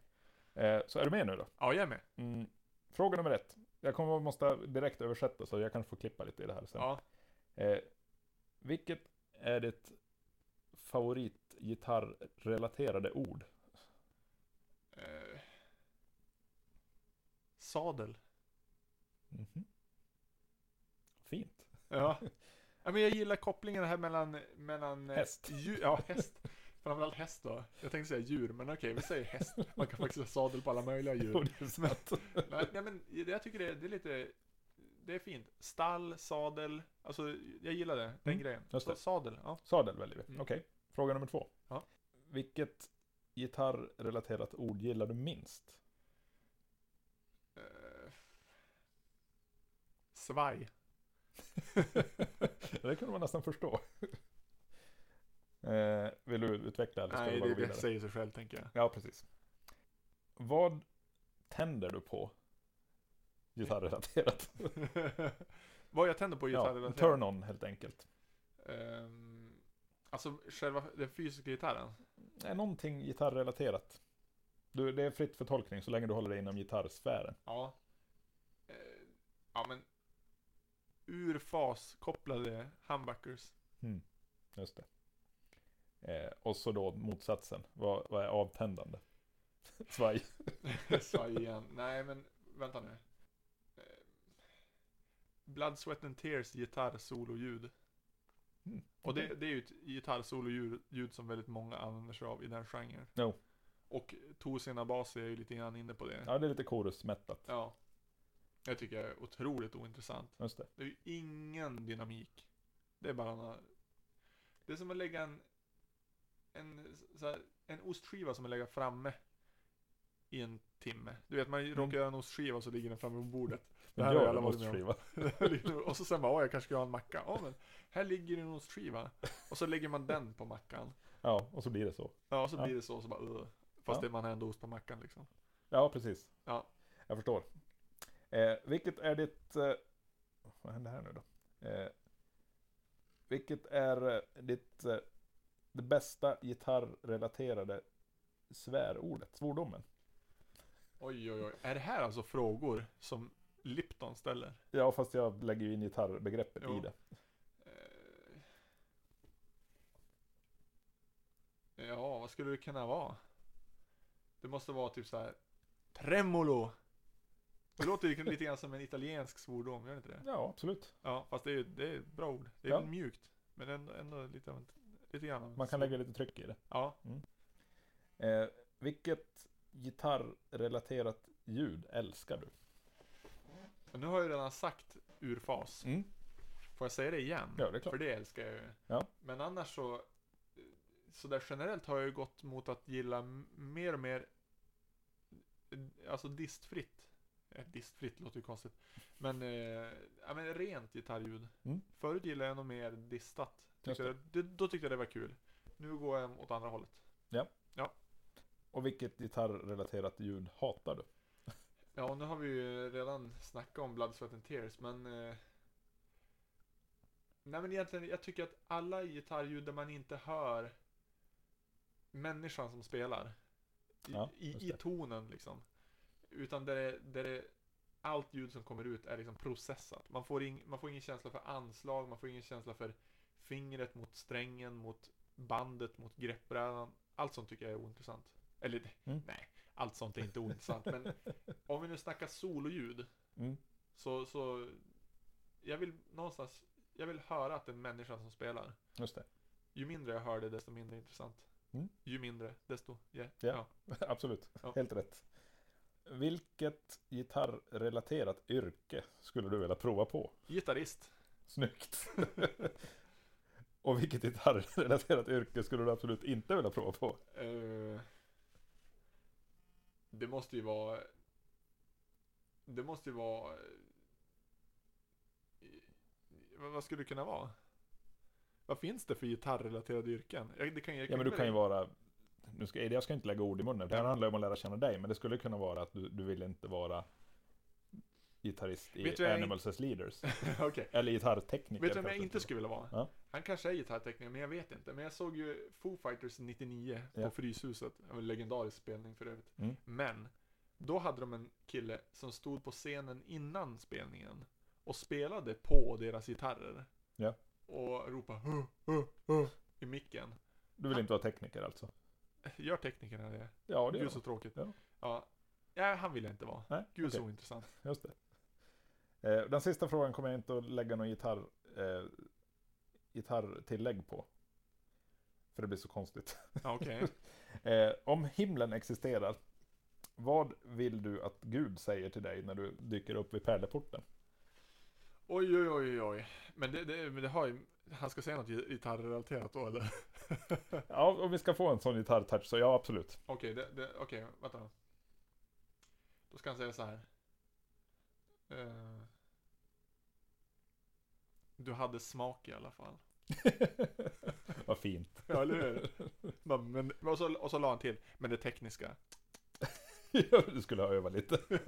Speaker 1: Eh, så är du med nu då?
Speaker 2: Ja, jag är med.
Speaker 1: Mm. Fråga nummer ett. Jag kommer att måste direkt översätta så jag kan få klippa lite i det här sen.
Speaker 2: Ja.
Speaker 1: Eh, vilket är ditt favoritgitarrrelaterade ord?
Speaker 2: Eh. Sadel.
Speaker 1: Mhm. Fint.
Speaker 2: Ja. ja. men jag gillar kopplingen här mellan... mellan eh,
Speaker 1: Häst.
Speaker 2: Djur, ja, häst. Framförallt häst då. Jag tänkte säga djur, men okej, vi säger häst. Man kan faktiskt ha sadel på alla möjliga djur.
Speaker 1: Jo, det är sant.
Speaker 2: Nej, nej men jag tycker det är, det är lite, det är fint. Stall, sadel, alltså jag gillar det, den
Speaker 1: Mm,
Speaker 2: grejen.
Speaker 1: just
Speaker 2: Så,
Speaker 1: det.
Speaker 2: sadel, ja.
Speaker 1: Sadel väljer vi.
Speaker 2: Mm.
Speaker 1: Okej. Fråga nummer två.
Speaker 2: Ja.
Speaker 1: Vilket gitarrrelaterat ord gillar du minst?
Speaker 2: Eh, svaj.
Speaker 1: det kunde man nästan förstå. Eh, vill du utveckla eller ska
Speaker 2: Nej,
Speaker 1: du bara
Speaker 2: det,
Speaker 1: gå
Speaker 2: det
Speaker 1: vidare?
Speaker 2: säger sig själv tänker jag.
Speaker 1: Ja, precis. Vad tänder du på? Gitarrrelaterat.
Speaker 2: Vad jag tänder på i
Speaker 1: Ja,
Speaker 2: gitarren?
Speaker 1: turn-on helt enkelt.
Speaker 2: Ehm, alltså själva den fysiska gitarren?
Speaker 1: Nej, någonting gitarrrelaterat. Du, det är fritt för tolkning så länge du håller dig inom gitarrsfären.
Speaker 2: Ja. Eh, ja men. Ur fas kopplade humbuckers.
Speaker 1: Just det. Eh, och så då motsatsen. Vad, vad är avtändande? Svaj.
Speaker 2: Svaj igen. Nej men vänta nu. Eh, Blood, Sweat and Tears gitarrsololjud.
Speaker 1: Mm,
Speaker 2: Och det,
Speaker 1: okej.
Speaker 2: det är ju ett gitarrsololjud ljud som väldigt många använder sig av i den genren.
Speaker 1: Jo.
Speaker 2: Och Tosena Basi är ju lite grann inne på det.
Speaker 1: Ja, det är lite korusmättat.
Speaker 2: Ja. Jag tycker jag är otroligt ointressant.
Speaker 1: Just det.
Speaker 2: Det är ju ingen dynamik. Det är bara några... Det är som att lägga en... En, så här, en ostskiva som man lägger framme i en timme. Du vet,
Speaker 1: Mm.
Speaker 2: man råkar göra en ostskiva och så ligger den framme på bordet. Det här
Speaker 1: Men
Speaker 2: har
Speaker 1: gör
Speaker 2: alla
Speaker 1: en
Speaker 2: varit med om.
Speaker 1: ostskiva.
Speaker 2: och så sen bara, åh jag kanske ska ha en macka. Ja men, här ligger en ostskiva. Och så lägger man den på mackan.
Speaker 1: Ja, och så blir det så.
Speaker 2: Ja, och så
Speaker 1: Ja.
Speaker 2: blir det så, och så bara, Ugh. Fast
Speaker 1: Ja.
Speaker 2: det man har ändå ost på mackan liksom.
Speaker 1: Ja, precis.
Speaker 2: Ja.
Speaker 1: Jag förstår. Eh, vilket är ditt... Eh, vad händer här nu då? Eh, vilket är eh, ditt... Eh, det bästa gitarrrelaterade svärordet, svordomen?
Speaker 2: Oj, oj, oj. Är det här alltså frågor som Lipton ställer?
Speaker 1: Ja, fast jag lägger ju in gitarrbegreppet
Speaker 2: Jo.
Speaker 1: i det.
Speaker 2: Eh, Ja, vad skulle det kunna vara? Det måste vara typ så här. Tremolo! Det låter ju lite grann som en italiensk svordom, gör det inte det?
Speaker 1: Ja, absolut.
Speaker 2: Ja, fast det är ju det är ett bra ord. Det är
Speaker 1: Ja.
Speaker 2: väl mjukt. Men ändå, ändå lite, av en- lite grann av en
Speaker 1: Man kan
Speaker 2: svordom.
Speaker 1: lägga lite tryck i det.
Speaker 2: Ja,
Speaker 1: Eh, vilket gitarrrelaterat ljud älskar du?
Speaker 2: men nu har jag ju redan sagt ur fas. Får jag säga det igen?
Speaker 1: Ja, det är klart.
Speaker 2: För det älskar jag ju.
Speaker 1: Ja.
Speaker 2: Men annars så, så där generellt har jag ju gått mot att gilla m- mer och mer, alltså distfritt. Eh, Distfritt låter ju konstigt. Men, eh, ja, men rent gitarrljud.
Speaker 1: Mm.
Speaker 2: Förut gillade jag nog mer distat.
Speaker 1: Just
Speaker 2: Tyckte
Speaker 1: det.
Speaker 2: jag, det, då tyckte jag det var kul. Nu går jag åt andra hållet.
Speaker 1: Och vilket gitarrrelaterat ljud hatar du?
Speaker 2: Ja, och nu har vi ju redan snackat om Blood, Sweat and Tears, men... Eh... Nej, men egentligen, jag tycker att alla gitarrljud där man inte hör människan som spelar i,
Speaker 1: Ja, just
Speaker 2: i, i
Speaker 1: det.
Speaker 2: tonen liksom. Utan där, det, där det, allt ljud som kommer ut är liksom processat. Man får, ing, man får ingen känsla för anslag, man får ingen känsla för fingret mot strängen, mot bandet, mot greppbrädan. Allt sånt tycker jag är ointressant. Eller
Speaker 1: Mm.
Speaker 2: nej, allt sånt är inte ointressant, men om vi nu snackar sololjud
Speaker 1: Mm.
Speaker 2: så, så jag vill någonstans, jag vill höra att det är en människa som spelar.
Speaker 1: Just det,
Speaker 2: Ju mindre jag hör det, desto mindre intressant.
Speaker 1: Mm.
Speaker 2: Ju mindre, desto, yeah.
Speaker 1: Ja.
Speaker 2: ja.
Speaker 1: absolut.
Speaker 2: Ja.
Speaker 1: Helt rätt. Vilket gitarrrelaterat yrke skulle du vilja prova på?
Speaker 2: Gitarrist.
Speaker 1: Snyggt! Och vilket gitarrrelaterat yrke skulle du absolut inte vilja prova på?
Speaker 2: Eh, det måste ju vara, det måste ju vara, eh, vad vad skulle det kunna vara? Vad finns det för gitarrrelaterade yrken? Jag, det kan, jag
Speaker 1: Ja men du kan ju vara nu ska, jag ska inte lägga ord i munnen, för det här handlar ju om att lära känna dig, men det skulle kunna vara att du, du vill inte vara gitarrist
Speaker 2: Vet du
Speaker 1: i
Speaker 2: vad jag
Speaker 1: Animals as Leaders.
Speaker 2: Okej.
Speaker 1: Eller gitarrtekniker.
Speaker 2: Vet du vem jag
Speaker 1: kanske
Speaker 2: inte skulle vilja vara?
Speaker 1: Ja.
Speaker 2: Han kanske är gitarrtekniker, men jag vet inte. Men jag såg ju Foo Fighters 99
Speaker 1: Ja.
Speaker 2: på Fryshuset. Det var En legendarisk spelning för övrigt.
Speaker 1: Mm.
Speaker 2: Men, då hade de en kille som stod på scenen innan spelningen och spelade på deras gitarrer.
Speaker 1: Ja.
Speaker 2: Och ropade "Huh, huh, huh" i micken.
Speaker 1: Du vill inte vara tekniker alltså?
Speaker 2: Gör teknikerna det?
Speaker 1: Ja, det gör
Speaker 2: Gud så
Speaker 1: jag.
Speaker 2: tråkigt.
Speaker 1: Ja.
Speaker 2: Ja. Nej, han vill jag inte vara.
Speaker 1: Nej,
Speaker 2: Gud
Speaker 1: okej.
Speaker 2: så ointressant.
Speaker 1: Just det. Eh, Den sista frågan kommer jag inte att lägga någon gitarr, eh, gitarrtillägg på. För det blir så konstigt.
Speaker 2: Ja, okej.
Speaker 1: Eh, om himlen existerar, vad vill du att Gud säger till dig när du dyker upp vid pärleporten?
Speaker 2: Oj, oj, oj, oj. Men det, det, men det har ju... Han ska säga något gitarrrelaterat då, eller?
Speaker 1: Ja, om vi ska få en sån gitarrtouch så ja, absolut.
Speaker 2: Okej, det, det, okej, vänta då. Då ska han säga så här. Eh, du hade smak i alla fall.
Speaker 1: vad fint.
Speaker 2: Ja, eller hur? Men, men, och, så, och så la han till, men det tekniska.
Speaker 1: du skulle ha övat lite.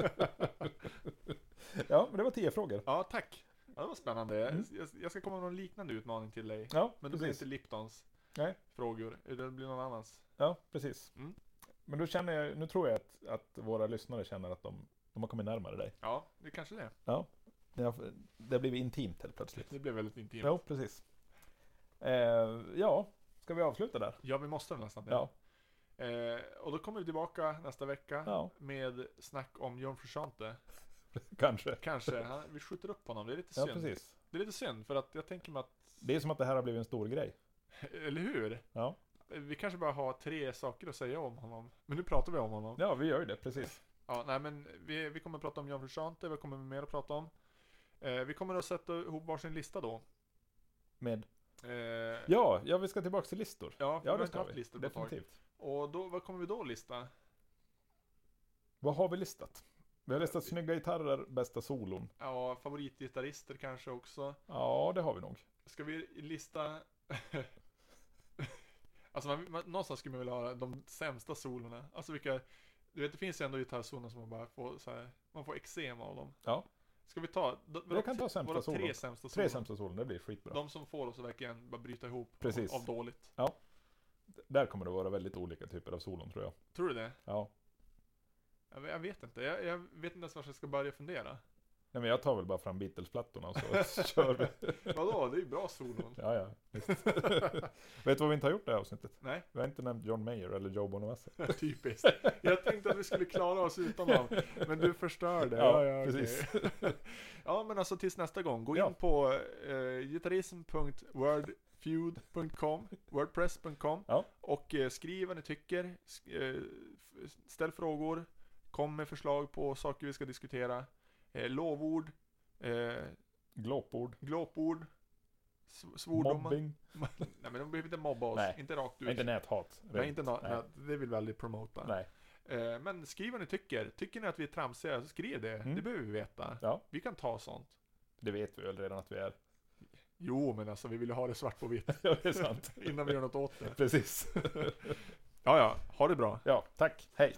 Speaker 1: ja, men det var tio frågor.
Speaker 2: Ja, tack. Ja, det var spännande. Jag-
Speaker 1: Mm.
Speaker 2: Jag, jag ska komma med någon liknande utmaning till dig.
Speaker 1: Ja,
Speaker 2: Men det blir
Speaker 1: precis.
Speaker 2: inte Liptons
Speaker 1: Nej.
Speaker 2: frågor, utan det blir någon annans.
Speaker 1: Ja, precis.
Speaker 2: Mm.
Speaker 1: Men då känner jag, nu tror jag att, att våra lyssnare känner att de, de har kommit närmare dig.
Speaker 2: Ja, det kanske det.
Speaker 1: Det har, det har blivit intimt helt plötsligt.
Speaker 2: Det blev väldigt intimt.
Speaker 1: Jo, precis. Eh, ja, ska vi avsluta där?
Speaker 2: Ja, vi måste nästan det.
Speaker 1: Ja.
Speaker 2: Eh, och då kommer vi tillbaka nästa vecka
Speaker 1: Ja,
Speaker 2: med snack om John Frusciante.
Speaker 1: kanske.
Speaker 2: Kanske. Han, vi skjuter upp honom. Det är lite
Speaker 1: Ja,
Speaker 2: synd.
Speaker 1: precis.
Speaker 2: det är lite synd för att jag tänker mig att,
Speaker 1: Det är som att det här har blivit en stor grej.
Speaker 2: eller hur?
Speaker 1: Ja.
Speaker 2: Vi kanske bara har tre saker att säga om honom. Men nu pratar vi om honom.
Speaker 1: Ja, vi gör ju det, precis.
Speaker 2: Ja, nej men vi, vi kommer att prata om John Frusciante, vi kommer mer att prata om. Eh, vi kommer att sätta ihop varsin lista då.
Speaker 1: Med...
Speaker 2: Eh,
Speaker 1: Ja, ja, vi ska tillbaka till listor.
Speaker 2: ja, vi
Speaker 1: Ja,
Speaker 2: har
Speaker 1: det
Speaker 2: inte
Speaker 1: ska
Speaker 2: haft
Speaker 1: vi.
Speaker 2: listor på ett tag.
Speaker 1: Definitivt.
Speaker 2: Och då, vad kommer vi då lista?
Speaker 1: Vad har vi listat? Vi har listat snygga gitarrer, bästa solon.
Speaker 2: Ja, favoritgitarrister kanske också.
Speaker 1: Ja, det har vi nog.
Speaker 2: Ska vi lista... alltså man, man, någonstans skulle man vilja ha de sämsta solorna. Alltså vilka... Du vet det finns ju ändå gitarrsolon som man bara får så här, Man får eksem av dem.
Speaker 1: Ja.
Speaker 2: Ska vi ta... d- våra
Speaker 1: Jag kan ta
Speaker 2: tre-
Speaker 1: sämsta
Speaker 2: våra
Speaker 1: solon.
Speaker 2: tre sämsta solon.
Speaker 1: Tre sämsta solon, det blir skitbra.
Speaker 2: De som får oss att verkligen bara bryta ihop
Speaker 1: Precis.
Speaker 2: av, av dåligt.
Speaker 1: Där kommer det vara väldigt olika typer av solon, tror jag.
Speaker 2: Tror du det?
Speaker 1: Ja.
Speaker 2: Jag, vet- jag vet inte. Jag, jag vet inte ens var jag ska börja fundera.
Speaker 1: Nej, men jag tar väl bara fram Beatles-plattorna och så kör vi.
Speaker 2: Vadå? Det är ju bra solon.
Speaker 1: Ja, ja. Visst. Vet du vad vi inte har gjort i det här avsnittet?
Speaker 2: Nej.
Speaker 1: Vi har inte nämnt John Mayer eller Joe Bonamassa.
Speaker 2: Typiskt. Jag tänkte att vi skulle klara oss utan dem. Men du förstör det.
Speaker 1: Ja,
Speaker 2: okej.
Speaker 1: precis.
Speaker 2: ja, men alltså tills nästa gång. Gå
Speaker 1: Ja.
Speaker 2: in på eh, gitarrism.wordfeud.com wordpress.com
Speaker 1: Ja.
Speaker 2: och eh, skriv vad ni tycker. Sk- eh, f- ställ frågor. Kom med förslag på saker vi ska diskutera. Eh, lovord. Eh,
Speaker 1: Glåpord.
Speaker 2: glåpord. sv- Svordomar.
Speaker 1: Mobbing.
Speaker 2: Nej, men de behöver inte mobba oss.
Speaker 1: Nej.
Speaker 2: Inte rakt ut.
Speaker 1: Nej, Inte näthat.
Speaker 2: Nej, inte nå-
Speaker 1: Nej.
Speaker 2: nej. det vill vi aldrig promota.
Speaker 1: Nej.
Speaker 2: Eh, Men skriv vad ni tycker. Tycker ni att vi är tramsiga, så skriv det.
Speaker 1: Mm.
Speaker 2: Det behöver vi veta.
Speaker 1: Ja.
Speaker 2: Vi kan ta sånt.
Speaker 1: Det vet vi väl redan att vi är.
Speaker 2: Jo, men alltså vi vill ju ha det svart på vitt
Speaker 1: ja, det är sant.
Speaker 2: innan vi gör något åt det.
Speaker 1: Precis.
Speaker 2: Ja, ja. Ha det bra.
Speaker 1: Ja, tack. Hej.